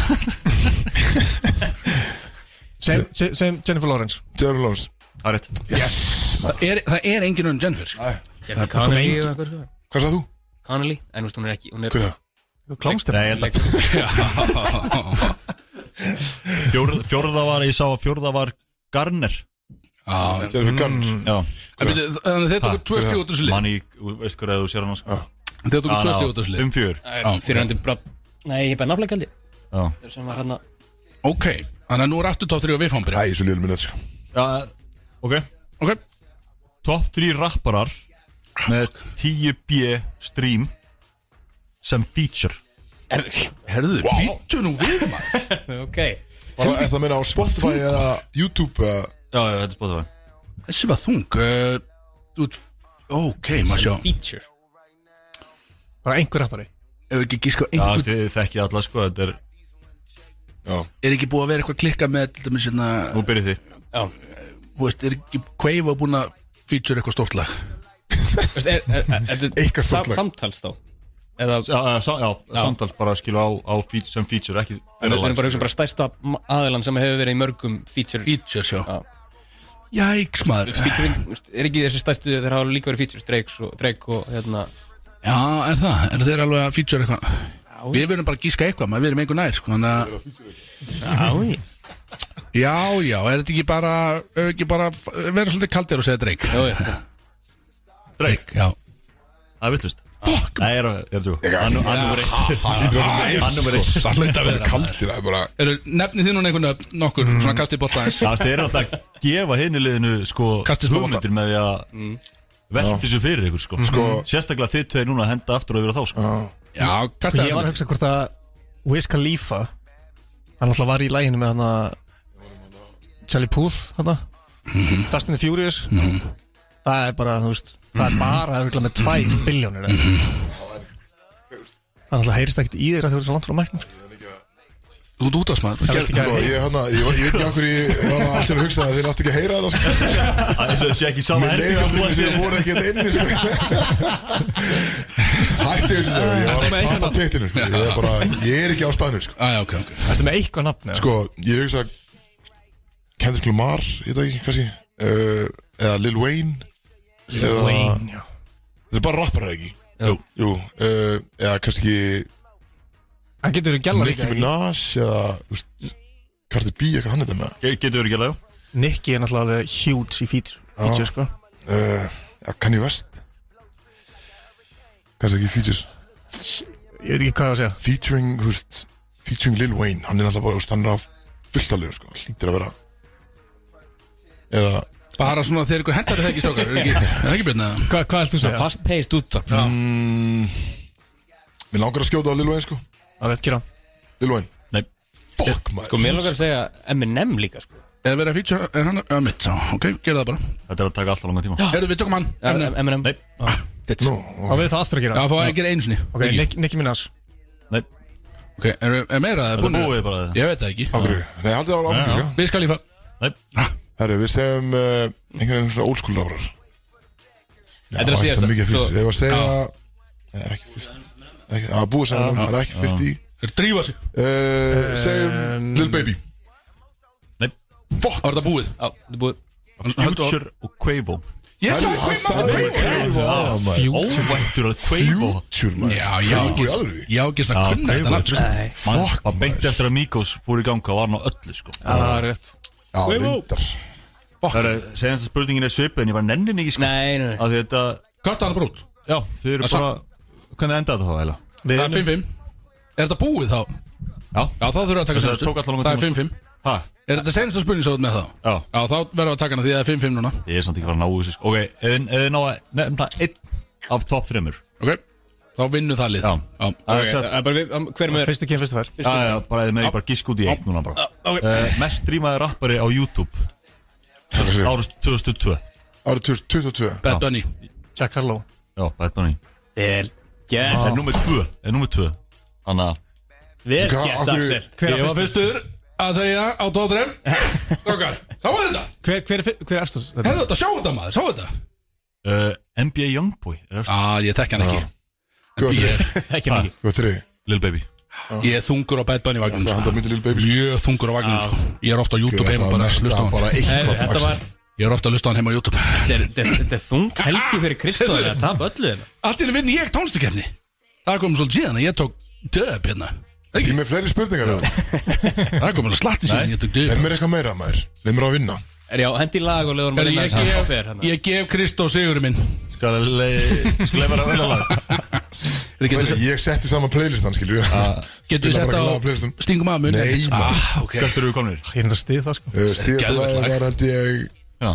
Speaker 8: Sem, sem, sem Jennifer Lawrence
Speaker 1: Jennifer Lawrence
Speaker 4: Það er rétt
Speaker 3: Það er, það er engin unn Jennifer sko.
Speaker 2: Jennifer Connelly eða eitthvað, sko.
Speaker 1: Hvað sagði þú?
Speaker 2: Connelly, en þú veist, hún er ekki hún er,
Speaker 1: Hver er það?
Speaker 8: Klámstefn
Speaker 4: Nei, ég held að Fjórð- Fjórða var, ég sá að fjórða var Garner
Speaker 3: Já, já.
Speaker 1: Jennifer Gunn
Speaker 4: Já,
Speaker 3: En byrju, Þannig að þeir tóku tvö stíð út úr sli
Speaker 4: manni, veist hvað þú sér hann sko.
Speaker 3: Þeir tóku tvö stíð út úr sli
Speaker 4: Fimm fjör
Speaker 2: fyrir hendur bara Nei, ég er bara nafnlegaldi
Speaker 4: Já,
Speaker 2: sem var hérna
Speaker 3: Ok, þannig að nú er aftur top 3 og viðfámbri
Speaker 1: Æ, svo liðum við þetta sko
Speaker 4: Já ok
Speaker 3: Ok,
Speaker 4: Top 3 rapparar með 10B stream sem feature
Speaker 3: herðu, býttu nú við maður
Speaker 2: Ok
Speaker 1: Var það- er það meina á Spotify eða YouTube eða
Speaker 4: Já, já, þetta er spáðu það
Speaker 3: (laughs) Þessi var þung uh, þú ert- Ok, maður sjá
Speaker 2: Feature
Speaker 8: Bara einhver rappari
Speaker 3: Ef ekki gíska á
Speaker 4: Já,
Speaker 3: einhvern
Speaker 4: þið þekkið alla sko, þetta er,
Speaker 1: Já,
Speaker 3: Er ekki búið að vera eitthvað klikka með Til dæmis hérna
Speaker 4: nú byrjið þið
Speaker 3: Þú veist, er ekki Quavo búin að feature eitthvað stórt lag
Speaker 2: Þú veist, er- er- er- er-
Speaker 1: Eitthvað
Speaker 2: sam-
Speaker 1: stórslag.
Speaker 2: Samtals þá Eða
Speaker 4: Já, já, sa- já, samtals bara skilu á, á feature, sem feature, ekki
Speaker 2: Við erum bara, hugsa um bara stærsta ma- aðilan sem hefur verið í mörgum feature
Speaker 3: Feature sjá Jæks maður
Speaker 2: Featuring, þú veist, er ekki þessi stærstu þeir hafa líka verið features Drake og, Drake og hérna
Speaker 3: Já, er það, er þeir alveg að feature eitthvað Við verðum bara að gíska eitthvað, maður við erum einhver nær sko, Þannig að
Speaker 2: Ái
Speaker 3: Já, já, er þetta ekki bara, ef ekki bara verður svolítið kaldir og segja dreik
Speaker 2: Jó, já, já.
Speaker 4: Drake,
Speaker 3: Já,
Speaker 4: það er villust Nei, er það, er það svo Hann
Speaker 1: lítur að vera
Speaker 4: er reitt Hann er bara eitt
Speaker 3: Sko, það hlut að vera Mm. kald
Speaker 1: Til að bara
Speaker 3: Eru, nefnið þið núna einhvern veginn nokkur, svona kastið bótt aðeins
Speaker 4: Það er alltaf að gefa hinni liðinu sko
Speaker 3: Kastið smá
Speaker 4: hugmyndir með því að mm. velta þessu fyrir ykkur sko. sko Sérstaklega þið tveir núna að henda aftur og yfir á þá sko.
Speaker 3: Já,
Speaker 8: Ég
Speaker 3: kastið
Speaker 8: var að
Speaker 3: aðeins
Speaker 8: hugsa hvort að Wiz Khalifa Hann alltaf var í læginu með hann að Charlie Puth (laughs) hann Fast in the Furious Það er bara, þú veist Það er bara örugglega með 2 biljónir Það er alltaf heyrist ekkert í þér að þú eru svo langt frá mæknum sko.
Speaker 3: Þú ert út af smaður
Speaker 8: Það er ekki
Speaker 1: Sko,
Speaker 8: að
Speaker 1: ég, hana, ég, ég veit ekki okkur ég ég var alltaf að hugsa að þeir átti ekki að heyra þetta sko.
Speaker 4: Það er þessi ekki sama
Speaker 1: Mér leiði allir þess að þeir voru ekki að inni sko. Hætti þessu sko. Ég var að pappa tettinu sko. ég, er bara, ég er ekki á staðinu sko.
Speaker 3: Æja, ok, ok
Speaker 8: Þetta með eitthvað nafn eða?
Speaker 1: sko, ég hugsa að Kendrick Lamar Ég veit ekki, kannski uh, Eða Lil Wayne Lil
Speaker 8: Wayne, já
Speaker 1: Þetta er bara rapparar ekki Jú, Jú uh, Eða kannski
Speaker 8: Það getur verið gæla
Speaker 1: Nicki
Speaker 8: líka
Speaker 1: Minaj Eða þú veist, Cardi B, eitthvað hann þetta með
Speaker 4: Getur verið ekki að lega
Speaker 8: Nicky er náttúrulega alveg huge í feature, feature sko.
Speaker 1: uh, ja, Kanye West Kannski ekki features
Speaker 8: Ég veit ekki hvað það að segja
Speaker 1: featuring, þú veist, featuring Lil Wayne hann er alltaf bara, þú veist, hann er á fullt alveg sko. hlýtir að vera eða
Speaker 3: Bara svona þegar ykkur hendar það ekki strókar Er ekki, er það ekki björna?
Speaker 8: Hva, hvað ætlum þú að segja?
Speaker 2: Fast paced útvarp
Speaker 1: mm, Mér langar að skjóta á Lil Wayne sko
Speaker 8: Það veit, gera
Speaker 1: Lil Wayne
Speaker 7: Nei.
Speaker 1: Fuck
Speaker 2: Sko,
Speaker 1: maður
Speaker 2: mér langar að segja Eminem líka, sko
Speaker 3: Er verið að feature, er hann að mitt sá Ok, gerðu það bara
Speaker 4: Þetta er að taka alltaf langan tíma
Speaker 3: Ah. Eru við tökum hann
Speaker 2: Ja,
Speaker 3: Eminem.
Speaker 2: Eminem
Speaker 4: Nei.
Speaker 3: Ditt.
Speaker 1: Nú,
Speaker 8: Hvað við það aftur að
Speaker 3: Já,
Speaker 8: gera?
Speaker 3: fá að gera einu sinni
Speaker 8: Ok, Nicki- Nicki Minaj
Speaker 4: Nei,
Speaker 3: Ok, er, er meira
Speaker 4: þetta
Speaker 3: búnir?
Speaker 4: búið bara það
Speaker 3: Ég veit það ekki
Speaker 1: af hverju? Nei, haldið það var áfengi sko
Speaker 3: Við skal lífa
Speaker 4: Nei,
Speaker 1: Herru, við segjum uh, einhvern veginn svona old school rárar
Speaker 2: Þetta er að síðasta.
Speaker 1: mikið fyrst
Speaker 2: Svo-
Speaker 1: Ef að segja Nei, ekki fyrst Ekki- Það er búið sem það er ekki fyrst í
Speaker 3: Er drífa sig
Speaker 1: Eh, Segjum Lil Baby
Speaker 4: nei
Speaker 3: Fokk Var þetta búið
Speaker 2: Já, þetta er búið
Speaker 3: Höldu á
Speaker 4: Future og Quavo
Speaker 3: Ég sá
Speaker 1: Herru,
Speaker 3: hvað
Speaker 1: hann
Speaker 3: ég
Speaker 1: sagði
Speaker 3: maður Oh
Speaker 1: Quavo, maður.
Speaker 4: Óvæntur að Quavo
Speaker 1: Future maður
Speaker 3: Já, já
Speaker 1: Quavo í alvöru.
Speaker 3: Já, ekki svona kunna þetta nafn sko.
Speaker 2: Nei,
Speaker 4: Man var beint eftir að Mikos fór í ganga var hann á öllu sko
Speaker 2: það er rétt
Speaker 1: Já, reyndar
Speaker 4: Það er segjast að spurningin er svipið en ég bara nenni henni ekki sko
Speaker 2: Nei, nei, nei
Speaker 4: Af því þetta,
Speaker 3: Kvarta hann bara út
Speaker 4: já þið eru
Speaker 3: Það er
Speaker 4: bara Hvernig endaði þetta þá eiginlega?
Speaker 3: Það er 5-5 Er þetta búið þá?
Speaker 4: Já.
Speaker 3: Já, þá þurfum við að taka
Speaker 4: Þessi, það
Speaker 3: seinustu.
Speaker 4: tók allan langan
Speaker 3: Það er
Speaker 4: tíma,
Speaker 3: 5-5
Speaker 4: Ha?
Speaker 3: Er þetta senasta spurning svo með þá?
Speaker 4: Já.
Speaker 3: Já, þá verðum við að taka hana því að það er 5-5 núna
Speaker 4: Ég er samt ekki bara að ná þessu sko Ok, ef þið- ef þið ná að nefna einn af top þreymur
Speaker 3: Ok Þá vinnur það lið
Speaker 4: Já.
Speaker 3: Já,
Speaker 4: Það er
Speaker 2: Ok,
Speaker 4: satt
Speaker 2: það er bara við- um, Hver með
Speaker 8: Fyrstu kyn, fyrstu fær
Speaker 2: Ah,
Speaker 4: Já, já, bara eða með ég bara gisk út í eitt núna bara
Speaker 2: ok.
Speaker 4: Eh, Mest streamaði rappari á YouTube Árust 2002
Speaker 1: Árið 2022
Speaker 3: Bad Bunny
Speaker 8: Jack Harlow
Speaker 4: Já, Bad Bunny
Speaker 2: Vel gert
Speaker 4: Er nummer 2 Er nummer 2 Þannig að
Speaker 2: Vel
Speaker 1: Hvað,
Speaker 2: gert,
Speaker 1: af hverju-
Speaker 2: Axel
Speaker 8: Hver
Speaker 3: Ég
Speaker 8: er
Speaker 3: var
Speaker 8: fyrstur?
Speaker 3: fyrstur að segja á
Speaker 4: (laughs)
Speaker 3: tóðrem Stokkar, sáu þetta?
Speaker 8: Hver, hver, er fyr- hver er eftir þetta?
Speaker 3: Hefðu þetta, sjá þetta maður, sáu þetta?
Speaker 4: uh, NBA Youngboy er
Speaker 3: Á,
Speaker 4: eftir.
Speaker 3: ég þekk hann ekki
Speaker 1: Hvað er þrið?
Speaker 2: Ekki mikið
Speaker 1: Hvað er þrið?
Speaker 4: Lil Baby
Speaker 3: Ég er þungur á Bad Bunny vagnum
Speaker 1: Það er handa
Speaker 3: sko.
Speaker 1: myndi Lil Baby sko.
Speaker 3: Mjög þungur á vagnum sko. Ég er ofta á YouTube heima
Speaker 1: Þetta var
Speaker 3: bara að
Speaker 1: næsta
Speaker 3: hlusta á
Speaker 1: bara
Speaker 3: hann
Speaker 1: eitthvað
Speaker 2: Þetta
Speaker 1: Axel.
Speaker 2: var
Speaker 3: Ég er ofta að hlusta á hann heima á YouTube
Speaker 2: Þetta er- þetta er- þetta er þung helgi fyrir Kristóður að tapa öllu hérna.
Speaker 3: Ah, Allt er vinn ég tónstakefni Það kom svolítið síðan að ég tók döp hérna
Speaker 1: Ég er með fleiri spurningar eða?
Speaker 3: Það kom alveg slatti síðan að ég tók
Speaker 1: Leð
Speaker 3: döp
Speaker 1: mér eitthvað meira maður Leð mér að vinna
Speaker 2: Er já, hendi í lag og leður maður
Speaker 3: Ég gef, ég gef Kristó Sigurinn minn
Speaker 4: Skal ég vera að velja lag
Speaker 3: Er ekki
Speaker 1: Ég-
Speaker 3: þetta-
Speaker 1: Ég setti saman playlistan skilju
Speaker 3: Ah.
Speaker 1: (laughs)
Speaker 3: Getur við
Speaker 1: Spila
Speaker 3: sett
Speaker 1: bara
Speaker 3: á
Speaker 1: glaða playlistan.
Speaker 3: Stingum að mun
Speaker 1: Nei, maður.
Speaker 3: ah, okay.
Speaker 4: Hvert eru við komnir?
Speaker 8: Ég er þetta stið það sko
Speaker 1: Síðan
Speaker 3: Geðveikt lag.
Speaker 1: var held ég
Speaker 4: Já,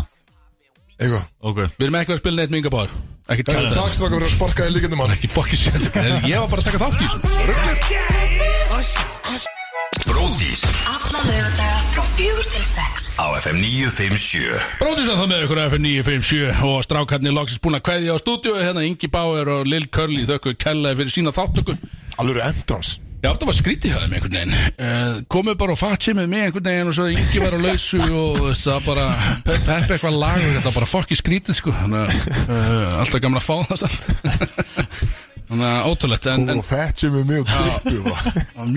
Speaker 1: Eitthvað
Speaker 4: ok
Speaker 3: Við erum ekki að spila neitt minga báður Ekki
Speaker 1: Herru,
Speaker 3: tala
Speaker 1: Takk strákar fyrir að sparka í líkandi mann
Speaker 3: Ég fokki sér Ég var bara að taka þátt í þessu
Speaker 5: Bródís
Speaker 6: Alla lögadaga frá fjögur til sex
Speaker 5: á FM 957
Speaker 3: Bróðisann það með ykkur FM 957 og strákarnir loksins búin að kveðja á stúdíu hérna Ingi Bauer og Lil Curly þökkur kellaði fyrir sína þáttöku Já,
Speaker 1: Alveg endrans
Speaker 3: þetta var skrítið hjá þeim einhvern veginn uh, komu bara og fatsi með mig einhvern veginn og svo Ingi var á lausu og þú veist, það bara pe- peppi eitthvað lag og þetta var bara fokki skrítið sko þannig að uh, alltaf gamla að fá það samt (laughs) þannig að ótrúlegt en,
Speaker 1: Hún
Speaker 3: en
Speaker 1: og fett sem er mjög trippu
Speaker 3: var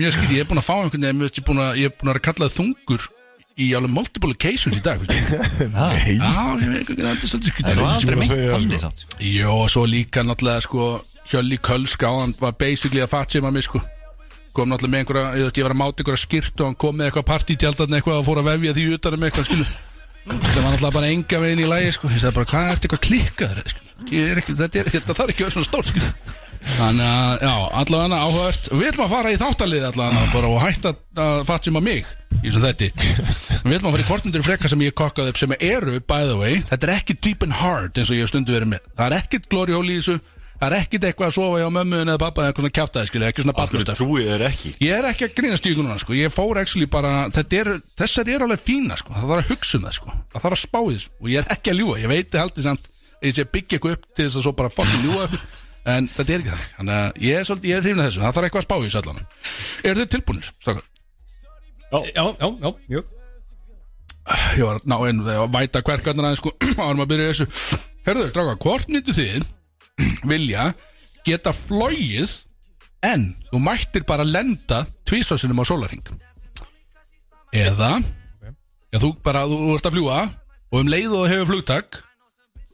Speaker 3: mjög skrítið, ég er búin að fá einhvern veginn ég er búin að, ég er búin að kalla það þungur í alveg multiple occasions í dag einhvern veginn.
Speaker 1: Nei
Speaker 3: Já, ég veit ekki, það er svolítið skrítið
Speaker 4: Það var
Speaker 1: ekki
Speaker 4: aldrei
Speaker 1: búin að
Speaker 4: meint
Speaker 1: segja það, sko.
Speaker 4: þannig samt, sko.
Speaker 3: Jó, og svo líka náttúrulega sko Hjölli Kölsk á hann var basically að fatsima mig sko kom náttúrulega með einhverja, ég, veist, ég var að máta einhverja skýrt og hann kom með eitthvað partítjaldarn eitthvað og fór að vefja því utanum eitthvað skilu það var náttúrulega bara enga veginn í lægi sko ég sagði bara hvað ertu eitthvað klikkaður skilu? Ég er ekki, þetta, er, þetta þarf ekki að vera svona stór skilu þannig að já, allavega áhört við ætlum að fara í þáttalið allavega bara og hætta að fatsima mig í þessum þetti við ætlum að fara í kortundur frekka sem ég kokkaði upp sem eru by the way, þetta er ekki deep and hard eins og ég hef stundu verið með, það er ekkit glory hole í þessu það er ekkit eitthvað að sofa hjá mömmu eða pappa eða eitthvað svona kjátaði skilja, ekki svona
Speaker 4: Af hverju
Speaker 3: barnastöf
Speaker 4: trúið er ekki
Speaker 3: Ég er ekki að grínast í ykkur núna sko. Ég fór actually bara þetta er, Þessar eru alveg fína sko. Það þarf að hugsa um það sko. Það þarf að spá í þessu Og ég er ekki að ljúga Ég veit þið haldið samt að Ég sé að byggja eitthvað upp til þess að svo bara fucking ljúga upp. En þetta er ekki þannig Þannig að ég er svolítið Ég er hrifnað þessu Það þarf eitthvað að spá í þessu allan Er þið tilbúinir? Stakar
Speaker 2: Já, já, já, jú
Speaker 3: Ég var ná einu þegar að væta hverkarnar aðeins sko (clears throat) Árum að byrja í þessu Herðu, stráka, hvort myndu þið vilja geta flogið en þú mættir bara lenda tvísvarsinum á sólaring eða já, þú bara, þú, þú ert að fljúa og um leið og þú hefur flugtak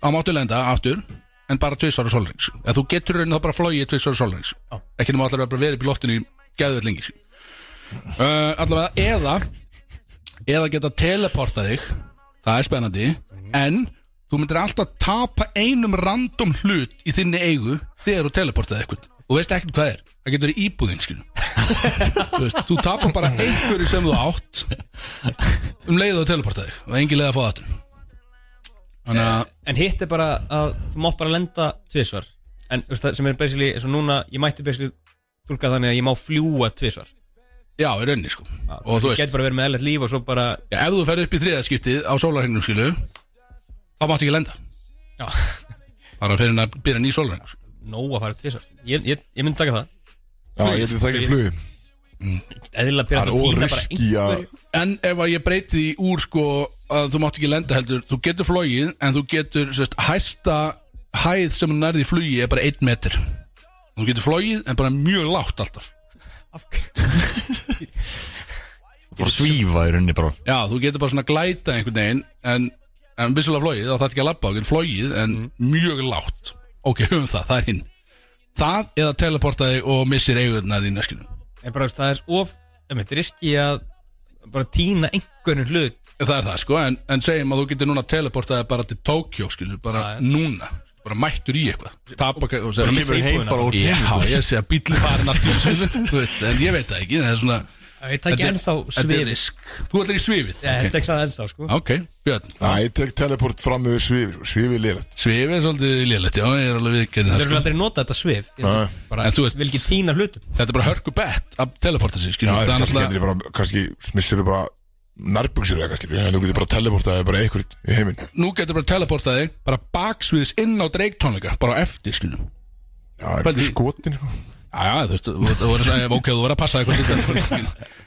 Speaker 3: á máttu lenda aftur en bara tvísvar á sólarings eða þú getur raunin þá bara flogið tvísvar á sólarings ekki nema allar að bara vera upp í loftinu í geðvöld lengi uh, allavega eða eða geta teleporta þig það er spennandi en þú myndir alltaf tapa einum random hlut í þinni eigu þegar þú teleportaði eitthvað og veist ekkert hvað er, það getur verið íbúðin (laughs) skilur þú veist, þú tapar bara einhverju sem þú átt um leið og þú teleportaði þig og engin leið að fá það aftur. Þannig að
Speaker 2: En hitt er bara að þú mátt bara lenda tvisvar En þú veist það sem er basically eins og núna, ég mætti basically tólka þannig að ég má fljúa tvisvar
Speaker 3: Já, í rauninni sko Og þú
Speaker 2: Ég
Speaker 3: veist,
Speaker 2: get bara verið með eðlert líf og svo bara
Speaker 3: já, ef þú ferð upp í þriðaskiptið á sólarhengnum skilu Þá máttu ekki lenda
Speaker 2: Já,
Speaker 3: Bara fyrir að byrja ný sólarhengnum sko.
Speaker 2: nóg að fara tvisvar Ég, ég, ég myndi taka það
Speaker 1: Já, ég held að það ekki flugi
Speaker 2: Eðlilega
Speaker 1: Það er
Speaker 2: byrja að týna bara
Speaker 1: óriski að
Speaker 2: einhverju
Speaker 3: En ef að ég breyti því úr sko Að þú máttu ekki lenda heldur Þú getur flogið en þú getur sérst, Hæsta hæð sem þú nærði í flugi Er bara einn metr Þú getur flogið en bara mjög lágt alltaf
Speaker 4: Bara svífa í rauninni bara
Speaker 3: Já, þú getur bara svona glæta einhvern veginn En, en vissulega flogið þá þarf ekki að labba Þú getur flogið en mjög lágt Ok, höfum það, það er hinn Það eða teleportaði og missir eigurnar í neskinu
Speaker 2: En bara þú veist, það er of, ef mitt riski að bara týna einhvern hlut
Speaker 3: Það er það sko, en, en segjum að þú getur núna teleportaði bara til Tokjó, skilur, bara núna bara mættur í eitthvað Tapa, og segja,
Speaker 4: Þú kemur heim bara úr
Speaker 3: Já,
Speaker 4: tími
Speaker 3: ég sé að bíllinn farin aftur
Speaker 4: (laughs)
Speaker 3: í sviðið, þú veist, en ég veit það ekki það er svona,
Speaker 2: Ég tek
Speaker 3: Þetta er-
Speaker 2: ennþá
Speaker 3: þetta er
Speaker 2: svið
Speaker 3: risk Þú ætlar í svifið
Speaker 2: Þetta er klað ennþá, sko
Speaker 3: ok, Björn,
Speaker 1: Næ, ég tek teleport fram yfir svifi Svifi liðlegt
Speaker 3: svifið er svolítið lélætt, já, ég er alveg viðkennið
Speaker 2: Það
Speaker 3: það
Speaker 2: er
Speaker 3: sko.
Speaker 2: aldrei nota þetta svið Ég
Speaker 1: Nei.
Speaker 2: bara,
Speaker 3: En þú ert-
Speaker 2: vil ekki týna hlutum
Speaker 3: Þetta er bara hörku bett að teleporta
Speaker 1: Já,
Speaker 3: sig skilur,
Speaker 1: þessi kannski getur
Speaker 3: það er náttúrulega
Speaker 1: ég bara Kannski missir ég bara Nærbuxur eða kannski En þú getur bara teleportaði bara einhverjum í heiminn
Speaker 3: Nú getur bara teleporta þig bara baksviðis inn á dreiktónleika bara á eftir skilum
Speaker 1: Já, er
Speaker 3: Pældi
Speaker 1: ekki
Speaker 3: í-
Speaker 1: skotin sko
Speaker 3: Já, þú veist, þú- þú verður að ok, þú verður að passa eitthvað lítið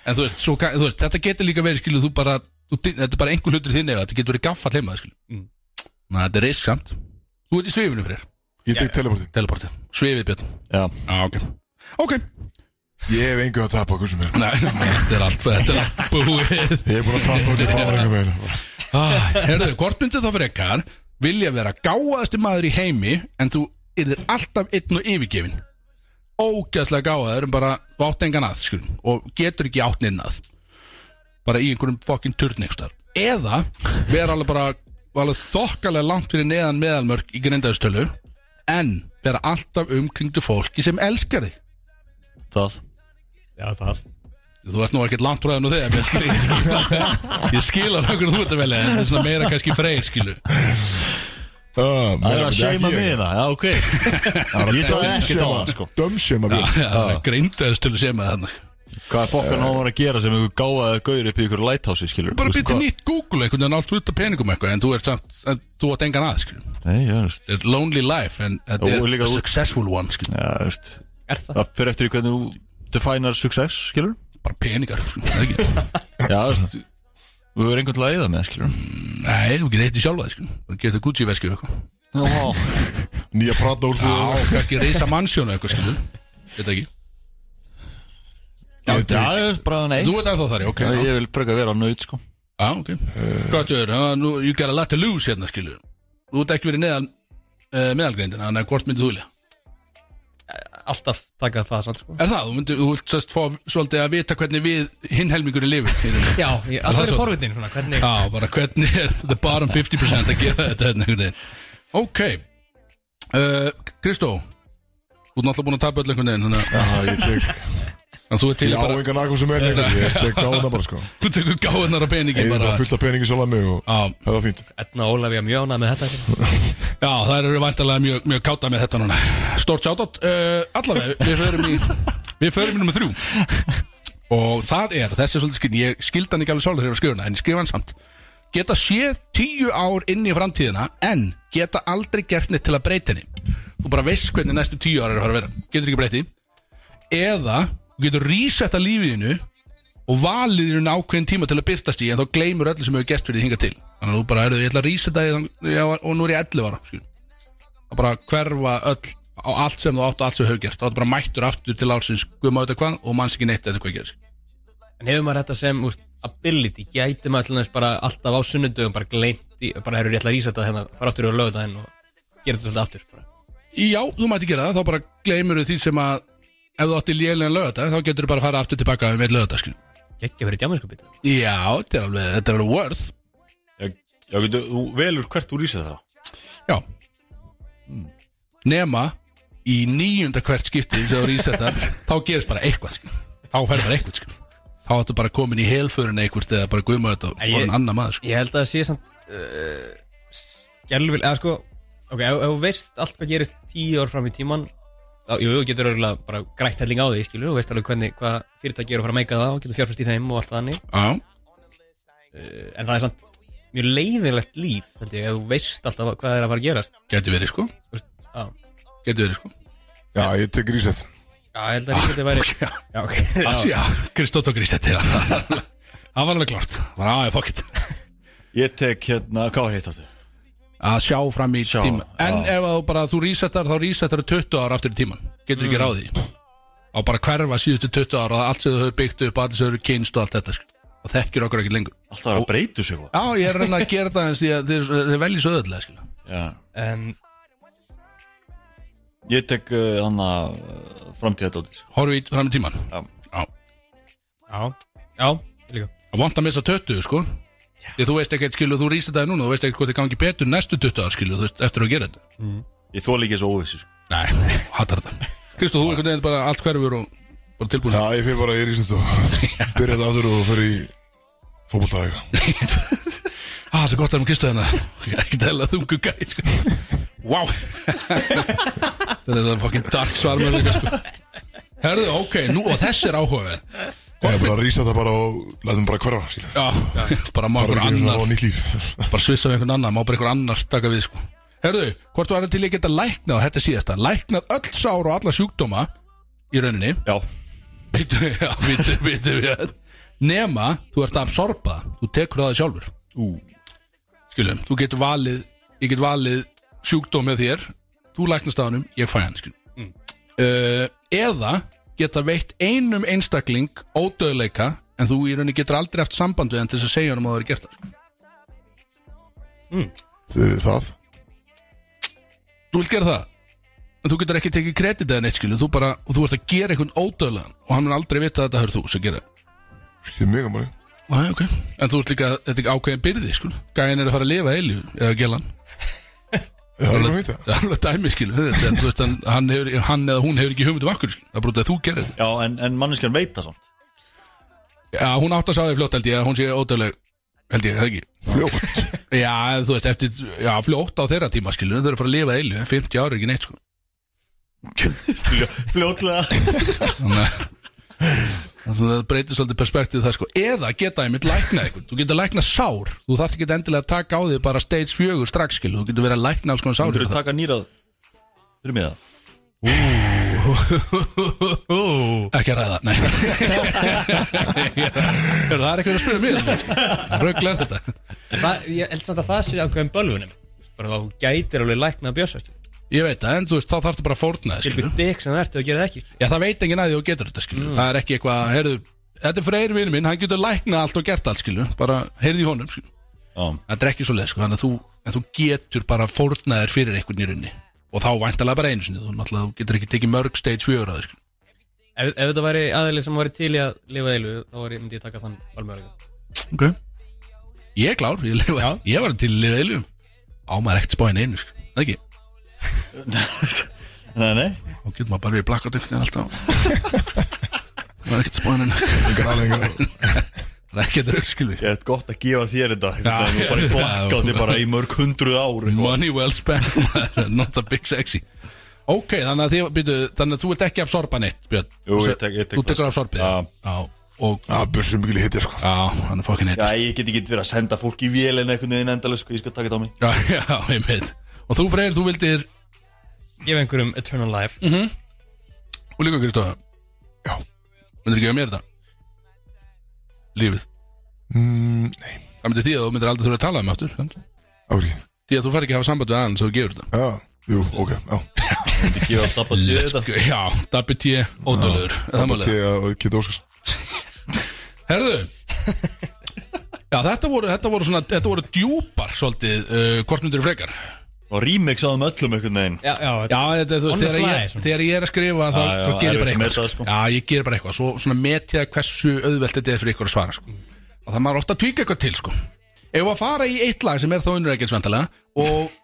Speaker 3: En þú veist, svo, ka- þú veist, þetta getur líka verið skilur þú bara, þú, þetta er bara einhver hlutur þinn eða þetta getur verið gaffall heima skilur mm. Na, þetta er risk samt Þú ert í svifinu fyrir þér,
Speaker 1: Ég tek teleporti
Speaker 3: teleporti, svifið björn
Speaker 4: Já,
Speaker 3: Já, ok Ok,
Speaker 1: Ég hef engu að tapa hversu mér
Speaker 3: Nei, (laughs) þetta er allt, þetta er allt búið
Speaker 1: Ég hef búin að tapa út í fáringum meina
Speaker 3: ah, Herðu, hvort myndið þá fyrir ekkar vilja vera gáðasti maður í heimi en þú yrðir alltaf einn og yfirgefin ógæðslega gáðaður en bara þú átt engan að skulum, og getur ekki átt neinn að bara í einhverjum fokkin turnikstar eða vera alveg bara alveg þokkalega langt fyrir neðan meðalmörk í grindaðustölu en vera alltaf umkringdu fólki sem elskar þig
Speaker 4: það
Speaker 2: Já, það
Speaker 3: Þú ert nú ekkert langt frá það nú þegar menn skil- Ég skil- ég skil alveg hvernig þú ert að velja en það er svona meira kannski freyr skilu
Speaker 1: Það Ah,
Speaker 4: Það er að seima mig það, já ok (laughs) Ég sá ekkert á það sko
Speaker 1: Dömsema mér
Speaker 3: Greindaðist til að segja maður þannig
Speaker 4: Hvað er fokkan á að gera sem einhver gáðaði gaur upp í ykkur lighthouse skilur
Speaker 3: Bara byrja nýtt Google einhvern veginn allt út af peningum eitthvað en þú ert samt, en þú ert engan að skilu
Speaker 4: Nei, já, þú veist
Speaker 3: Þetta er lonely life en þetta
Speaker 4: Og
Speaker 3: er
Speaker 4: líka
Speaker 3: a
Speaker 4: út-
Speaker 3: successful one skilu
Speaker 4: Já, þú veist
Speaker 2: Er það?
Speaker 4: Það fyrir eftir í hvernig þú definar success skilur
Speaker 3: Bara peningar skilu, það er ekki
Speaker 4: Já, þú veist Þú verður einhvern veginn að eða með skilur
Speaker 3: Nei, þú getur eitt í sjálfa þig skilu Bara getur Gucci veski eitthvað
Speaker 4: Já,
Speaker 1: Nýja prata úr
Speaker 3: Já, kannski reysa mansjónu eitthvað skilu Þetta ekki
Speaker 4: já, þú veist bara nei
Speaker 3: Þú ert að þar, já, ok
Speaker 4: Já,
Speaker 3: já.
Speaker 4: Ég vil brega vera nöyt sko
Speaker 3: Já, ok Gott ég er, nú, you got a lot to lose hérna, skilu Þú ert ekki verið neðan uh, meðalgreindina, þannig að hvort myndið þú vilja
Speaker 2: Alltaf taka það samt, sko
Speaker 3: Er það, þú myndir, þú vilt sérst fá svolítið að vita hvernig við hinn helmingurinn lifir í rauninni.
Speaker 2: Já, ég, alltaf
Speaker 3: svo-
Speaker 2: verið forvitin, svona, hvernig
Speaker 3: Já, bara hvernig er the bottom 50% að gera þetta hérna einhvern veginn Ok Eh, Kristó Þú ert náttúrulega búin að tapa öll einhvern veginn þannig að-
Speaker 1: Já, Ah, ég tek
Speaker 3: að Þú ert til í
Speaker 1: Ég á
Speaker 3: bara,
Speaker 1: engan akkur sem er lengur Ég tek gáðan bara sko
Speaker 3: þú tekur gáðunar á peningi
Speaker 1: Ég er
Speaker 3: bara
Speaker 1: bara fullt af peningi sjálf mig og
Speaker 3: Já,
Speaker 1: það var fínt
Speaker 2: Edna og Ólafía mjög ánað með þetta sko.
Speaker 3: Já, það eru vantarlega mjög, mjög káta með þetta núna Stórt sjátt uh, Allavega, við förum í Við förum í nummer þrjú Og það er, þessi er svolítið skinn Ég skildi hann ekki alveg svolítið að skrifa hana En ég skrifa hann samt Geta séð tíu ár inn í framtíðina En geta aldrei gert neitt til að breyta henni Þú bara veist hvernig næstu tíu ár er að fara að vera Getur ekki breyti Eða, þú getur resetta lífiðinu Og valið þér nákvæðin tíma til að byrtast í En þá gleymur öllu sem hefur gest fyrir því hingað til Þannig að þú bara, heyrðu, ég ætla að resetta í þann- já, Og nú er ég 11 ára, skil að bara hverfa öll á allt sem þú átt og allt sem þú hefur gert þá ertu bara mættur aftur til ársins guð maður þetta hvað og manns ekki neitt eftir hvað gerist
Speaker 2: En hefur maður þetta sem úst, ability Gæti maður alltaf bara alltaf á sunnudögum Bara gleymt í, bara hefur rétt að rísa þetta hérna Fara aftur og lögða það henn og gera þetta alltaf aftur bara.
Speaker 3: já, þú mætti gera það, þá bara gleymur því sem að ef þú átti lélega lögata þá getur þú bara að fara aftur um tilbaka með lögata skil.
Speaker 2: Gekkja fyrir djáminskupið
Speaker 3: já, þetta er alveg, þetta er alveg worth
Speaker 4: Já, já, getur, þú velur hvert þú lýsir það
Speaker 3: já Hmm. nema í níunda hvert skipti sem þú
Speaker 2: (laughs)
Speaker 3: resetar, þá gerist bara eitthvað skil. þá fer bara eitthvað skil. þá áttu bara komin í helförun eitthvað eða bara guð maður sko. þetta og
Speaker 2: Ég-
Speaker 3: orðin annar maður skil.
Speaker 2: Ég held að það sé samt uh, skelvil eða sko, ok, ef ef þú veist allt hvað gerist tíu ár fram í tíman þá, jú, þú getur örgulega bara grætt helling á því skilur, þú veist alveg hvernig, hvað fyrirtæki eru að fara að meika það og getur fjárfæst í þeim og allt þannig
Speaker 3: Já,
Speaker 2: en það er samt mjög leiðilegt líf held ég, ef þú veist alltaf hvað er að fara að gerast
Speaker 3: geti verið sko
Speaker 2: Þú veist, á.
Speaker 3: Geti verið sko
Speaker 1: Já, ég tek reset
Speaker 2: já, ég held að ah, þetta væri
Speaker 3: Já,
Speaker 2: já, ok, já,
Speaker 3: já Kristó tók Krist þetta (laughs) Það var alveg klart Það var aðeins fokkitt
Speaker 4: Ég tek hérna, hvað var hitt áttu?
Speaker 3: Að sjá fram í
Speaker 4: Sjá,
Speaker 3: tíma En
Speaker 4: já.
Speaker 3: ef að þú bara þú resetar þá resetar 20 ára aftur í tíman Getur ekki ráð því Á bara hverfa síðustu 20 ára og allt sem þau hefur byggt upp allt sem þau hefur kynst og allt þetta sko. og þekkir okkur ekki lengur
Speaker 4: Alltaf er að breytu sig og-
Speaker 3: Já, ég er að reyna að gera það eins því að þeir, þeir veljið svo öðvöldlega skilja
Speaker 4: Já.
Speaker 2: en
Speaker 4: Ég tek uh, hann að framtíða dótið sko.
Speaker 3: Horfið í- fram í tíman
Speaker 4: Já.
Speaker 3: Já.
Speaker 2: já, já, ég líka
Speaker 3: Það vant að missa 20 sko Því þú veist ekkert skilu, þú rýst þetta núna Þú veist ekkert hvað þið gangi betur næstu 20 ár skilu þú veist, Eftir að gera þetta
Speaker 4: Ég þóla ekki þessu óvissu sko.
Speaker 3: Nei, hattar (laughs) þetta Kristó, þú einhvern veginn bara allt hverfur og bara tilbúin
Speaker 1: Já, ég fyrir bara í reset og byrja þetta aftur og fyrir í fótbolta eða eitthvað.
Speaker 3: Ah, það er gott að hann Kristó hérna Ég er Ekkert hella þungu gæ sko. Wow Þetta er það fucking dark svar með líka sko Herðu, ok, nú og þessi er áhugaverð
Speaker 1: Ég er bara að reset það bara og lætum bara hverfa skilja.
Speaker 3: Já, bara má
Speaker 1: Það er ekki
Speaker 3: einhver
Speaker 1: einu sinni að
Speaker 3: annar
Speaker 1: fá nýtt líf (laughs)
Speaker 3: bara svissa við einhvern annan, má bara einhvern annar taka við sko. Herðu, hvort var það til ég geta læknað og þetta er síðasta, læknað öll sár og alla sjúkdóma í rauninni
Speaker 4: Já,
Speaker 3: Bíddu, (laughs) já, bíddu, bíddu, bíddu. nema þú ert að absorba, það. þú tekur það sjálfur
Speaker 1: Ú,
Speaker 3: skilum, þú getur valið ég get valið sjúkdóm með þér þú læknast af hannum, ég fæ hann skilum uh, eða geta veitt einum einstakling ódöðleika, en þú í rauninni getur aldrei haft samband við hann til þess að segja hann um að það er gert það sko.
Speaker 1: þau Eh, það
Speaker 3: þú vilt gera það en þú getur ekki tekið kredit eða neitt skilu þú, bara, og þú ert að gera einhvern ódöðlegan og hann er aldrei vita að þetta hör þú sem gera
Speaker 1: Skilja mig að manni
Speaker 3: Æ, okay. en þú ert líka, þetta er ekki ákveðin byrði skilu gæðin er að fara að lifa eilu eða gelan
Speaker 1: Já, ég veit það
Speaker 3: það er alveg dæmi skilu en, þú veist, hann, hann, hefur, hann eða hún hefur ekki hugmynd um akkur það er bara út af að þú gerir þetta
Speaker 4: já en, en manneskjan veit það (laughs) samt
Speaker 3: já, hún átt að sá þig fljótt held ég að hún sé ódöðleg held ég, það ekki
Speaker 1: Fljótt
Speaker 3: já, en þú veist, eftir, já, fljótt á þeirra tíma skilu þau eru að fara að lifa eilu, 50 ári ekki neitt sko. skilu
Speaker 4: Fljó, Fljótlega
Speaker 3: þannig að þannig að það breytir svolítið perspektíð það sko eða geta einmitt lækna eitthvað þú getur lækna sár, þú þarf ekki endilega að taka á því bara stage 4 strax skilu, þú getur verið að lækna alls konar
Speaker 4: Þú
Speaker 3: sár
Speaker 4: eru taka nýrað Fyrir mig það
Speaker 3: (laughs) ekki að ræða, nei er það er eitthvað að spyrja mér um það, sko. röglar þetta
Speaker 2: það, ég held samt að það sé ákveðum bölvunum bara þá þú gætir alveg læknað bjösa til
Speaker 3: ég veit það, en þú veist, þá þarfst bara að fórna það skilu
Speaker 2: ykkur dykk sem það ertu að gera það ekki
Speaker 3: já, það veit enginn að því þú getur þetta skilu það er ekki eitthvað, heyrðu, þetta er freyr vinn minn hann getur læknað allt og gert allt skilu bara heyrði í honum skilu
Speaker 4: Já,
Speaker 3: það er ekki svo leið sko, þannig að þú, en þú getur bara fórnaðir fyrir einhvern í rauninni og þá væntalega bara einu sinni, þú náttúrulega þú getur ekki tekið mörg stage fjögur að þér sko.
Speaker 2: ef, ef þetta væri aðeins sem væri til í að lifa eilu þá væri, myndi ég taka þann valmöguleika
Speaker 3: okay. ég er klár, ég, lifa, ég var til að lifa eilum á maður ekkert spáin einu sko. það ekki,
Speaker 4: nei, nei
Speaker 3: þá getur maður bara verið blakkátt einhvern veginn alltaf maður ekkert spáin einu
Speaker 1: Engar aðlega
Speaker 3: það er ekkert rauk skilvi
Speaker 4: Ég er gott að gefa þér þetta Þetta er nú bara í
Speaker 3: Já.
Speaker 4: blakkátti bara Mm. í mörg hundruð ár eitthvað.
Speaker 3: money well spent, maður, not a big sexy ok, þannig að, þið, byrju, þannig að þú vilt ekki absorba neitt Björn.
Speaker 4: Jú, ég tek- ég tek
Speaker 3: þú
Speaker 4: það,
Speaker 3: tekur
Speaker 4: sko.
Speaker 3: absorbið
Speaker 4: Já.
Speaker 3: Já, og
Speaker 1: Já, börsum mikil hitja sko
Speaker 3: Já, hann er fokkin heitt
Speaker 4: Já, ég get ekki verið að senda fólk í vélina einhvern veginn endalega sko, ég skal taka þetta á mig
Speaker 3: Já, já, ég veit Og þú Freyr, þú vildir
Speaker 2: gefa einhverjum eternal life
Speaker 3: Og líka Kristofa Já Myndir ekki að mér þetta Lífið
Speaker 1: Mm, Nei,
Speaker 3: Það myndir því að þú myndir aldrei þurfa að tala um aftur sant?
Speaker 1: ári
Speaker 3: Því að þú fær ekki að hafa samband við aðan Svo þú gefur þetta
Speaker 1: Já, jú, ok, já
Speaker 4: Ég gefa dabba til þetta
Speaker 3: Let's go. sko, Já, Dabbi T, ódöluður Það
Speaker 1: Bara
Speaker 3: málega
Speaker 1: til að geta óskars
Speaker 3: Herðu Já, þetta voru, þetta voru svona Þetta voru djúpar svolítið uh, Hvort myndir frekar
Speaker 4: Og remix á þeim öllum einhvern veginn
Speaker 2: já, já,
Speaker 3: Já, þetta, þú,
Speaker 2: On the
Speaker 3: þegar,
Speaker 2: fly,
Speaker 3: ég,
Speaker 2: svona.
Speaker 3: þegar ég er að skrifa þá,
Speaker 4: Já, já,
Speaker 3: þá gerir ég bara
Speaker 4: erfitt að
Speaker 3: eitthvað
Speaker 4: meta það, sko.
Speaker 3: Já, ég gerir bara eitthvað Svo svona met ég það hversu auðvelt þetta er fyrir ykkur að svara sko. Og það maður ofta að tvíka eitthvað til sko. Ef að fara í eitt lag sem er þá unnureikilsvendalega Og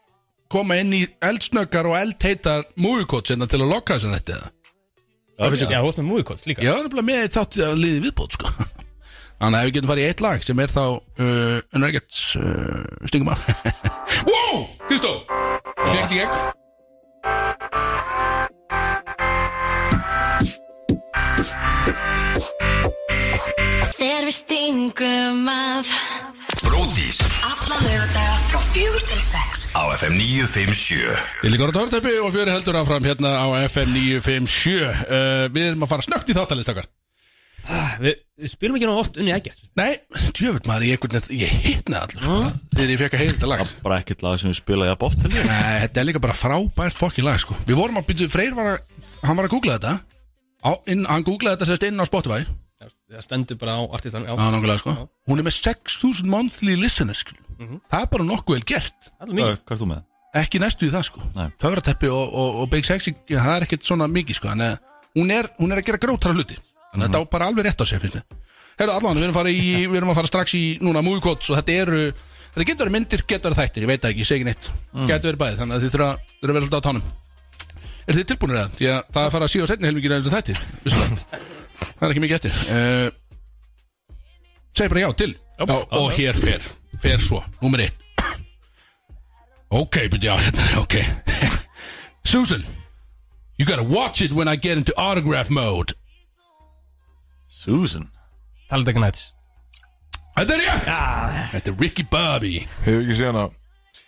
Speaker 3: koma inn í eldsnöggar og eldheitar Múvikót sinna til að lokka þessum þetta eða?
Speaker 2: já, já, þú veist með movie codes líka
Speaker 3: Ég var nefnilega með þátt að liði viðbót sko. (laughs) Þannig Þannig að við getum farið í eitt lag sem er þá uh, Unregget uh, Stingum af (laughs) Wow, Kristó Ég fekk því ekki
Speaker 6: Þegar við stingum af
Speaker 5: Bródís
Speaker 6: Alla lögadaga frá fjögur til sex
Speaker 5: á FM 957
Speaker 3: Ég líka orða törntepi og fjöri heldur áfram hérna á FM 957 uh, Við erum að fara snögt í þáttalistakar
Speaker 2: Við, við spilum ekki nú oft unni ekkert
Speaker 3: Nei, djöfut maður, ég, einhvern veginn- ég hitna allur mm. Þegar ég fekk að heyra þetta lag
Speaker 4: bara ekkert lag sem við spila jafn oft held ég.
Speaker 3: Nei, þetta er líka bara frábært fokkin lag sko. Við vorum að byrja, Freyr var að Hann var að googla þetta á, inn, Hann googlaði þetta sérst inn á Spotify Já,
Speaker 2: Það stendur bara á artistan, já,
Speaker 3: nákvæmlega sko Hún er með 6000 monthly listeners sko. Það er bara nokkuð vel gert
Speaker 2: allir
Speaker 4: Hvað
Speaker 2: mikið
Speaker 4: er- hvað er þú með?
Speaker 3: Ekki næstu í það sko
Speaker 4: Nei.
Speaker 3: Töfrateppi og, og, og Big Sexy ja, Það er ekkert svona mikið sko Þannig að hún er, hún er að gera grótara hluti Þannig að þetta á bara alveg rétt á sér finnst þið Herru allan, við erum, að fara í, við erum að fara strax í núna movie quotes og þetta eru Þetta getur verið myndir, getur verið þættir, ég veit það ekki, ég segi ekki neitt Getur verið bæði, þannig að þið þurfa þurfa að vera svolítið á tánum Er þið tilbúinir það? Því að það er að fara að síða og setni helmingir eða þættir vissulega. Það er ekki mikið eftir uh, Segir bara já til já, Og hér fer, fer svo, númer 1 Ok, byrja, (laughs) já, hérna, ok Susan You gotta watch it when I get into autograph mode
Speaker 4: Susan
Speaker 2: Taldegan Nights
Speaker 3: Þetta er rétt Þetta er Ricky Bobby
Speaker 1: Hefur ekki séð hana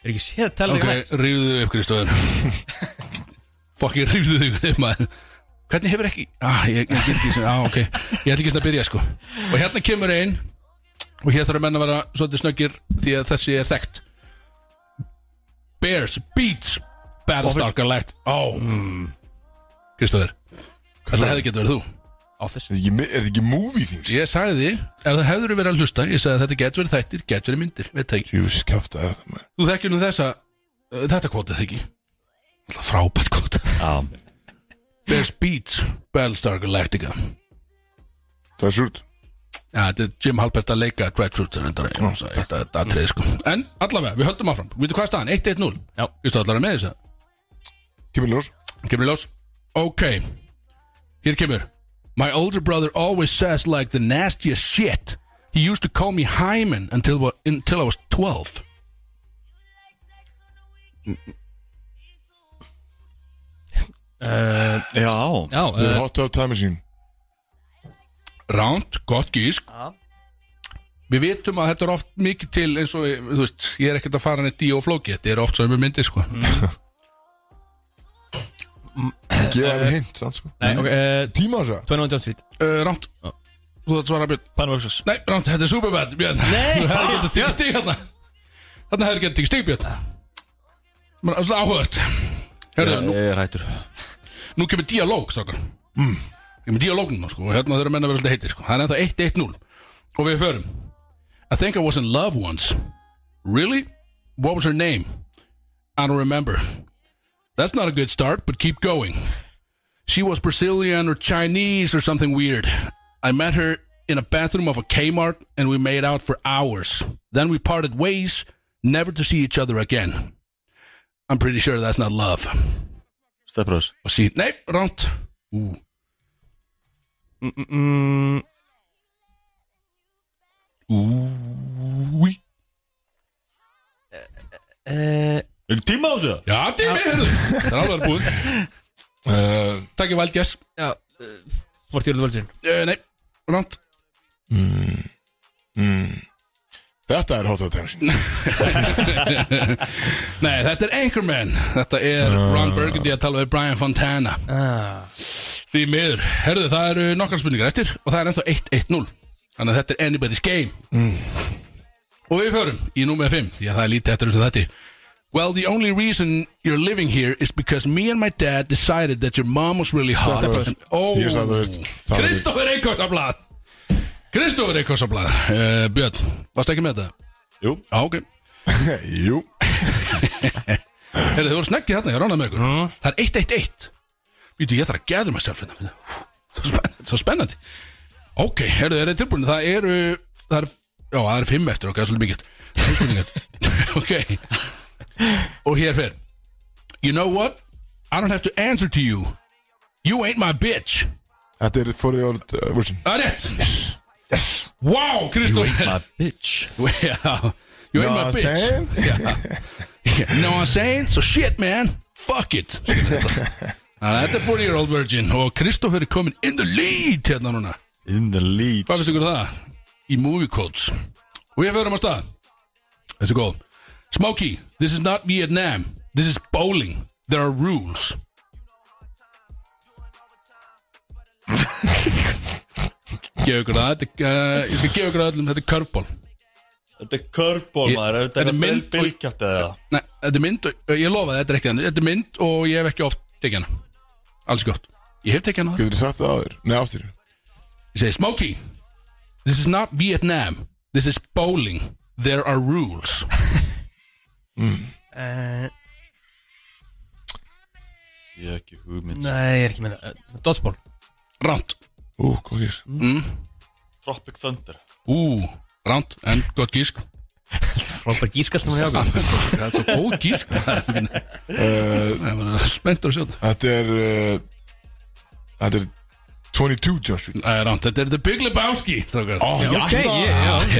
Speaker 2: Er ekki séð Taldegan
Speaker 3: Ok,
Speaker 2: okay. Nights?
Speaker 3: rífðu þig upp Kristóðan (laughs) Fokkin rífðu þig upp maður Hvernig hefur ekki ah, ég, ég, ég, ég, ah, okay. ég ætla ekki svona að byrja sko Og hérna kemur ein Og hér þarf menn að vera svolítið snöggir Því að þessi er þekkt Bears Beats Battlestar Galactic Ó Mm. Kristóður Þetta hefði getur verið þú
Speaker 1: Er þetta ekki, mi- er þetta ekki movie things?
Speaker 3: Ég sagði, ef það hefður verið að hlusta Ég sagði að þetta getur verið þættir, getur verið myndir Veit það ekki
Speaker 1: Jú, þessi kæfta er þetta maður
Speaker 3: Þú þekkir nú þessa uh, Þetta kvotið þekki Alltaf frábært kvotið
Speaker 4: Já,
Speaker 3: Bears Beats Battlestar Galactica
Speaker 1: Það er surt
Speaker 3: Já, þetta er Jim Halpert að leika Dreadfruit Þetta er þetta þetta atriði sko En allavega, við höldum áfram Við veitum hvað er staðan? 1-1-0
Speaker 2: Já.
Speaker 3: Vistu allar með þessu?
Speaker 1: Kemur ljós
Speaker 3: Kemur í ljós Ok Hér kemur My older brother always says like the nastiest shit He used to call me Hyman until, wa- until I was 12
Speaker 4: já
Speaker 2: Já,
Speaker 1: Það
Speaker 2: uh,
Speaker 1: er hot tub time machine
Speaker 3: Ránt, gott gísk Við vitum að þetta er oft mikið til eins og, þú veist, ég er ekkert að fara neitt í og flóki, þetta er oft sömu myndir sko
Speaker 1: Gefa henni hint, sant sko
Speaker 2: nei, ok, uh,
Speaker 1: Tíma þess að
Speaker 2: 21 Jump Street
Speaker 3: uh, Ránt, þú þarf svara Björn
Speaker 4: Panama Express
Speaker 3: Nei, Ránt, þetta er Superbad, Björn (laughs)
Speaker 2: Nei.
Speaker 3: Þú hefði getað tekið stig hérna Þarna hefði getað tekið stig, Björn Það er áhört Herðu, nú,
Speaker 4: Ég er hættur
Speaker 3: nú kemur dialóg, stokkar mm. Kemur dialógnum, sko, og hérna þurfum menn að vera alltaf heitir, sko Það er ennþá 1-1-0 Og við förum I think I was in love once Really? What was her name? I don't remember. That's not a good start, but keep going. She was Brazilian or Chinese or something weird. I met her in a bathroom of a Kmart and we made out for hours. Then we parted ways, never to see each other again. I'm pretty sure that's not love. Oh,
Speaker 4: Stepbröðs
Speaker 3: Og sí, nei, ránt. Ú,
Speaker 2: mm,
Speaker 3: úi.
Speaker 2: uh,
Speaker 4: Ekki tíma á þessu það?
Speaker 3: Já, tími, heyrðu. Það er alveg búið.
Speaker 1: uh,
Speaker 3: Takk ég valdgjess.
Speaker 2: Já, uh, Fortjörðu Völdsinn
Speaker 3: Uh, nei, ránt.
Speaker 1: Þetta er hot tub time machine
Speaker 3: (laughs) Nei, þetta er Anchorman. Þetta er
Speaker 1: Ah.
Speaker 3: Ron Burgundy að tala við Brian Fontana.
Speaker 2: ah,
Speaker 3: Því miður, herðu það eru nokkar spurningar eftir og það er ennþá 1-1-0 Þannig að þetta er anybody's game
Speaker 1: Mm.
Speaker 3: Og við förum í númer 5 Því að það er lítið eftir þessu þetta Well, the only reason you're living here is because me and my dad decided that your mom was really hot
Speaker 1: Stefán.
Speaker 3: And- Oh,
Speaker 1: Ég sagði þú veist það var-
Speaker 3: Kristófur Eikossablad Kristófur Eikossablad uh, Björn, varstu ekki með þetta?
Speaker 4: Jú.
Speaker 3: Á, ok
Speaker 1: (laughs) Jú
Speaker 3: Herðu, þið voru sneggið þarna, ég ránaði með ykkur
Speaker 4: Mm.
Speaker 3: Það er 1-1-1 Vítu, ég þarf að geður mér sjálf hérna Svo spennandi, svo spennandi. Ok, herðu, er þið tilbúin Það eru, það eru, já, það eru fimm eftir Ok, það er svolítið mikið Það eru spurningar (laughs) Ok Og hér fer You know what? I don't have to answer to you You ain't my bitch
Speaker 1: Þetta er for your uh, version
Speaker 3: Það er rétt Wow, Kristóf
Speaker 4: My bitch
Speaker 3: Yeah. You
Speaker 1: Know
Speaker 3: ain't my
Speaker 1: what I'm
Speaker 3: bitch.
Speaker 1: saying?
Speaker 3: (laughs) Yeah. You know what I'm saying? So shit man, fuck
Speaker 1: (laughs)
Speaker 3: it Þannig að þetta er 40 year old virgin og Kristoffer er komin in the lead hérna núna
Speaker 4: In the lead
Speaker 3: Hvað finnst ykkur um það? Í movie quotes Og ég förum á stað Þetta er góð Smokey, this is not Vietnam This is bowling There are rules Gefa ykkur það þetta, er, uh, Ég skal gefa ykkur það öllum Þetta er curveball
Speaker 4: Þetta er curveball
Speaker 3: Ég-
Speaker 4: maður Er
Speaker 3: þetta er
Speaker 4: Þetta er mynd
Speaker 3: mynd-
Speaker 4: Bilkjátt eða
Speaker 3: Nei, þetta er mynd og, Ég lofa þetta er ekki þannig Þetta er mynd og ég hef ekki oft tekið hana Alls gott Ég hef tekið hana áður.
Speaker 1: Getur þið sagt það áður? Nei, aftur
Speaker 3: Ég segi Smokey This is not Vietnam This is bowling There are rules
Speaker 4: Ég hef ekki hugmynd
Speaker 2: Nei, ég er ekki með það Eh, Dodgeball
Speaker 3: Ránt
Speaker 1: Ú, hvað gís
Speaker 4: Tropic Thunder
Speaker 3: Ú, ránt, en gott gísk
Speaker 2: Frábær gískall sem hann hjá okkur
Speaker 3: Það er svo góð
Speaker 2: (laughs)
Speaker 3: gísk
Speaker 2: Eh,
Speaker 3: Spenntur að sjá það
Speaker 1: Þetta er uh, Þetta er 22 John Street
Speaker 3: Það er ránt, þetta er The Big Lebowski strákar.
Speaker 1: Ó, ég ætla
Speaker 2: Já, ok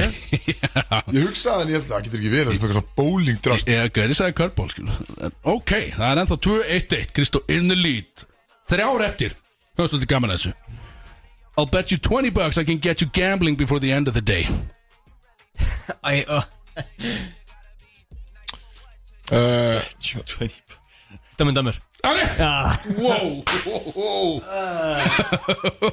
Speaker 1: Ég hugsaði en ég ætla Það getur ekki verið Það er svona eitthvað bowling drast
Speaker 3: Ég gæði sagði curveball skil. En Ok, það er ennþá 2-1-1 Kristó in the lead Þrjár eftir Það er svolítið gaman að þessu I'll bet you 20 bucks I can get you gambling before the end of the day
Speaker 2: Æ, ö.
Speaker 1: uh,
Speaker 4: 20
Speaker 2: Dömmin dömmur
Speaker 3: Það er rétt Wow, wow, wow.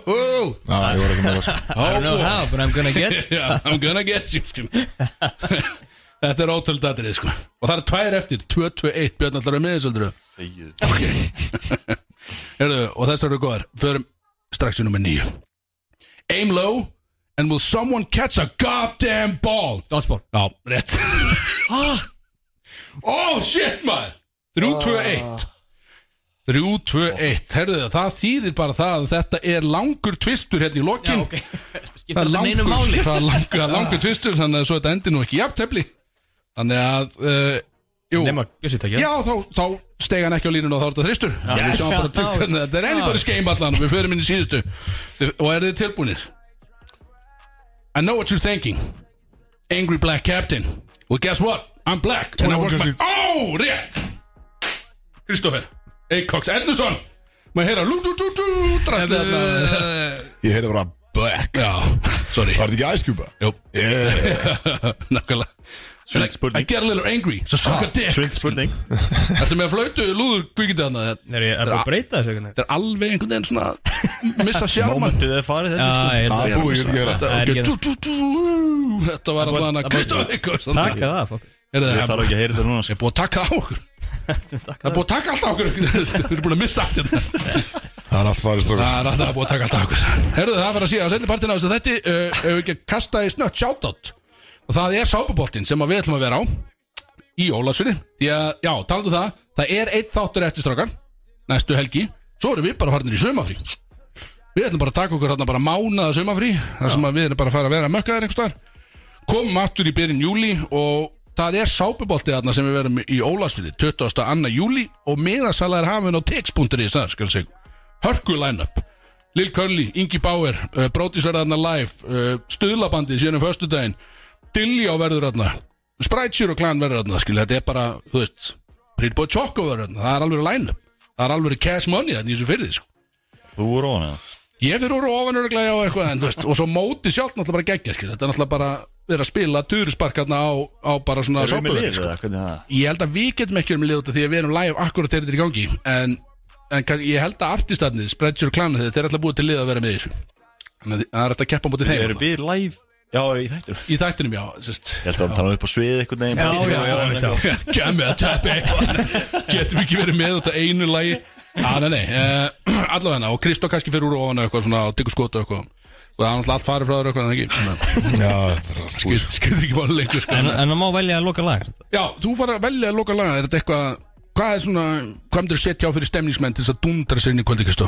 Speaker 3: wow.
Speaker 1: Ná, ég var ekki með það sko.
Speaker 2: I
Speaker 3: (laughs)
Speaker 2: don't know how, but I'm gonna get
Speaker 3: Yeah, I'm gonna get you skil. (laughs) Þetta er ótöld aðrið sko. Og það er tvær eftir 2-2-1 Björn allar að miðisöldur
Speaker 4: Þegið
Speaker 3: Heyrðu, og þessar eru góðar Förum strax í nummer nýju Aim low And will someone catch a goddamn ball
Speaker 2: Dodgeball
Speaker 3: Já, rétt Ó, shit maður 3-2-1 3-2-1, herðu það, það þýðir bara það að þetta er langur tvistur hérna í lokin
Speaker 2: (laughs) Skiptir
Speaker 3: það er
Speaker 2: alltaf neinu máli
Speaker 3: það er langur, það er langur tvistur þannig að svo þetta endir nú ekki jafntefli þannig að, uh, jú
Speaker 2: Nefna, bjössi takk
Speaker 3: Já, þá, þá steig hann ekki á línun og þá er þetta þristur Við sjáum bara til hvernig þetta er anybody's game allan og Við förum inn í síðustu Og er þið tilbúinir? I know what you're thinking Angry black captain Well guess what? I'm black and I
Speaker 1: Twenty-one
Speaker 3: work my...
Speaker 1: Jersey.
Speaker 3: Ó, rétt Kristoffer Eikoks Ednason Maður heyra lú, lú, lú, lú Drastlega þarna. (laughs)
Speaker 1: Ég heyrði bara Black
Speaker 3: Já, sorry
Speaker 1: Var þetta ekki æskjúpa?
Speaker 3: Jú,
Speaker 1: Yeah
Speaker 3: (laughs) nákvæmlega I
Speaker 4: Sveit spurning
Speaker 3: get a little angry So suck a dick
Speaker 4: Sveit spurning
Speaker 3: Þetta með flautu lúður kvikið þarna
Speaker 2: (laughs) Nei, ég er bara að breyta þessu einhvern veginn.
Speaker 3: Þetta er alveg einhvern veginn svona að
Speaker 4: (laughs)
Speaker 3: Missa sjárman
Speaker 4: Momentið er farið þetta
Speaker 2: Já, ég
Speaker 1: Það
Speaker 2: er
Speaker 1: er búið, ég vil gera
Speaker 3: Þetta,
Speaker 2: Það er
Speaker 3: okay,
Speaker 2: ekki
Speaker 3: tú, tú, tú, þetta var
Speaker 2: Það er
Speaker 3: allan
Speaker 2: búið-
Speaker 3: að
Speaker 2: það er
Speaker 3: Kristofan
Speaker 2: búið-
Speaker 3: Eikos
Speaker 2: bara að
Speaker 3: Ég
Speaker 2: taka það fólk.
Speaker 4: Ég þarf
Speaker 3: er
Speaker 4: ekki að heyra þetta núna sko.
Speaker 3: búið að taka á
Speaker 2: (laughs)
Speaker 3: okkur Það er búið að taka allt á okkur Við erum búin að missa allt hérna
Speaker 1: Það er allt farið strókar
Speaker 3: Það er alltaf búið að taka allt á okkur Herðu það var að síða á setni partina þess að þetta uh, Ef við ekki að kasta í snött shoutout Og það er sápuboltinn sem að við ætlum að vera á Í Ólafsfyrði Því að, já, talandu um það Það er eitt þáttur eftir strákar Næstu helgi Svo erum við bara farinir í sumafrí Við ætlum bara að taka okkur þarna bara mánaða sumafrí Það sem að við erum bara að fara að vera mökkaðar einhvers staðar Komum aftur í byrjun júli Og það er sápuboltið þarna sem við verum í Ólafsfyrði 22. júli Og miðasala er hafin á tix.is þar, skal segja Hörku line-up Lil Curly, Ingi Bauer, uh, Brótis verður þarna live uh, Stöðlabandið síðan um föstudaginn Dilljá verður þarna Sprætsjur og Klan verður þarna skilja, Þetta er bara, þú veist Pretty Boy Choco verður þarna, það er alveg line-up Það er alveg cash money þarna í þessu fyrir sko.
Speaker 4: Þú voru ofan eða?
Speaker 3: Ég fyrir úr ofan örglega á eitthvað en, þú veist, Og svo móti sjálf náttúrulega bara geggja skilja. Þetta er náttúrulega bara verið að spila Turuspark þarna á, á bara svona
Speaker 4: Erum við
Speaker 3: sápuvelli,
Speaker 4: með liðið eða? Hvernig er það?
Speaker 3: Ég held að við getum ekki verið með lið út af því að við erum live akkurat þegar þetta er í gangi en, en kann- ég held að artistarnir, Spreadshirt og Klan þeir eru alltaf búið til lið að vera með í þessu Þannig að það er alltaf að keppa á móti þeim
Speaker 4: Erum
Speaker 3: alltaf.
Speaker 4: við live? Já, í þættinum
Speaker 3: Í þættinum, já, sérst
Speaker 4: Ég held að hann tala upp á svið eitthvað neginn
Speaker 2: Já, já, já, já, já.
Speaker 3: Gæmið að tappi Getum ekki verið með út af einu lagi Já, nei, nei, uh, allavega og Kristó kannski fyrir úr ofan og eitthvað svona og tekur skot og eitthvað og það er alltaf allt farið frá þér og eitthvað en ekki
Speaker 1: Já, það er allt búið
Speaker 3: skilði ekki bara lengur sko.
Speaker 2: En en það má velja að loka lag
Speaker 3: Já, þú fara að velja að loka laga er þetta eitthvað, hvað er svona hvað myndir setja á fyrir stemningsmenn til þess að dundra sér inn í kvöldi, Kristó?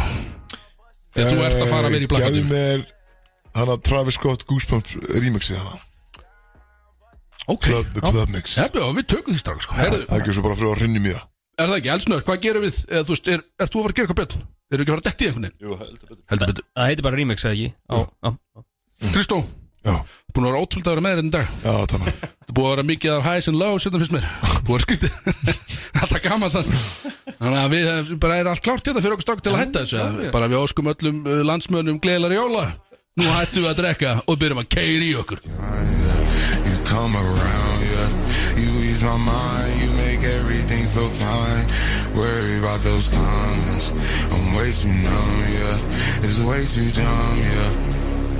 Speaker 3: Þegar þú ert að fara
Speaker 2: Eh,
Speaker 3: að vera í
Speaker 1: Gæði
Speaker 3: plakatum
Speaker 1: mér Hanna Travis Scott Goosebumps remixi hana
Speaker 3: Ok,
Speaker 1: Club, The
Speaker 3: Já.
Speaker 1: Club Mix
Speaker 3: Já, já, við tökum því strax sko. Herðu,
Speaker 1: Það er ekki svo bara fyrir að rinni mér
Speaker 3: Er það ekki, elsnöð, hvað gerum við eða, þú veist, er, er þú að fara að gera eitthvað betur? Erum við ekki að fara að dekta í einhvern veginn?
Speaker 4: Jú, heldur betur
Speaker 3: Heldur betur
Speaker 2: Það heitir bara remix, eða ekki? Já, já
Speaker 3: Kristó,
Speaker 9: Já,
Speaker 3: búin að vera ótrúld að vera með þér enn dag
Speaker 9: já, þannig
Speaker 3: Þetta er búið að vera mikið af highs and lows hérna fyrst mér Búið að skrítið (laughs) Alltaf gaman sann Þannig að við hef- bara er allt klárt hérna fyrir okkur stokk til að hætta þessu eh? Bara við óskum öllum uh, landsmönnum gleðlar jóla Nú hættum við að drekka og byrjum að keiri í okkur
Speaker 1: You come around, yeah. You ease my mind, you make everything feel fine. Worry about those comments. I'm way too numb, yeah. It's way too dumb, yeah.